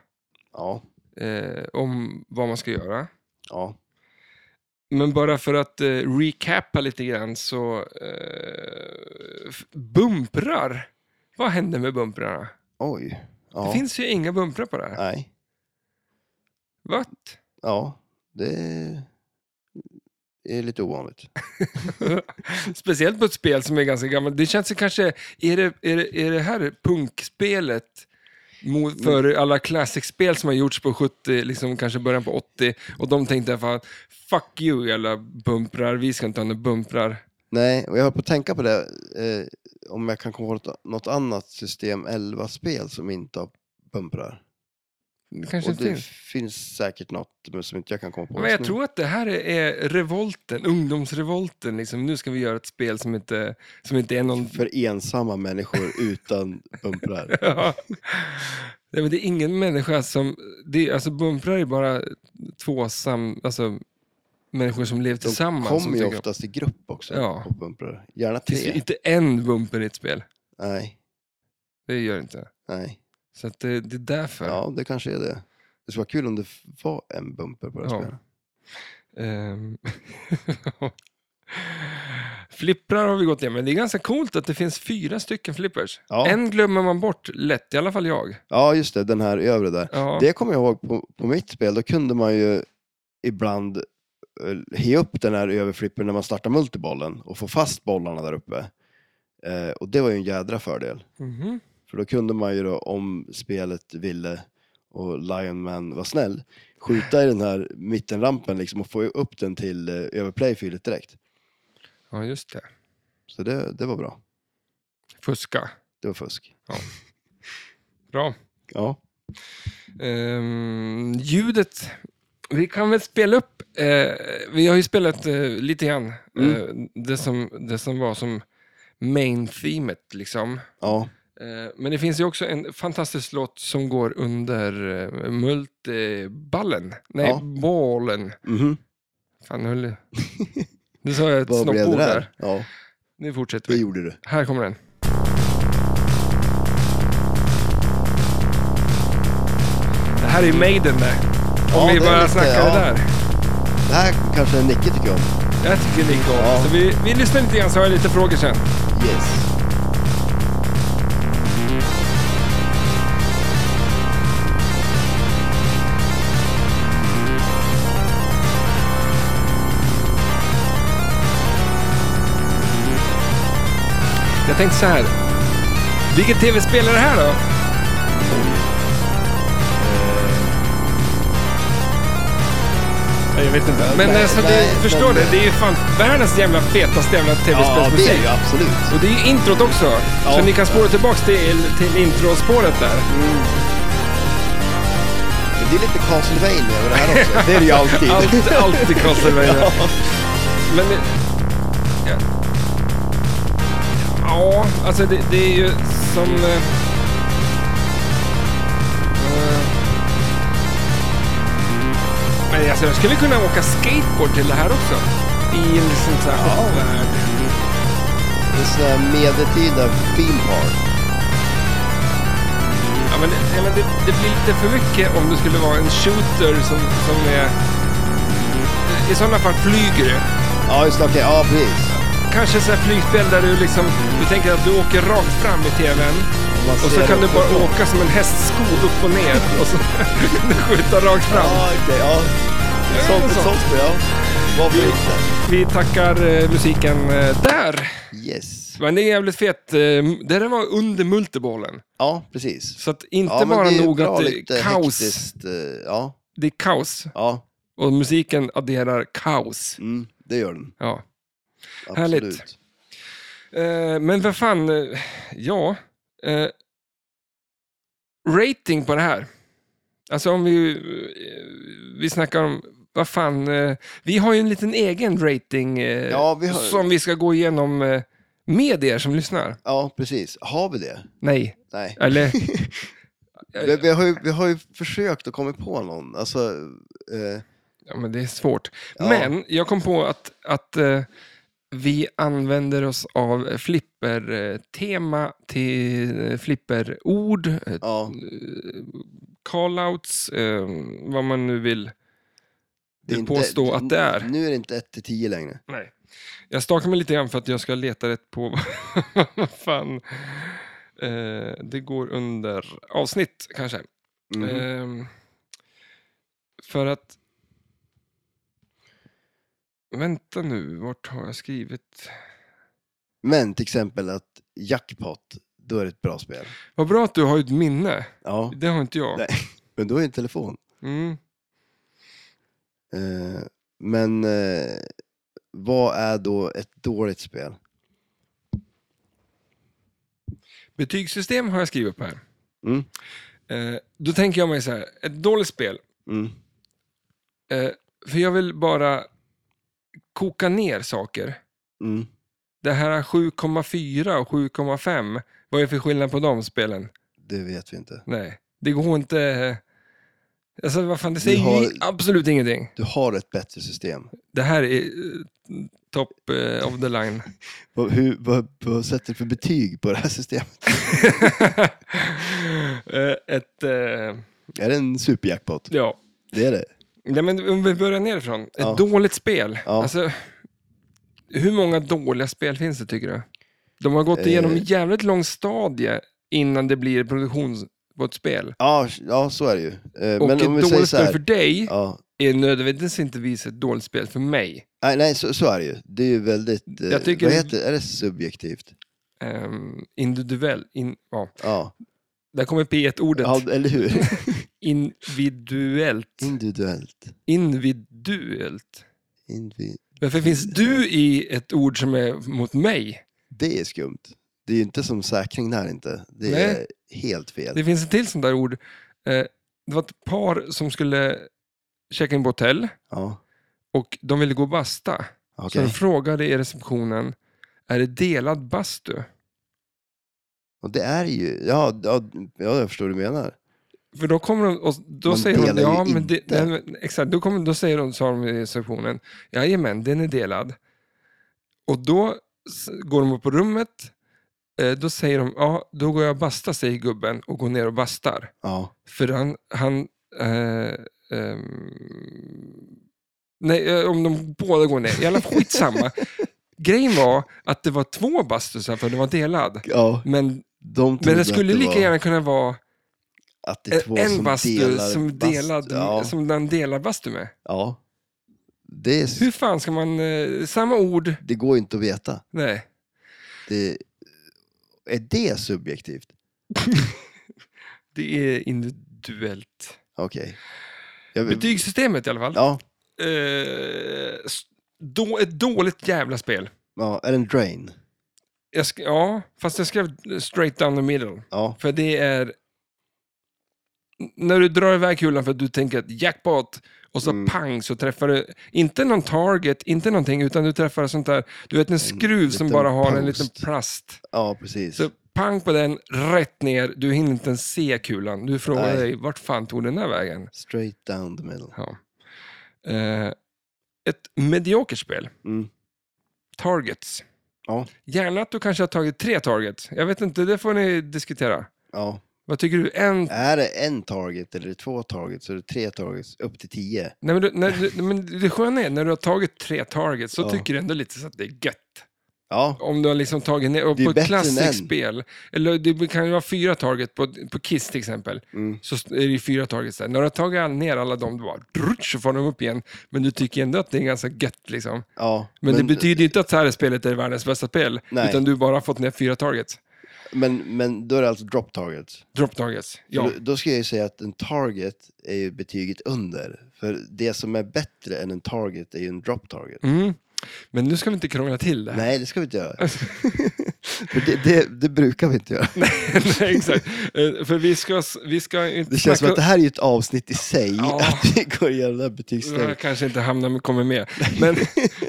B: Ja,
A: eh, om vad man ska göra.
B: ja,
A: Men bara för att eh, recappa lite grann så... Eh, f- bumprar! Vad hände med bumprarna?
B: oj. Ja,
A: Det finns ju inga bumprar på det här.
B: Nej,
A: What?
B: ja, det är lite ovanligt.
A: Speciellt på ett spel som är ganska gammalt. Det känns ju kanske, är det, är det, är det här punkspelet
B: Mm.
A: mot, för alla classic-spel som har gjorts på 70, liksom kanske början på 80, och de tänkte fan, fuck you jävla bumprar, vi ska inte ha några bumprar.
B: Nej, och jag höll på att tänka på det, eh, om jag kan komma på något- något annat system 11-spel som inte har bumprar.
A: Det kanske
B: Och
A: inte
B: det
A: finns.
B: finns säkert något men som inte jag kan komma på
A: Men
B: just
A: jag
B: nu.
A: tror att det här är revolten, ungdomsrevolten. Liksom. Nu ska vi göra ett spel som inte, som inte är någon...
B: För ensamma människor utan bumprar.
A: Ja. Nej, men det är ingen människa som... Det är, alltså bumprar är bara två sam, alltså, människor som lever
B: De
A: tillsammans. som
B: kommer ju
A: tycker om-
B: oftast i grupp också
A: Ja.
B: och bumprar. Gärna
A: Det finns ju
B: tre.
A: inte en bumper i ett spel.
B: Nej,
A: Det gör det inte.
B: nej.
A: Så att det, det är därför.
B: Ja, det kanske är det. Det skulle vara kul om det var en bumper på det här
A: Ja.
B: spelet.
A: Ehm. Flipprar har vi gått igenom, men det är ganska coolt att det finns fyra stycken flippers.
B: Ja.
A: En glömmer man bort lätt, i alla fall jag.
B: Ja, just det. Den här övre där.
A: Ja.
B: Det kommer jag ihåg på, på mitt spel. Då kunde man ju ibland eh, he upp den här överflippen när man startar multibollen och få fast bollarna där uppe. Eh, och det var ju en jädra fördel.
A: Mhm.
B: För då kunde man ju då, om spelet ville och Lionman var snäll, skjuta i den här mittenrampen liksom och få upp den till eh, överplayfilet direkt.
A: Ja, just det.
B: Så det, det var bra.
A: Fuska.
B: Det var fusk.
A: Bra.
B: Ja.
A: Ehm, ljudet. Vi kan väl spela upp. eh, vi har ju spelat eh, lite grann
B: Mm.
A: eh, det, som, det som var som main themet liksom.
B: Ja.
A: Eh, Men det finns ju också en fantastisk låt som går under eh, multiballen. Nej,
B: Ja.
A: ballen.
B: Mhm.
A: Fan, höll... Nu sa jag ett
B: Vad blev det
A: snoppord där.
B: där? Ja,
A: Nu fortsätter
B: det
A: vi.
B: gjorde du.
A: Här kommer den. Det här är ju Maiden där. Om
B: Ja,
A: vi
B: det är
A: bara
B: lite-
A: snackar
B: ja.
A: det där.
B: Det här kanske Nicke tycker om.
A: Jag tycker det är coolt.
B: Ja.
A: Så vi, vi lyssnar lite grann så har jag lite frågor sen.
B: Yes.
A: Jag tänkte så här. Vilket tv-spel är det här då? Nej, Jag vet inte. Men
B: Nej,
A: alltså,
B: nej,
A: du förstår
B: men-
A: det. Det är ju fan världens jävla fetaste jävla
B: Ja, det
A: tv-spelsmusik.
B: är ju absolut.
A: och det är ju introt också. Så ni kan spåra tillbaks till, till introspåret där.
B: Men det är lite Castlevania över det här också. Det är det ju alltid.
A: Allt, allt i Castlevania. Men... det- Ja, ja alltså det, det är ju som... eh, eh, Men alltså jag skulle kunna åka skateboard till det här också. I en liksom så här hoppvärld.
B: Det är sån här medeltida theme park.
A: Ja, men, det- ja, men det, det blir lite för mycket om det skulle vara en shooter som, som är... I sådana fall flyger du.
B: Ja, just det. Okej, ja precis.
A: kanske så här flygspel där du liksom, du tänker att du åker rakt fram i tvn.
B: Man
A: Och så
B: ser
A: kan du
B: det
A: bara
B: uppifrån.
A: åka som en hästskod upp och ner och så kan du skjuta rakt fram.
B: Ja, okej, ja. Sånt,
A: sånt.
B: sånt spel, ja. Varför inte?
A: Vi tackar eh, musiken eh, där.
B: Yes.
A: Men det är jävligt fett. Eh, det där var under multibollen.
B: Ja, precis.
A: Så att inte
B: ja, men
A: bara
B: det är ju
A: nog
B: bra,
A: att det
B: lite
A: är kaos.
B: hektiskt, eh, Ja,
A: Det är kaos.
B: ja.
A: Och musiken adderar kaos.
B: Mm, det gör den.
A: Ja.
B: Absolut.
A: Härligt. Eh, men vad fan, eh, ja. Eh, rating på det här. Alltså om vi, eh, vi snackar om, vad fan, eh, vi har ju en liten egen rating eh,
B: Ja, vi har-
A: som vi ska gå igenom eh, med er som lyssnar.
B: Ja, precis. Har vi det?
A: Nej,
B: Nej.
A: eller
B: Vi, vi, har ju, vi har ju försökt att komma på någon. Alltså, eh,
A: Ja, men det är svårt.
B: Ja.
A: Men jag kom på att, att eh, vi använder oss av flipper-tema till eh, flipper-ord, eh,
B: ja,
A: call-outs, eh, vad man nu vill,
B: det är Mm.
A: vill påstå att det är.
B: Nu är det inte 1 till 10 längre.
A: Nej. Jag stakar mig lite grann för att jag ska leta rätt på vad fan. Eh, det går under avsnitt kanske.
B: Mhm.
A: Ehm, för att... Vänta nu, vart har jag skrivit?
B: Men till exempel att jackpot, då är det ett bra spel.
A: Vad bra att du har ett minne.
B: Ja,
A: Det har inte jag.
B: Nej. men då är det en telefon.
A: Mm.
B: Eh, men eh, vad är då ett dåligt spel?
A: Betygssystem har jag skrivit på här.
B: Mm.
A: Eh, då tänker jag mig så här, ett dåligt spel.
B: Mm.
A: Eh, för jag vill bara koka ner saker.
B: Mm.
A: Det här är 7,4 och 7,5, vad är det för skillnad på de spelen?
B: Det vet vi inte.
A: Nej, det går inte... Alltså vad fan, det
B: Vi
A: säger ju
B: har-
A: absolut ingenting.
B: Du har ett bättre system.
A: Det här är eh, top eh, of the line.
B: Vad, hur, vad, vad sätter du för betyg på det här systemet?
A: Eh, Ett, eh,
B: Är det en superjackpot?
A: ja.
B: Det är det.
A: Nej, men om vi börjar nerifrån. Ett
B: Ja.
A: dåligt spel.
B: Ja.
A: Alltså, hur många dåliga spel finns det tycker du? De har gått
B: Eh.
A: igenom en jävligt lång stadie innan det blir produktion på ett spel.
B: Ja, ja så är det ju. Eh,
A: Och
B: men om vi
A: ett
B: säger
A: dåligt
B: så
A: spel
B: här.
A: för dig
B: Ja.
A: är nödvändigtvis inte vis ett dåligt spel för mig.
B: Nej, nej så, så är det ju. Det är ju väldigt, eh,
A: Jag tycker-
B: vad heter det? Är det subjektivt?
A: Ehm, individuell, in, ja.
B: Ja,
A: Där kommer P1-ordet.
B: ja eller hur?
A: Individuellt.
B: Individuellt.
A: Individuellt.
B: Invi...
A: Varför finns du i ett ord som är mot mig?
B: Det är skumt. Det är ju inte som säkring där inte. Det är
A: Nej.
B: helt fel.
A: Det finns ett till sånt där ord. Eh, Det var ett par som skulle checka in på hotell
B: Ja,
A: och de ville gå och basta. Så
B: okej.
A: de frågade i receptionen, är det delad bastu?
B: Och det är ju, ja, ja, ja, jag förstår vad du menar.
A: För då kommer de och då
B: Man
A: säger de,
B: delar ju
A: ja men,
B: inte."
A: det, nej, men exakt, då, kommer, då säger de, sa de i receptionen, jajamän den är delad. Och då s- går de upp på rummet, eh, då säger de, ja då går jag och bastar säger gubben och går ner och bastar.
B: Ja,
A: För han... han eh, ehm, nej, eh, om de båda går ner. I alla fall skitsamma. Grejen var att det var två bastusar för det var delad.
B: ja
A: Men,
B: de
A: men
B: trodde
A: det skulle
B: att det
A: lika
B: var,
A: gärna kunna vara
B: att det är två
A: en, en
B: som
A: bastu
B: delar
A: som,
B: bastu.
A: delad,
B: Ja,
A: som den delar bastu med.
B: ja. Det, är,
A: Hur fan ska man... Eh, samma ord.
B: det går ju inte att veta.
A: Nej.
B: Det, är det subjektivt?
A: Det är individuellt.
B: Okej. Jag vill-
A: Betygssystemet i alla fall.
B: Mm. Ja,
A: Eh, s- då, ett dåligt jävla spel.
B: ja, är det en drain?
A: Jag sk- ja, fast jag skrev straight down the middle.
B: Ja,
A: För det är... När du drar iväg kulan för att du tänker att jackpot och så
B: Mm.
A: pang så träffar du inte någon target, inte någonting, utan du träffar sånt där, du vet en skruv som
B: liten
A: bara har en
B: post.
A: liten plast.
B: ja precis.
A: Så pang på den, rätt ner, du hinner inte ens se kulan. Du frågar
B: Nej.
A: dig, vart fan tog den där vägen?
B: Straight down the middle.
A: Ja. Eh, ett mediokert spel,
B: Mm.
A: targets.
B: Ja.
A: Gärna att du kanske har tagit tre targets. Jag vet inte, det får ni diskutera.
B: Ja.
A: Vad tycker du? En
B: Är det en target eller är det två targets så är det tre targets upp till tio.
A: Nej, men, du, när du, men det sköna är, när du har tagit tre targets så
B: Ja.
A: tycker du ändå lite så att det är gött.
B: Ja,
A: Om du har liksom tagit ner, och
B: Det är
A: på ett
B: bättre än en.
A: klassiskt spel, eller det kan ju vara fyra target, på, på Kiss till exempel,
B: Mm.
A: så är det ju fyra targets där. När du har tagit all- ner alla dem, du bara, drutsch, så får de upp igen. Men du tycker ändå att det är ganska gött liksom.
B: ja.
A: Men, det betyder ju inte att det här spelet är världens bästa spel,
B: Nej.
A: utan du bara har fått ner fyra targets.
B: men, men då är det alltså drop target.
A: Drop targets, ja.
B: Då, då ska jag ju säga att en target är ju betyget under. För det som är bättre än en target är ju en drop target.
A: Mm. Men nu ska vi inte krångla till det här.
B: Nej, det ska vi inte göra. För det, det, det brukar vi inte göra.
A: Nej, exakt. Eh, För vi ska, vi ska inte
B: Det känns som att det
A: snacka-
B: här är ju ett avsnitt i sig,
A: Ja.
B: att vi går igenom det här
A: det här
B: betygssteget.
A: kanske inte hamnar med, kommer med. Men,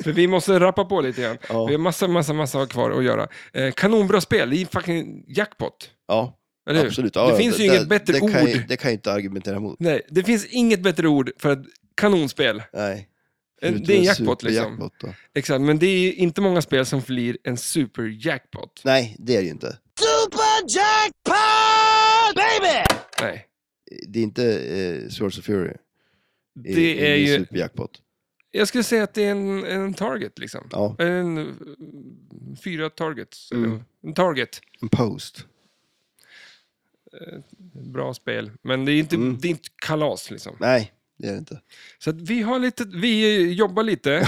A: för vi måste rappa på lite grann.
B: Ja.
A: Vi har massa, massa, massa kvar att göra. Eh, kanonbra spel, det är fucking jackpot.
B: Ja,
A: Eller hur?
B: absolut.
A: det
B: Ja,
A: finns ju inget bättre
B: det
A: ord.
B: Kan jag, det kan jag inte argumentera emot.
A: Nej, det finns inget bättre ord för ett kanonspel. Eh,
B: Nej.
A: Det är en
B: Förutom
A: jackpot liksom.
B: superjackpot då.
A: Exakt, men det är inte många spel som blir en superjackpot.
B: Nej, det är det ju inte.
C: Super Jackpot, baby!
A: Nej.
B: Det är inte eh, Swords of Fury.
A: Det är ju-
B: Superjackpot.
A: Jag skulle säga att det är en, en target liksom.
B: Ja,
A: En, eh, fyra targets. eller
B: Mm.
A: En target.
B: en post.
A: Bra spel. Men det är inte,
B: Mm.
A: det är inte kalas liksom.
B: Nej, det är det inte.
A: Så att vi, har lite, vi eh, jobbar lite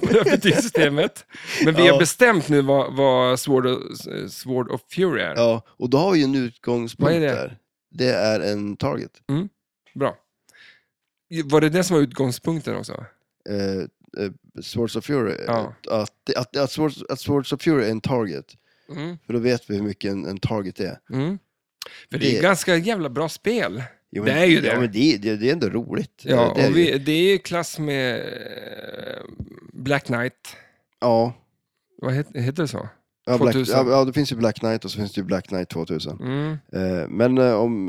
A: på det här betygssystemet. Men vi
B: Ja.
A: har bestämt nu vad, vad Sword, of, eh, Sword of Fury är.
B: Ja, och då har vi ju en utgångspunkt
A: Vad är det?
B: där. Det är en target.
A: Bra. Var det det som var utgångspunkten också?
B: Eh, eh, Swords of Fury.
A: Ja.
B: Att, det- att, att, Swords, att Swords of Fury är en target.
A: Mm.
B: För då vet vi hur mycket en, en target är.
A: Mm. För det är
B: Det-
A: ganska jävla bra spel.
B: Jo,
A: Det är ju det.
B: Ja, men det, det, det är ändå roligt.
A: Ja,
B: det, det är
A: och
B: det ju.
A: vi, det är ju klass med eh, Black Knight.
B: ja.
A: Vad heter, heter det så?
B: Ja, Black,
A: 2000.
B: ja, ja, det finns ju Black Knight och så finns det ju Black Knight 2000.
A: Mm.
B: Eh, men, eh, om,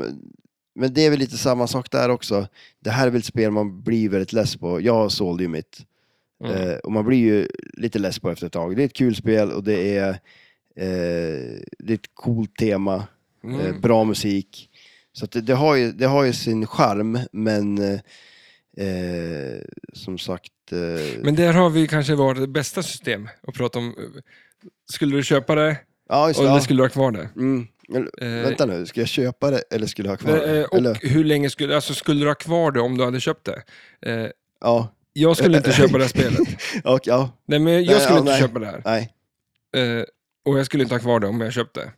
B: men det är väl lite samma sak där också. Det här är väl ett spel man blir väldigt less på. Jag sålde ju mitt.
A: Mm.
B: Eh, och man blir ju lite less på efter ett tag. Det är ett kul spel och det är, eh, det är ett coolt tema, eh,
A: Mm.
B: bra musik. Så att det, det, har ju, det har ju sin charm, men eh, eh, som sagt... Eh,
A: Men där har vi kanske vårt bästa system att prata om. eh, Skulle du köpa det?
B: ja, just
A: Och
B: det.
A: eller
B: Ja.
A: skulle du ha kvar det?
B: Mm. Eller,
A: Eh,
B: Vänta nu, ska jag köpa det eller skulle jag ha kvar
A: eh,
B: det?
A: Och
B: Eller,
A: hur länge skulle, alltså skulle du ha kvar det om du hade köpt det? Eh,
B: ja,
A: Jag skulle inte köpa det här spelet.
B: och, ja,
A: Nej, men
B: Eh, Nej,
A: jag skulle
B: ja,
A: inte
B: nej.
A: köpa det här.
B: nej,
A: Eh, Och jag skulle inte ha kvar det om jag köpte.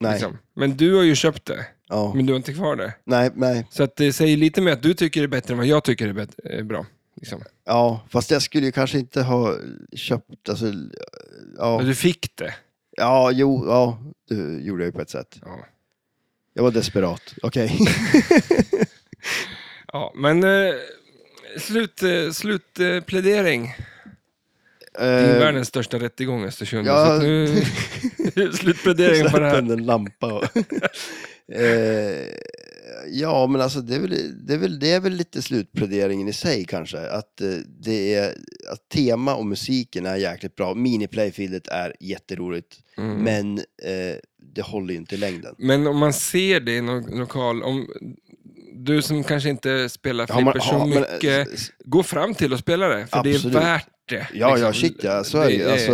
B: nej,
A: Liksom. Men du har ju köpt det,
B: ja,
A: men du har inte kvar det.
B: nej, nej,
A: Så att det säger lite mer att du tycker det är bättre än vad jag tycker är bättre, är bra. Liksom.
B: ja, fast jag skulle ju kanske inte ha köpt, alltså, ja.
A: Och Du fick det.
B: Ja, jo, ja, det gjorde jag ju på ett sätt.
A: Ja.
B: Jag var desperat. Okej.
A: Ja, men eh, slut, eh, slutplädering. det är ju
B: Okay.
A: världens största rättegång i Östersund.
B: Eh, ja.
A: Så att nu, slutpläderingen på det här.
B: en lampa och... Eh, ja, men alltså det är, väl, det, är väl, det är väl lite slutpläderingen i sig kanske. Att, eh, det är, att tema och musiken är jäkligt bra. Miniplayfieldet är jätteroligt.
A: Mm.
B: Men eh, det håller ju inte i längden.
A: Men om man ser det i någon lokal, om du som kanske inte spelar
B: Har man-
A: flipper så
B: ja, men, eh,
A: mycket,
B: s- s-
A: gå fram till och spela det, för det
B: Absolut.
A: är värt det.
B: Ja, ja,
A: liksom.
B: shit ja. Så är det ju.
A: Det är-
B: Alltså,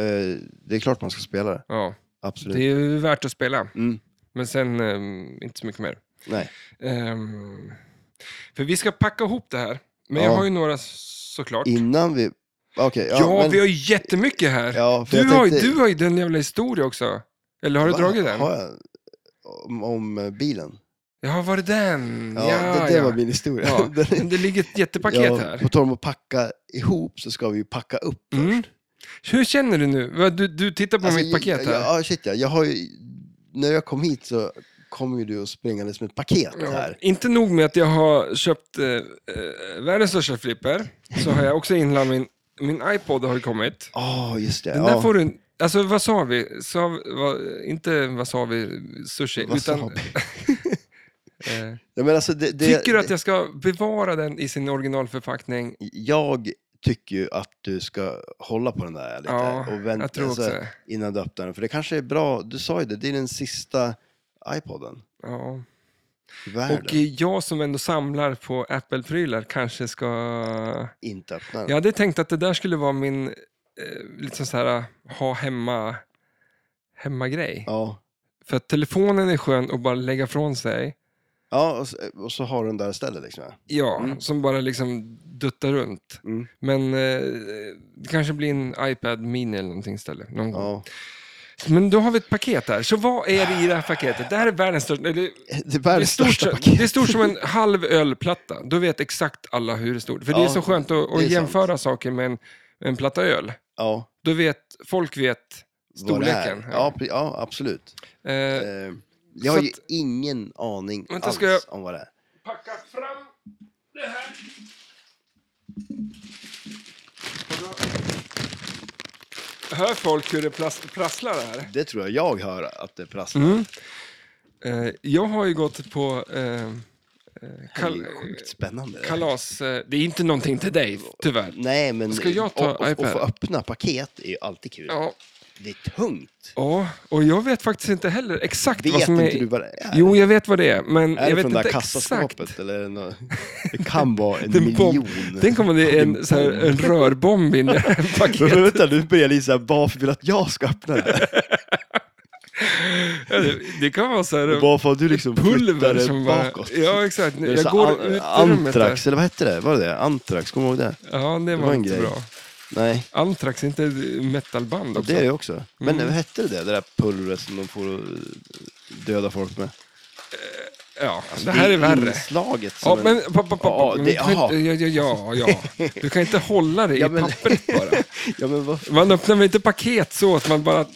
B: eh, det är klart man ska spela det.
A: Ja,
B: Absolut.
A: det är ju värt att spela,
B: Mm.
A: men sen ehm, inte så mycket mer.
B: Nej.
A: Ehm, för vi ska packa ihop det här, men jag
B: Ja.
A: har ju några såklart.
B: Innan vi... Okej,
A: ja,
B: men-
A: vi har ju jättemycket här.
B: Ja, för
A: du,
B: jag
A: har, ju-
B: tänkte-
A: du har ju den jävla historia också. Eller har du
B: Va?
A: dragit den?
B: Har jag? Om, om eh, bilen?
A: Ja, var det den?
B: Ja, det, det var min historia.
A: Ja,
B: Den är-
A: men det ligger ett jättepaket
B: ja,
A: här.
B: På tal om att packa ihop så ska vi ju packa upp
A: Mm.
B: först.
A: Hur känner du nu? Vad, Du, du tittar på
B: Alltså,
A: mitt paket här.
B: Ja, shit ja. Jag har ju, när jag kom hit så kom ju du och springandes med ett paket
A: Ja,
B: här.
A: Inte nog med att jag har köpt eh, eh, världens största flipper, så har jag också inhandlat min, min iPod har ju kommit.
B: Ja, just det.
A: Den
B: ja.
A: där får du, alltså vad sa vi? Sa, vad- inte vad sa vi, sushi,
B: Vad
A: utan...
B: sa vi?
A: eh,
B: ja, men alltså, det, det,
A: tycker du att jag ska bevara den i sin originalförpackning?
B: Jag tycker ju att du ska hålla på den där lite
A: Ja,
B: och vänta alltså.
A: jag tror också
B: så här,
A: det.
B: innan du öppnar den. För det kanske är bra, du sa ju det, det är den sista iPoden
A: Ja.
B: i världen.
A: Och jag som ändå samlar på Apple-prylar kanske ska...
B: Inte öppna den.
A: Jag hade tänkt att det där skulle vara min eh, liksom så här, ha hemma, hemma grej.
B: Ja.
A: För att telefonen är skön att bara lägga från sig.
B: Ja, och så, och så har du den där stället liksom.
A: Ja,
B: Mm.
A: som bara liksom duttar runt.
B: Mm.
A: Men eh, det kanske blir en iPad Mini eller någonting istället. Någon gång.
B: Ja.
A: Men då har vi ett paket här. Så vad är det i det här paketet? Det här är världens största. eller-
B: Det är
A: Det är,
B: världens
A: stort,
B: största
A: som-
B: paket.
A: det är stort som en halv ölplatta. Då vet exakt alla hur det är stort. För det är
B: Ja,
A: så skönt att,
B: det är
A: att
B: sant.
A: jämföra saker med en, med en platta öl.
B: Ja,
A: Då vet folk vet.
B: vad det är.
A: Storleken, ja.
B: Ja, pre- ja absolut.
A: Eh,
B: Eh, jag har
A: så
B: ju
A: att-
B: ingen aning
A: Vänta,
B: alls
A: ska jag-
B: om vad det är.
A: packa fram det här. Och då- Hör folk hur det plas- prasslar här?
B: Det tror jag jag hör att det prasslar.
A: Mm, Eh, jag har ju gått på eh, eh,
B: Kal...
A: kal-
B: Det är sjukt spännande.
A: kalas. Eh, det är inte någonting till dig, tyvärr.
B: Nej, men
A: Ska jag ta
B: och, och, och
A: iPad?
B: få öppna paket är ju alltid kul.
A: Ja,
B: Det är tungt.
A: ja, och jag vet faktiskt inte heller exakt vad
B: Vet
A: som
B: inte
A: är...
B: du vad det är?
A: Jo, jag vet vad det är, men
B: är
A: jag
B: det
A: vet
B: från det
A: inte
B: där
A: exakt.
B: kassaskåpet? Eller är det, nå- det kan vara en
A: Den bomb-
B: miljon.
A: Tänk om det är en, så här, en rörbomb i det här
B: Men
A: paketet.
B: Vänta, nu börjar Lisa, varför vill du att jag ska öppna det här?
A: Det kan vara så här...
B: Varför har du liksom flyttat
A: Pulver
B: det
A: som bara...
B: bakåt?
A: Ja, exakt.
B: Det är så
A: Jag går ut
B: an-
A: ur rummet där.
B: Antrax, eller vad hette det? Var det det? Antrax, kommer du ihåg det?
A: Ja, det var
B: var en
A: inte
B: grej.
A: bra.
B: Nej,
A: Antrax, inte metalband också? Mm.
B: det är det också. Men vad hette det, det där pulvret som de får döda folk med?
A: Ja, det här är värre.
B: Inslaget som
A: Ja,
B: en-
A: men... Pa, pa, pa,
B: Ja,
A: pa, men
B: det-
A: du kan
B: jaha.
A: inte- ja, ja, ja, ja. Du kan inte hålla det
B: Ja,
A: i
B: men-
A: pappret bara.
B: ja, men vad...
A: Man öppnar väl inte paket så att man bara eh,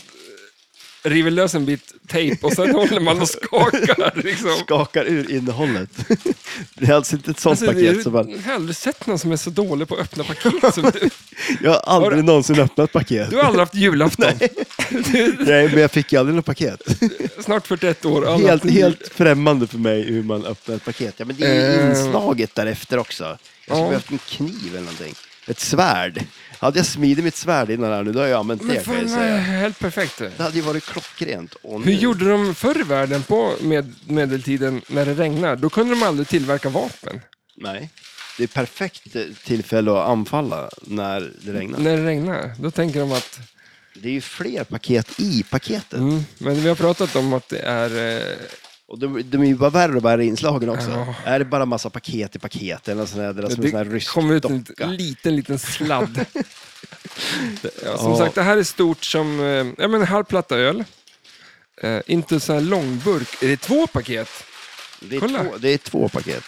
A: river lös en bit tejp och sen håller man och skakar. Liksom.
B: Skakar ur innehållet. det är alltså inte ett sånt
A: Alltså, det
B: paket
A: är,
B: som
A: jag
B: man...
A: har aldrig sett någon som är så dålig på att öppna paket som du.
B: Jag har aldrig
A: Har du-
B: någonsin öppnat paket.
A: Du har aldrig haft julafton. Du
B: Nej, men jag fick ju aldrig något paket.
A: är snart 41 år. aldrig
B: helt,
A: haft en jul-
B: helt främmande för mig hur man öppnar ett paket. Ja, men det är
A: Eh.
B: ju inslaget därefter också. Jag skulle
A: Ja.
B: behövt en kniv eller någonting. Ett svärd. Hade jag smidit mitt svärd innan här nu, då har jag använt det
A: Men
B: kan jag
A: fan,
B: ju
A: det är
B: säga.
A: helt perfekt. det.
B: Det hade ju varit klockrent. Och
A: Hur
B: nu-
A: gjorde de förr i världen på med medeltiden när det regnar? Då kunde de aldrig tillverka vapen
B: Nej. Det är perfekt eh, tillfälle att anfalla när det regnar.
A: när det regnar. Då tänker de att,
B: Det är ju fler paket i paketet.
A: mm, men vi har pratat om att det är eh,
B: Och de, de är ju bara värre och värre inslagen också.
A: Ja.
B: Är det bara massa paket i paket eller något sånt där, det är som en sån här
A: Det
B: rysk
A: kom ut en
B: docka?
A: liten, liten sladd. ja, som
B: Ja.
A: sagt, det här är stort som eh, ja, men en halv platta öl. Eh, inte så här långburk. Är det två paket?
B: Det är,
A: Kolla.
B: två, det är två paket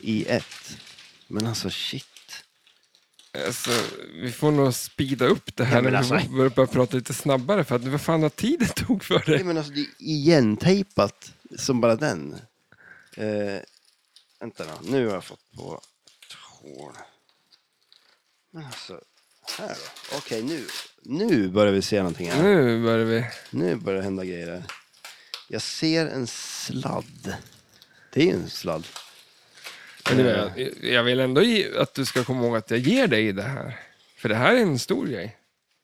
B: i ett. Men alltså shit.
A: Alltså, vi får nog speeda upp det här
B: Ja, men
A: när vi
B: alltså-
A: börjar, börjar prata lite snabbare. För att vad fan har tiden tog för
B: Nej,
A: det?
B: men alltså, det är igentejpat som bara den. Eh, vänta då, nu har jag fått på ett hål. Men alltså, här då. Okej, nu, nu börjar vi se någonting här.
A: Nu börjar vi.
B: Nu börjar det hända grejer här. Jag ser en sladd. Det är ju en sladd.
A: Men jag, Eh, jag vill ändå ge, att du ska komma ihåg att jag ger dig det här. För det här är en stor grej.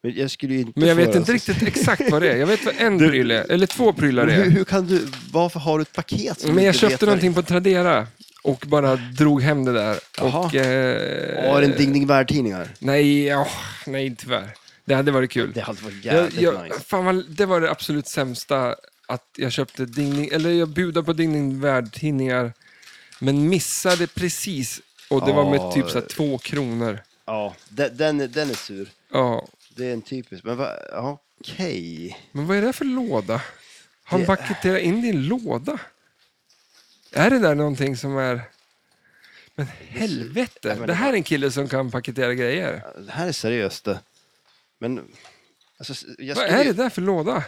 B: Men jag skulle ju inte
A: Men jag
B: få
A: vet
B: det,
A: inte
B: alltså.
A: riktigt exakt vad det är. Jag vet vad en pryl är, eller två prylar är.
B: Hur, hur kan du, varför har du ett paket som du
A: Men jag
B: inte vet
A: köpte
B: vad
A: någonting på Tradera och bara drog hem det där.
B: Jaha.
A: Och, eh,
B: Ja, är det en Ding Ding Värld-tidningar?
A: Nej, ja, nej tyvärr. Det hade varit kul.
B: Det hade varit
A: jag,
B: jävligt
A: jag,
B: nice.
A: fan, vad- det var det absolut sämsta att jag köpte Dingning, eller jag budade på Dingning Värld-tidningar men missade precis och det var med
B: Ja.
A: typ så här två kronor.
B: Ja, den, den, är- den är sur.
A: Ja.
B: Det är en typisk. Men va, ja, okej.
A: Men vad är det för låda? Har Han
B: Det-
A: paketerat in din låda? Är det där någonting som är... Men
B: Ja,
A: helvete,
B: men
A: det
B: det
A: här är en kille som kan paketera grejer.
B: Det här är seriöst det. Men, alltså, jag
A: Vad
B: skulle
A: är
B: ju-
A: det där för låda?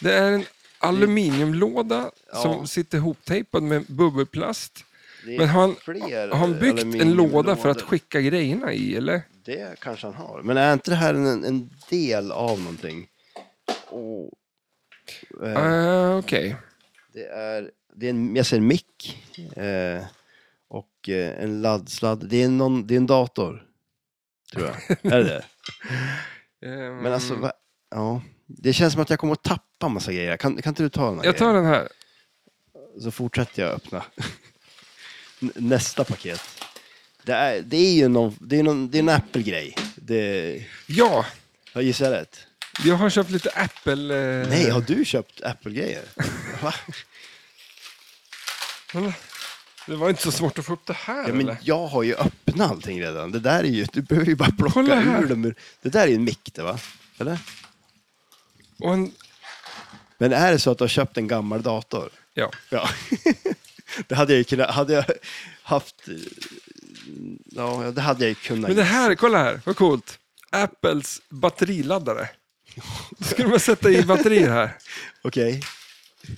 A: Det är en aluminiumlåda
B: Ja.
A: som sitter ihoptejpad med bubbelplast.
B: det är
A: Men har han,
B: fler eh,
A: har han byggt en låda för att
B: aluminiumlådor.
A: skicka grejerna i, eller?
B: Det kanske han har. Men är inte det här en, en del av någonting? Åh. Eh,
A: Ah, Okej.
B: Det är, det är en, jag ser en mick eh, och eh, en laddsladd. Det är, någon, det är en dator, tror jag. är det det
A: Ehm,
B: Men alltså, va? ja. Det känns som att jag kommer att tappa en massa grejer. Kan, kan inte du ta den här
A: jag tar
B: grejen?
A: den här.
B: Så fortsätter jag öppna. N- Nästa paket. Det är, det är ju någon, det är någon, det är en Apple-grej. Det Det,
A: Ja,
B: jag gissar rätt.
A: jag har köpt lite Apple... eh,
B: Nej, har du köpt Apple-grejer? Va?
A: men Det var inte så svårt att få upp det här
B: Ja, men
A: eller?
B: jag har ju öppnat allting redan. Det där är ju, du behöver ju bara plocka
A: Kolla här.
B: ur dem. ur- Det där är ju en mick, det va? Eller?
A: Och en...
B: Men är det så att du har köpt en gammal dator?
A: Ja.
B: Ja. det hade jag ju kunnat, hade jag haft, eh, ja det hade jag ju kunnat.
A: Men det här, kolla här, vad coolt. Apples batteriladdare. Då skulle man sätta i batterier här.
B: Okej.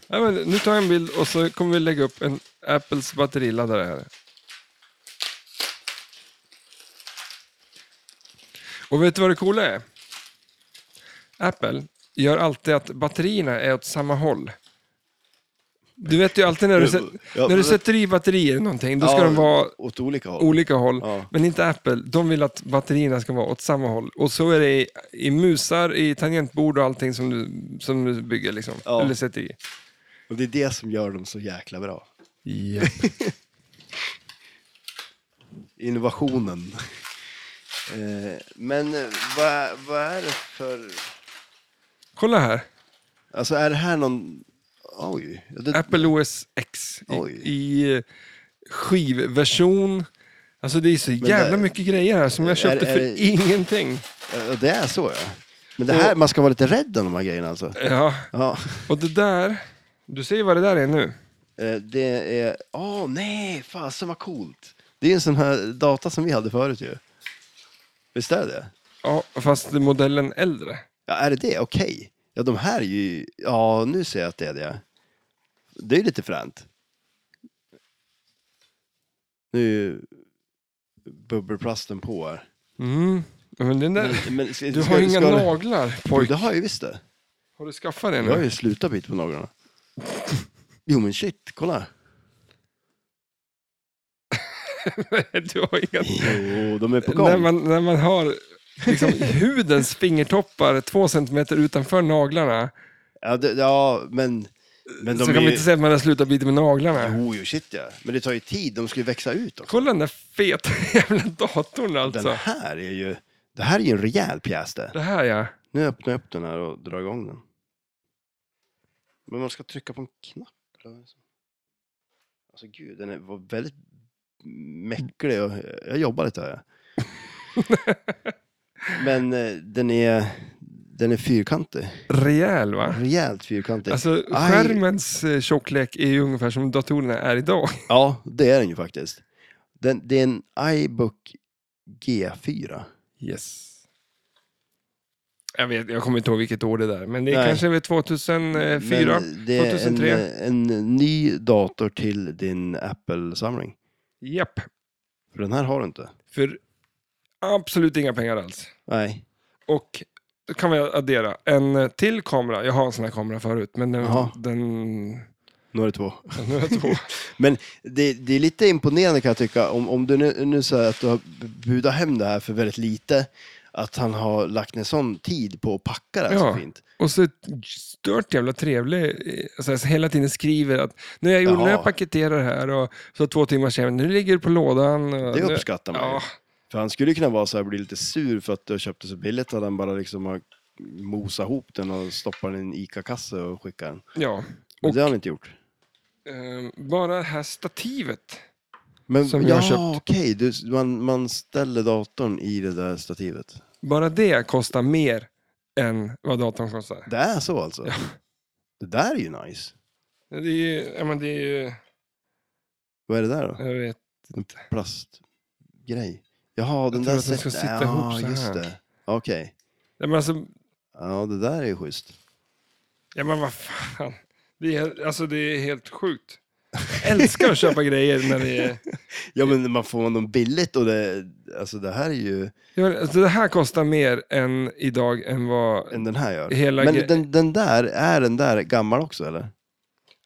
A: Ja, men nu tar jag en bild och så kommer vi lägga upp en Apples batteriladdare här. Och vet du vad det coola är? Apple gör alltid att batterierna är åt samma håll. Du vet ju alltid när du, sätt,
B: Ja,
A: när du
B: men-
A: sätter i batterier i någonting, då ska
B: Ja,
A: de vara
B: Åt olika håll.
A: olika håll.
B: Ja.
A: Men inte Apple. De vill att batterierna ska vara åt samma håll. Och så är det i, i musar, i tangentbord och allting som du, som du bygger liksom.
B: Ja.
A: Eller sätter i.
B: Och det är det som gör dem så jäkla bra. Innovationen. Eh, Men eh, vad, vad är det för...
A: Kolla här.
B: Alltså är det här någon... Oj. ja, Det,
A: Apple OS X i,
B: Oj.
A: i eh, skivversion. Alltså det är så jävla
B: det-
A: mycket grejer här som jag köpte
B: är
A: för
B: det-
A: ingenting.
B: ja, det är så ja. Men det här, man ska vara lite rädd om de här grejerna alltså.
A: Ja,
B: Ja.
A: och det där. Du ser ju vad det där är nu.
B: Eh, Det är... Åh nej, fasen vad coolt. Det är en sån här data som vi hade förut ju. Visst är det?
A: Ja, fast modellen äldre.
B: Ja, är det det? Okej. Ja, de här är ju... Ja, nu ser jag att det är det. Det är ju lite fränt. Nu bubblar plasten på här.
A: Mm. Ja, Men den där,
B: Men, men, ska-
A: du
B: ska-
A: har inga
B: ska-
A: naglar
B: Jo,
A: pojk.
B: Det har jag ju visst det.
A: Har du skaffat det
B: Jag har
A: nu?
B: ju slutat bita på naglarna. Jo men shit, kolla.
A: du har inga...
B: Jo, de är på
A: När
B: gång.
A: man, när man har liksom, hudens fingertoppar två centimeter utanför naglarna
B: Ja, det, ja men... Men de
A: så
B: är
A: kan
B: ju...
A: man inte säga att man har slutat bita med naglarna.
B: Jo, jo, shit ja. Men det tar ju tid, de ska ju växa ut också.
A: Kolla den där feta jävla datorn alltså.
B: Den här är ju... Det här är ju en rejäl pjäs det.
A: Det här ja.
B: Nu öppnar jag upp den här och drar igång den. Men man ska trycka på en knapp. eller vad är det som- Alltså gud, den är, var väldigt mäcklig. Och, jag jobbar lite här. Men eh, den är, den är fyrkantig.
A: Rejäl va?
B: Rejält fyrkantig.
A: Alltså
B: Aj.
A: skärmens eh, tjocklek är ju ungefär som datorerna är idag.
B: Ja, det är den ju faktiskt. Den, det är en iBook G4.
A: Yes. Jag vet, jag kommer inte ihåg vilket år det där, men det är
B: Nej.
A: kanske över 2004.
B: Men det är
A: 2003.
B: En, en ny dator till din Apple-samling.
A: Japp.
B: För den här har du inte.
A: För absolut inga pengar alls.
B: Nej.
A: Och då kan vi addera en eh, till kamera. Jag har en sån här kamera förut, men den...
B: Jaha.
A: den
B: Nu har du två.
A: ja, nu har jag två.
B: Men det, det är lite imponerande kan jag tycka, om, om du nu, nu säger att du har budat hem det här för väldigt lite, att han har lagt ner sån tid på att packa det här
A: Ja.
B: så fint.
A: Och så ett stört jävla trevlig, eh, alltså, så hela tiden skriver att nu jag gjorde,
B: Jaha.
A: när jag paketerar det här och så två timmar senare, nu ligger det på lådan. Och,
B: Det
A: nu,
B: uppskattar man ju.
A: Ja,
B: För han skulle ju kunna vara så här, bli lite sur för att du har köpt det så billigt, att han bara liksom har mosat ihop den och stoppar den i en ICA-kasse och skickar den.
A: ja.
B: Men
A: Och-
B: det har han inte gjort.
A: Eh, bara det här stativet.
B: Men,
A: som
B: ja,
A: jag har köpt.
B: okej, du- man, man ställer datorn i det där stativet.
A: Bara det kostar mer än vad datorn kostar.
B: Det är så alltså? Det där är ju nice.
A: Det är ju, ja, men det är ju
B: Vad är det där då?
A: jag vet,
B: En plastgrej. Jaha, den
A: tror
B: där
A: att den ska
B: sätt-
A: sitta
B: ja,
A: ihop så
B: just
A: här.
B: det. Okej.
A: ja, men alltså,
B: Ja, det där är ju schysst.
A: ja men vad fan. Det är, alltså det är helt sjukt. Jag älskar att köpa grejer när det är...
B: Ja, men man får dem billigt och det, alltså det här är ju,
A: Ja, men Alltså, det här kostar mer än idag än vad...
B: än den här gör.
A: Hela
B: men
A: gre-
B: den, den där, är den där gammal också eller?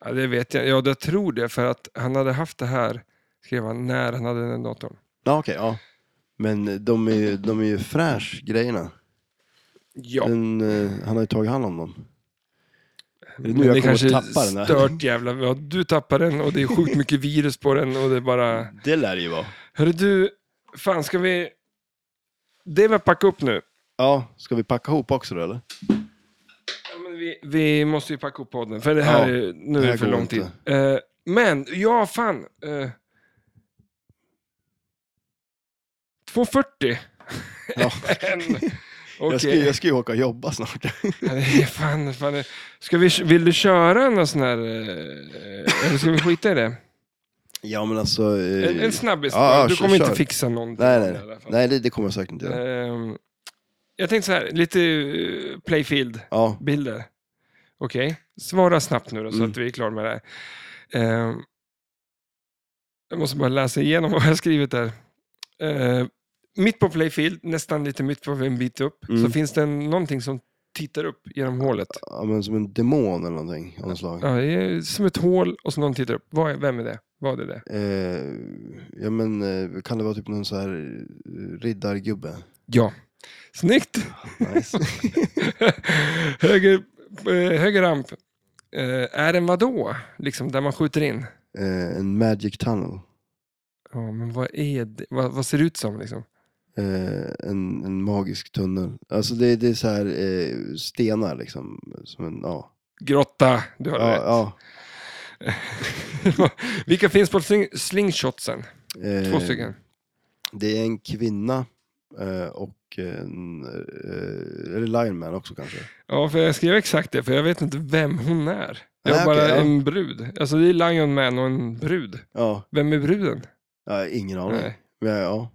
A: Ja, det vet jag. Ja, jag tror det för att han hade haft det här, skrev han, när han hade den datorn.
B: Ja, okej, ja. Men de är ju, de är ju fräsch grejerna.
A: Ja,
B: Den, eh, han har ju tagit hand om dem. det nu
A: men
B: jag
A: det
B: kommer att
A: kanske är
B: tappa den här?
A: stört jävla... Ja, du tappar den och det är sjukt mycket virus på den och det är bara...
B: Det lär det ju vara.
A: Hörru du, fan ska vi... det är väl packa upp nu.
B: Ja, ska vi packa ihop också då eller?
A: Ja, men vi, vi måste ju packa upp podden, för det här
B: Ja,
A: är, nu är
B: det här
A: det för
B: går
A: lång tid.
B: inte.
A: Eh, men, ja fan. eh, 2.40.
B: Ja.
A: En.
B: Jag, ska,
A: Okej.
B: jag ska ju åka och jobba snart.
A: Ja, det är Fan, fan. det- Ska vi, vill du köra någon sån här... eh, Eller ska vi skita i det?
B: ja men alltså... eh,
A: En, en snabbis.
B: Ja, ja,
A: du
B: kör,
A: kommer inte
B: kör.
A: fixa någonting.
B: Nej,
A: i alla
B: nej,
A: fall.
B: nej det, det kommer jag säkert inte göra.
A: Ehm, jag tänkte så här, lite eh, playfield-bilder.
B: Ja,
A: Okej, svara snabbt nu då, så
B: Mm.
A: att vi är klara med det här. Ehm, jag måste bara läsa igenom vad jag har skrivit där. Ehm, mitt på playfield, nästan lite mitt på en bit upp,
B: Mm.
A: så finns det en, någonting som tittar upp genom hålet.
B: ja, men som en demon eller någonting av något slag.
A: Ja, det är som ett hål och så någon tittar upp. Vad är, vem är det? Vad är det?
B: Eh, ja men eh, kan det vara typ någon så här eh, riddargubbe?
A: Ja. Snyggt!
B: Nice.
A: höger, eh, höger ramp. Eh, är den vadå? Liksom där man skjuter in.
B: eh, en magic tunnel.
A: Ja, men vad är det? Vad, vad ser det ut som liksom?
B: Eh, en, en magisk tunnel. Alltså det, det är så här eh, stenar liksom. Som en, ja.
A: Grotta, du har
B: Ja,
A: rätt.
B: ja.
A: Vilka finns på sling, slingshotsen?
B: Eh,
A: Två stycken.
B: Det är en kvinna eh, och en, eh, eller lineman också kanske.
A: Ja, för jag skrev exakt det, för jag vet inte vem hon är. Jag
B: Nej,
A: är bara
B: Ah, okej, ja.
A: en brud. Alltså det är Lion Man och en brud.
B: Ja,
A: Vem är bruden?
B: jag har ingen aning.
A: Nej.
B: Men ja,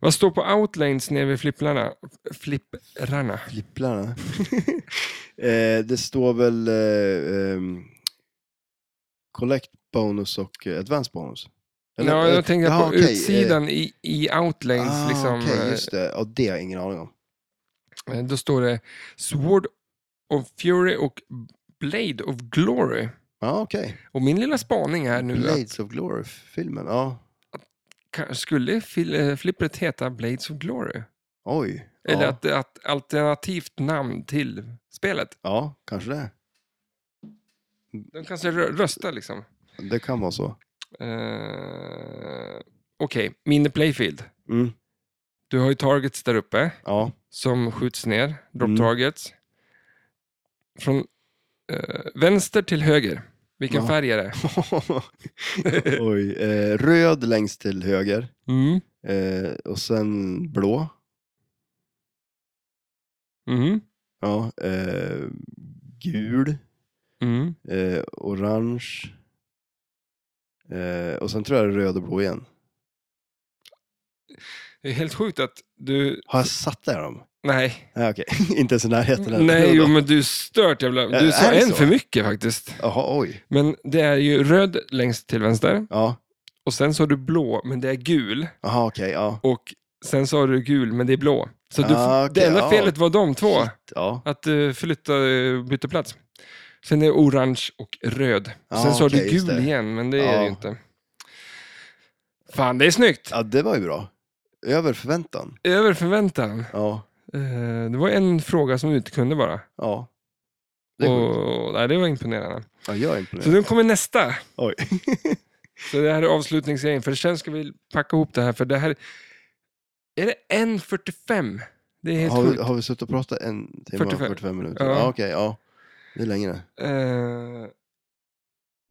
A: Vad står på outlanes nere vid flipplarna? Flipprarna?
B: flipplarna. eh, det står väl eh, ehm, collect bonus och eh, advance bonus. Eller-
A: ja,
B: eller-
A: jag tänkte
B: Jaha,
A: på
B: okej, eh,
A: utsidan i, i outlanes.
B: Ah,
A: liksom,
B: Okej, just det. Ja, det har jag ingen aning om.
A: eh, Då står det Sword of Fury och Blade of Glory.
B: Ja, okej.
A: Och min lilla spaning är nu att
B: Blades of Glory-filmen, ja.
A: ka- skulle fil- eh, flippret heta Blades of Glory?
B: Oj.
A: Eller
B: ja.
A: att, att alternativt namn till spelet.
B: ja, kanske det.
A: De kanske rö- röstar liksom.
B: Det kan vara så.
A: Eh, Okej, Mini Playfield.
B: Mm.
A: Du har ju targets där uppe.
B: Ja,
A: som skjuts ner, drop
B: Mm.
A: targets. Från eh, vänster till höger. Vilken
B: Ja.
A: färg är det?
B: Oj, eh, röd längst till höger
A: Mm.
B: eh, och sen blå.
A: Mm.
B: Ja, eh, gul,
A: Mm.
B: eh, orange eh, och sen tror jag det är röd och blå igen.
A: Det är helt sjukt att du...
B: Har jag satt där dem?
A: Nej,
B: Nej, okej. Inte ens i närheten. heller.
A: Nej
B: Jo
A: jo,
B: då.
A: men du är stört jävla... Du
B: Är
A: sa
B: det
A: en
B: så?
A: för mycket faktiskt.
B: Jaha, oj.
A: Men det är ju röd längst till vänster.
B: Ja,
A: Och sen så har du blå, men det är gul.
B: jaha okej. ja.
A: Och sen så har du gul, men det är blå. Så du,
B: Ah, okej,
A: det enda
B: ja.
A: felet var de två.
B: ja.
A: Att uh, flytta, eh, byta plats. Sen är orange och röd.
B: Ja,
A: Sen så har du
B: okej, just
A: gul
B: det.
A: igen, men det är
B: Ja.
A: det ju inte. Fan, det är snyggt!
B: Ja, det var ju bra. Över förväntan.
A: Över förväntan.
B: Ja,
A: Eh, det var en fråga som du inte kunde bara.
B: ja. Det är sjukt.
A: Och, nej, det var imponerande.
B: ja, jag är
A: Så
B: imponerad.
A: nu kommer nästa.
B: Oj.
A: Så det här är avslutningsgrejen. För sen ska vi packa ihop det här, för det här... Är det 1.45? Det är helt
B: Har vi,
A: sjukt.
B: har vi suttit och pratat en timme
A: 45.
B: och 45 minuter?
A: Ja.
B: Ja, okej. ja. Det är längre.
A: Eh,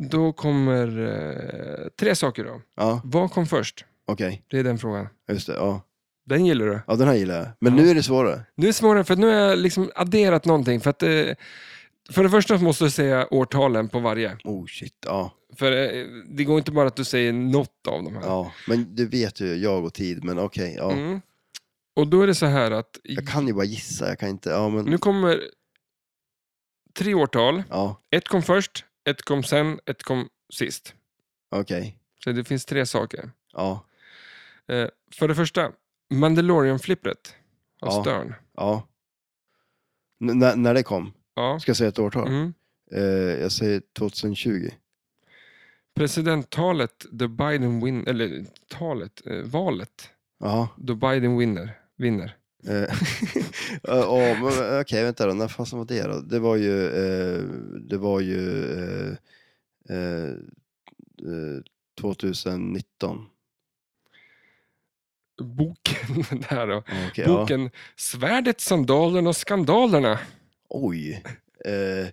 A: då kommer eh, tre saker då.
B: Ja,
A: Vad kom först?
B: okej.
A: Det är den frågan.
B: Just det. Ja.
A: Den gillar du.
B: ja, den här gillar jag. Men
A: Ja.
B: nu är det svårare.
A: Nu är svårare, för att nu har jag liksom adderat någonting. För, att, eh, för det första måste du säga årtalen på varje.
B: Oh shit, ja.
A: För eh, det går inte bara att du säger något av de här.
B: ja. Men du vet ju, jag och tid, men okej. ja.
A: Mm. Och då är det så här att
B: Jag kan ju bara gissa, jag kan inte... Ja, men...
A: nu kommer tre årtal.
B: Ja,
A: Ett kom först, ett kom sen, ett kom sist.
B: okej.
A: Så det finns tre saker.
B: Ja,
A: Eh, för det första, Mandalorian-flippret av
B: Ja.
A: Stern.
B: ja. N- när- när det kom?
A: Ja.
B: Ska jag säga ett årtal?
A: Mm.
B: Eh, jag säger 2020.
A: Presidenttalet, the Biden win, eller talet, eh, valet,
B: Ja.
A: då Biden winner, vinner.
B: Eh, eh, ja, men, Okej, vänta då. När fasen var det då? Det var ju... Eh, det var ju... Eh, eh, eh, 2019.
A: boken där då.
B: Okej, ja.
A: Boken Svärdet, sandalen och skandalerna.
B: Oj. Eh,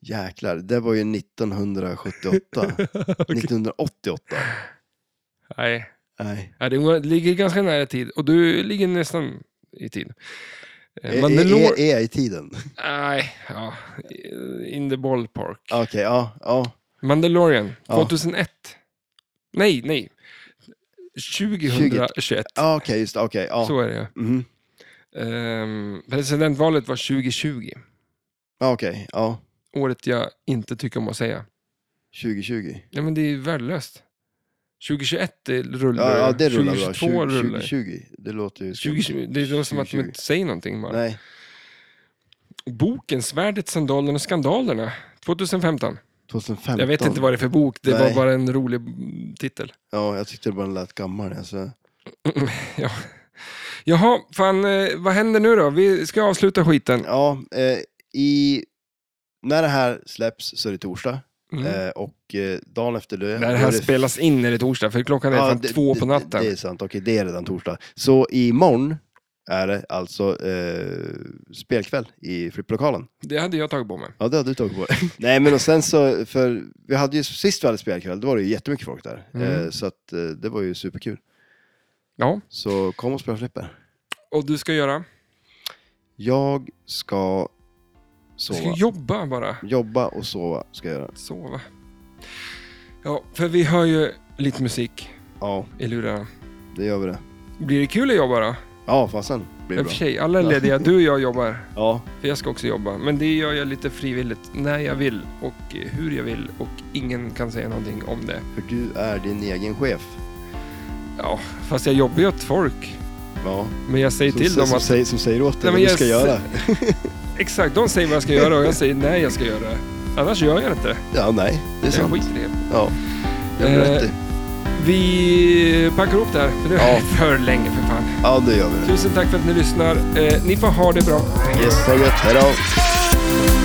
B: jäklar, det var ju 1978. 1988.
A: Nej,
B: Nej.
A: ja, det går- ligger ganska nära i tid och du ligger nästan i tid. Eh,
B: Är-
A: Mandalor-
B: Är är jag i tiden?
A: Nej, ja. eh, In the ballpark.
B: Okej, ja. ja.
A: Mandalorian,
B: Ja.
A: 2001. Nej, nej. 2021.
B: ja Okej, just det. Okej, ja.
A: Så är det ja.
B: Mhm.
A: Ehm, presidentvalet var 2020.
B: Ja, Okej, ja.
A: Året jag inte tycker om att säga.
B: 2020.
A: Ja, men det är ju värdelöst. 2021 det rullar.
B: Ja, ja, det rullar
A: 2022
B: bra. 20,
A: rullar.
B: 2020, det låter ju...
A: 2020, det är som att man
B: 2020.
A: inte säger någonting bara.
B: Nej,
A: Boken Svärdet, sandalen och skandalerna. 2015.
B: 2015.
A: Jag vet inte vad det är för bok, det
B: Nej.
A: var bara en rolig mm, titel.
B: Ja, jag tyckte det bara lät gammal. Alltså.
A: Jaha, fan, eh, vad händer nu då? Vi ska avsluta skiten.
B: Ja, eh, i... När det här släpps så är det torsdag.
A: Mm.
B: Eh, och eh, dagen efter det...
A: När det
B: då
A: här
B: är det-
A: spelas in är det torsdag, för klockan är fan
B: det-
A: två på
B: det-
A: natten.
B: Det, är sant, okej det är redan torsdag. Så imorgon är det alltså eh, spelkväll i flipplokalen.
A: Det hade jag tagit på mig.
B: Ja, det hade du tagit på dig. Nej, men och sen så, för vi hade ju, sist vi hade spelkväll, då var det ju jättemycket folk där.
A: Mm.
B: Eh, så att eh, det var ju superkul.
A: Ja,
B: Så kom och spela flipper.
A: och du ska göra?
B: Jag ska
A: Du
B: sova.
A: ska jobba bara.
B: Jobba och sova ska jag göra.
A: Sova. Ja, för vi hör ju lite musik
B: Ja,
A: i lurarna.
B: det gör vi det.
A: Blir det kul att jobba då?
B: Ja, fasen.
A: I
B: Blir det
A: och
B: bra.
A: för sig, alla är lediga. Du och jag jobbar.
B: Ja,
A: För jag ska också jobba. Men det gör jag lite frivilligt. När jag vill och hur jag vill. Och ingen kan säga någonting om det.
B: för du är din egen chef.
A: Ja, fast jag jobbar ju åt folk.
B: Ja,
A: Men jag säger
B: som,
A: till
B: som,
A: dem
B: som,
A: att...
B: säger, som säger åt
A: Nej,
B: dig vad
A: men
B: du
A: jag
B: ska
A: s-
B: göra.
A: Exakt, de säger vad jag ska göra och jag säger när jag ska göra det. Annars gör jag inte det.
B: Ja, nej, det är
A: Jag
B: sant.
A: skiter i det.
B: Ja, det har du
A: Eh.
B: rätt i.
A: Vi packar upp det här, för det är
B: Ja.
A: för länge för fan.
B: Ja, det gör vi.
A: Tusen tack för att ni lyssnar. Eh, ni får ha det bra.
B: Yes, ha det gött. Hej då.
C: Bye.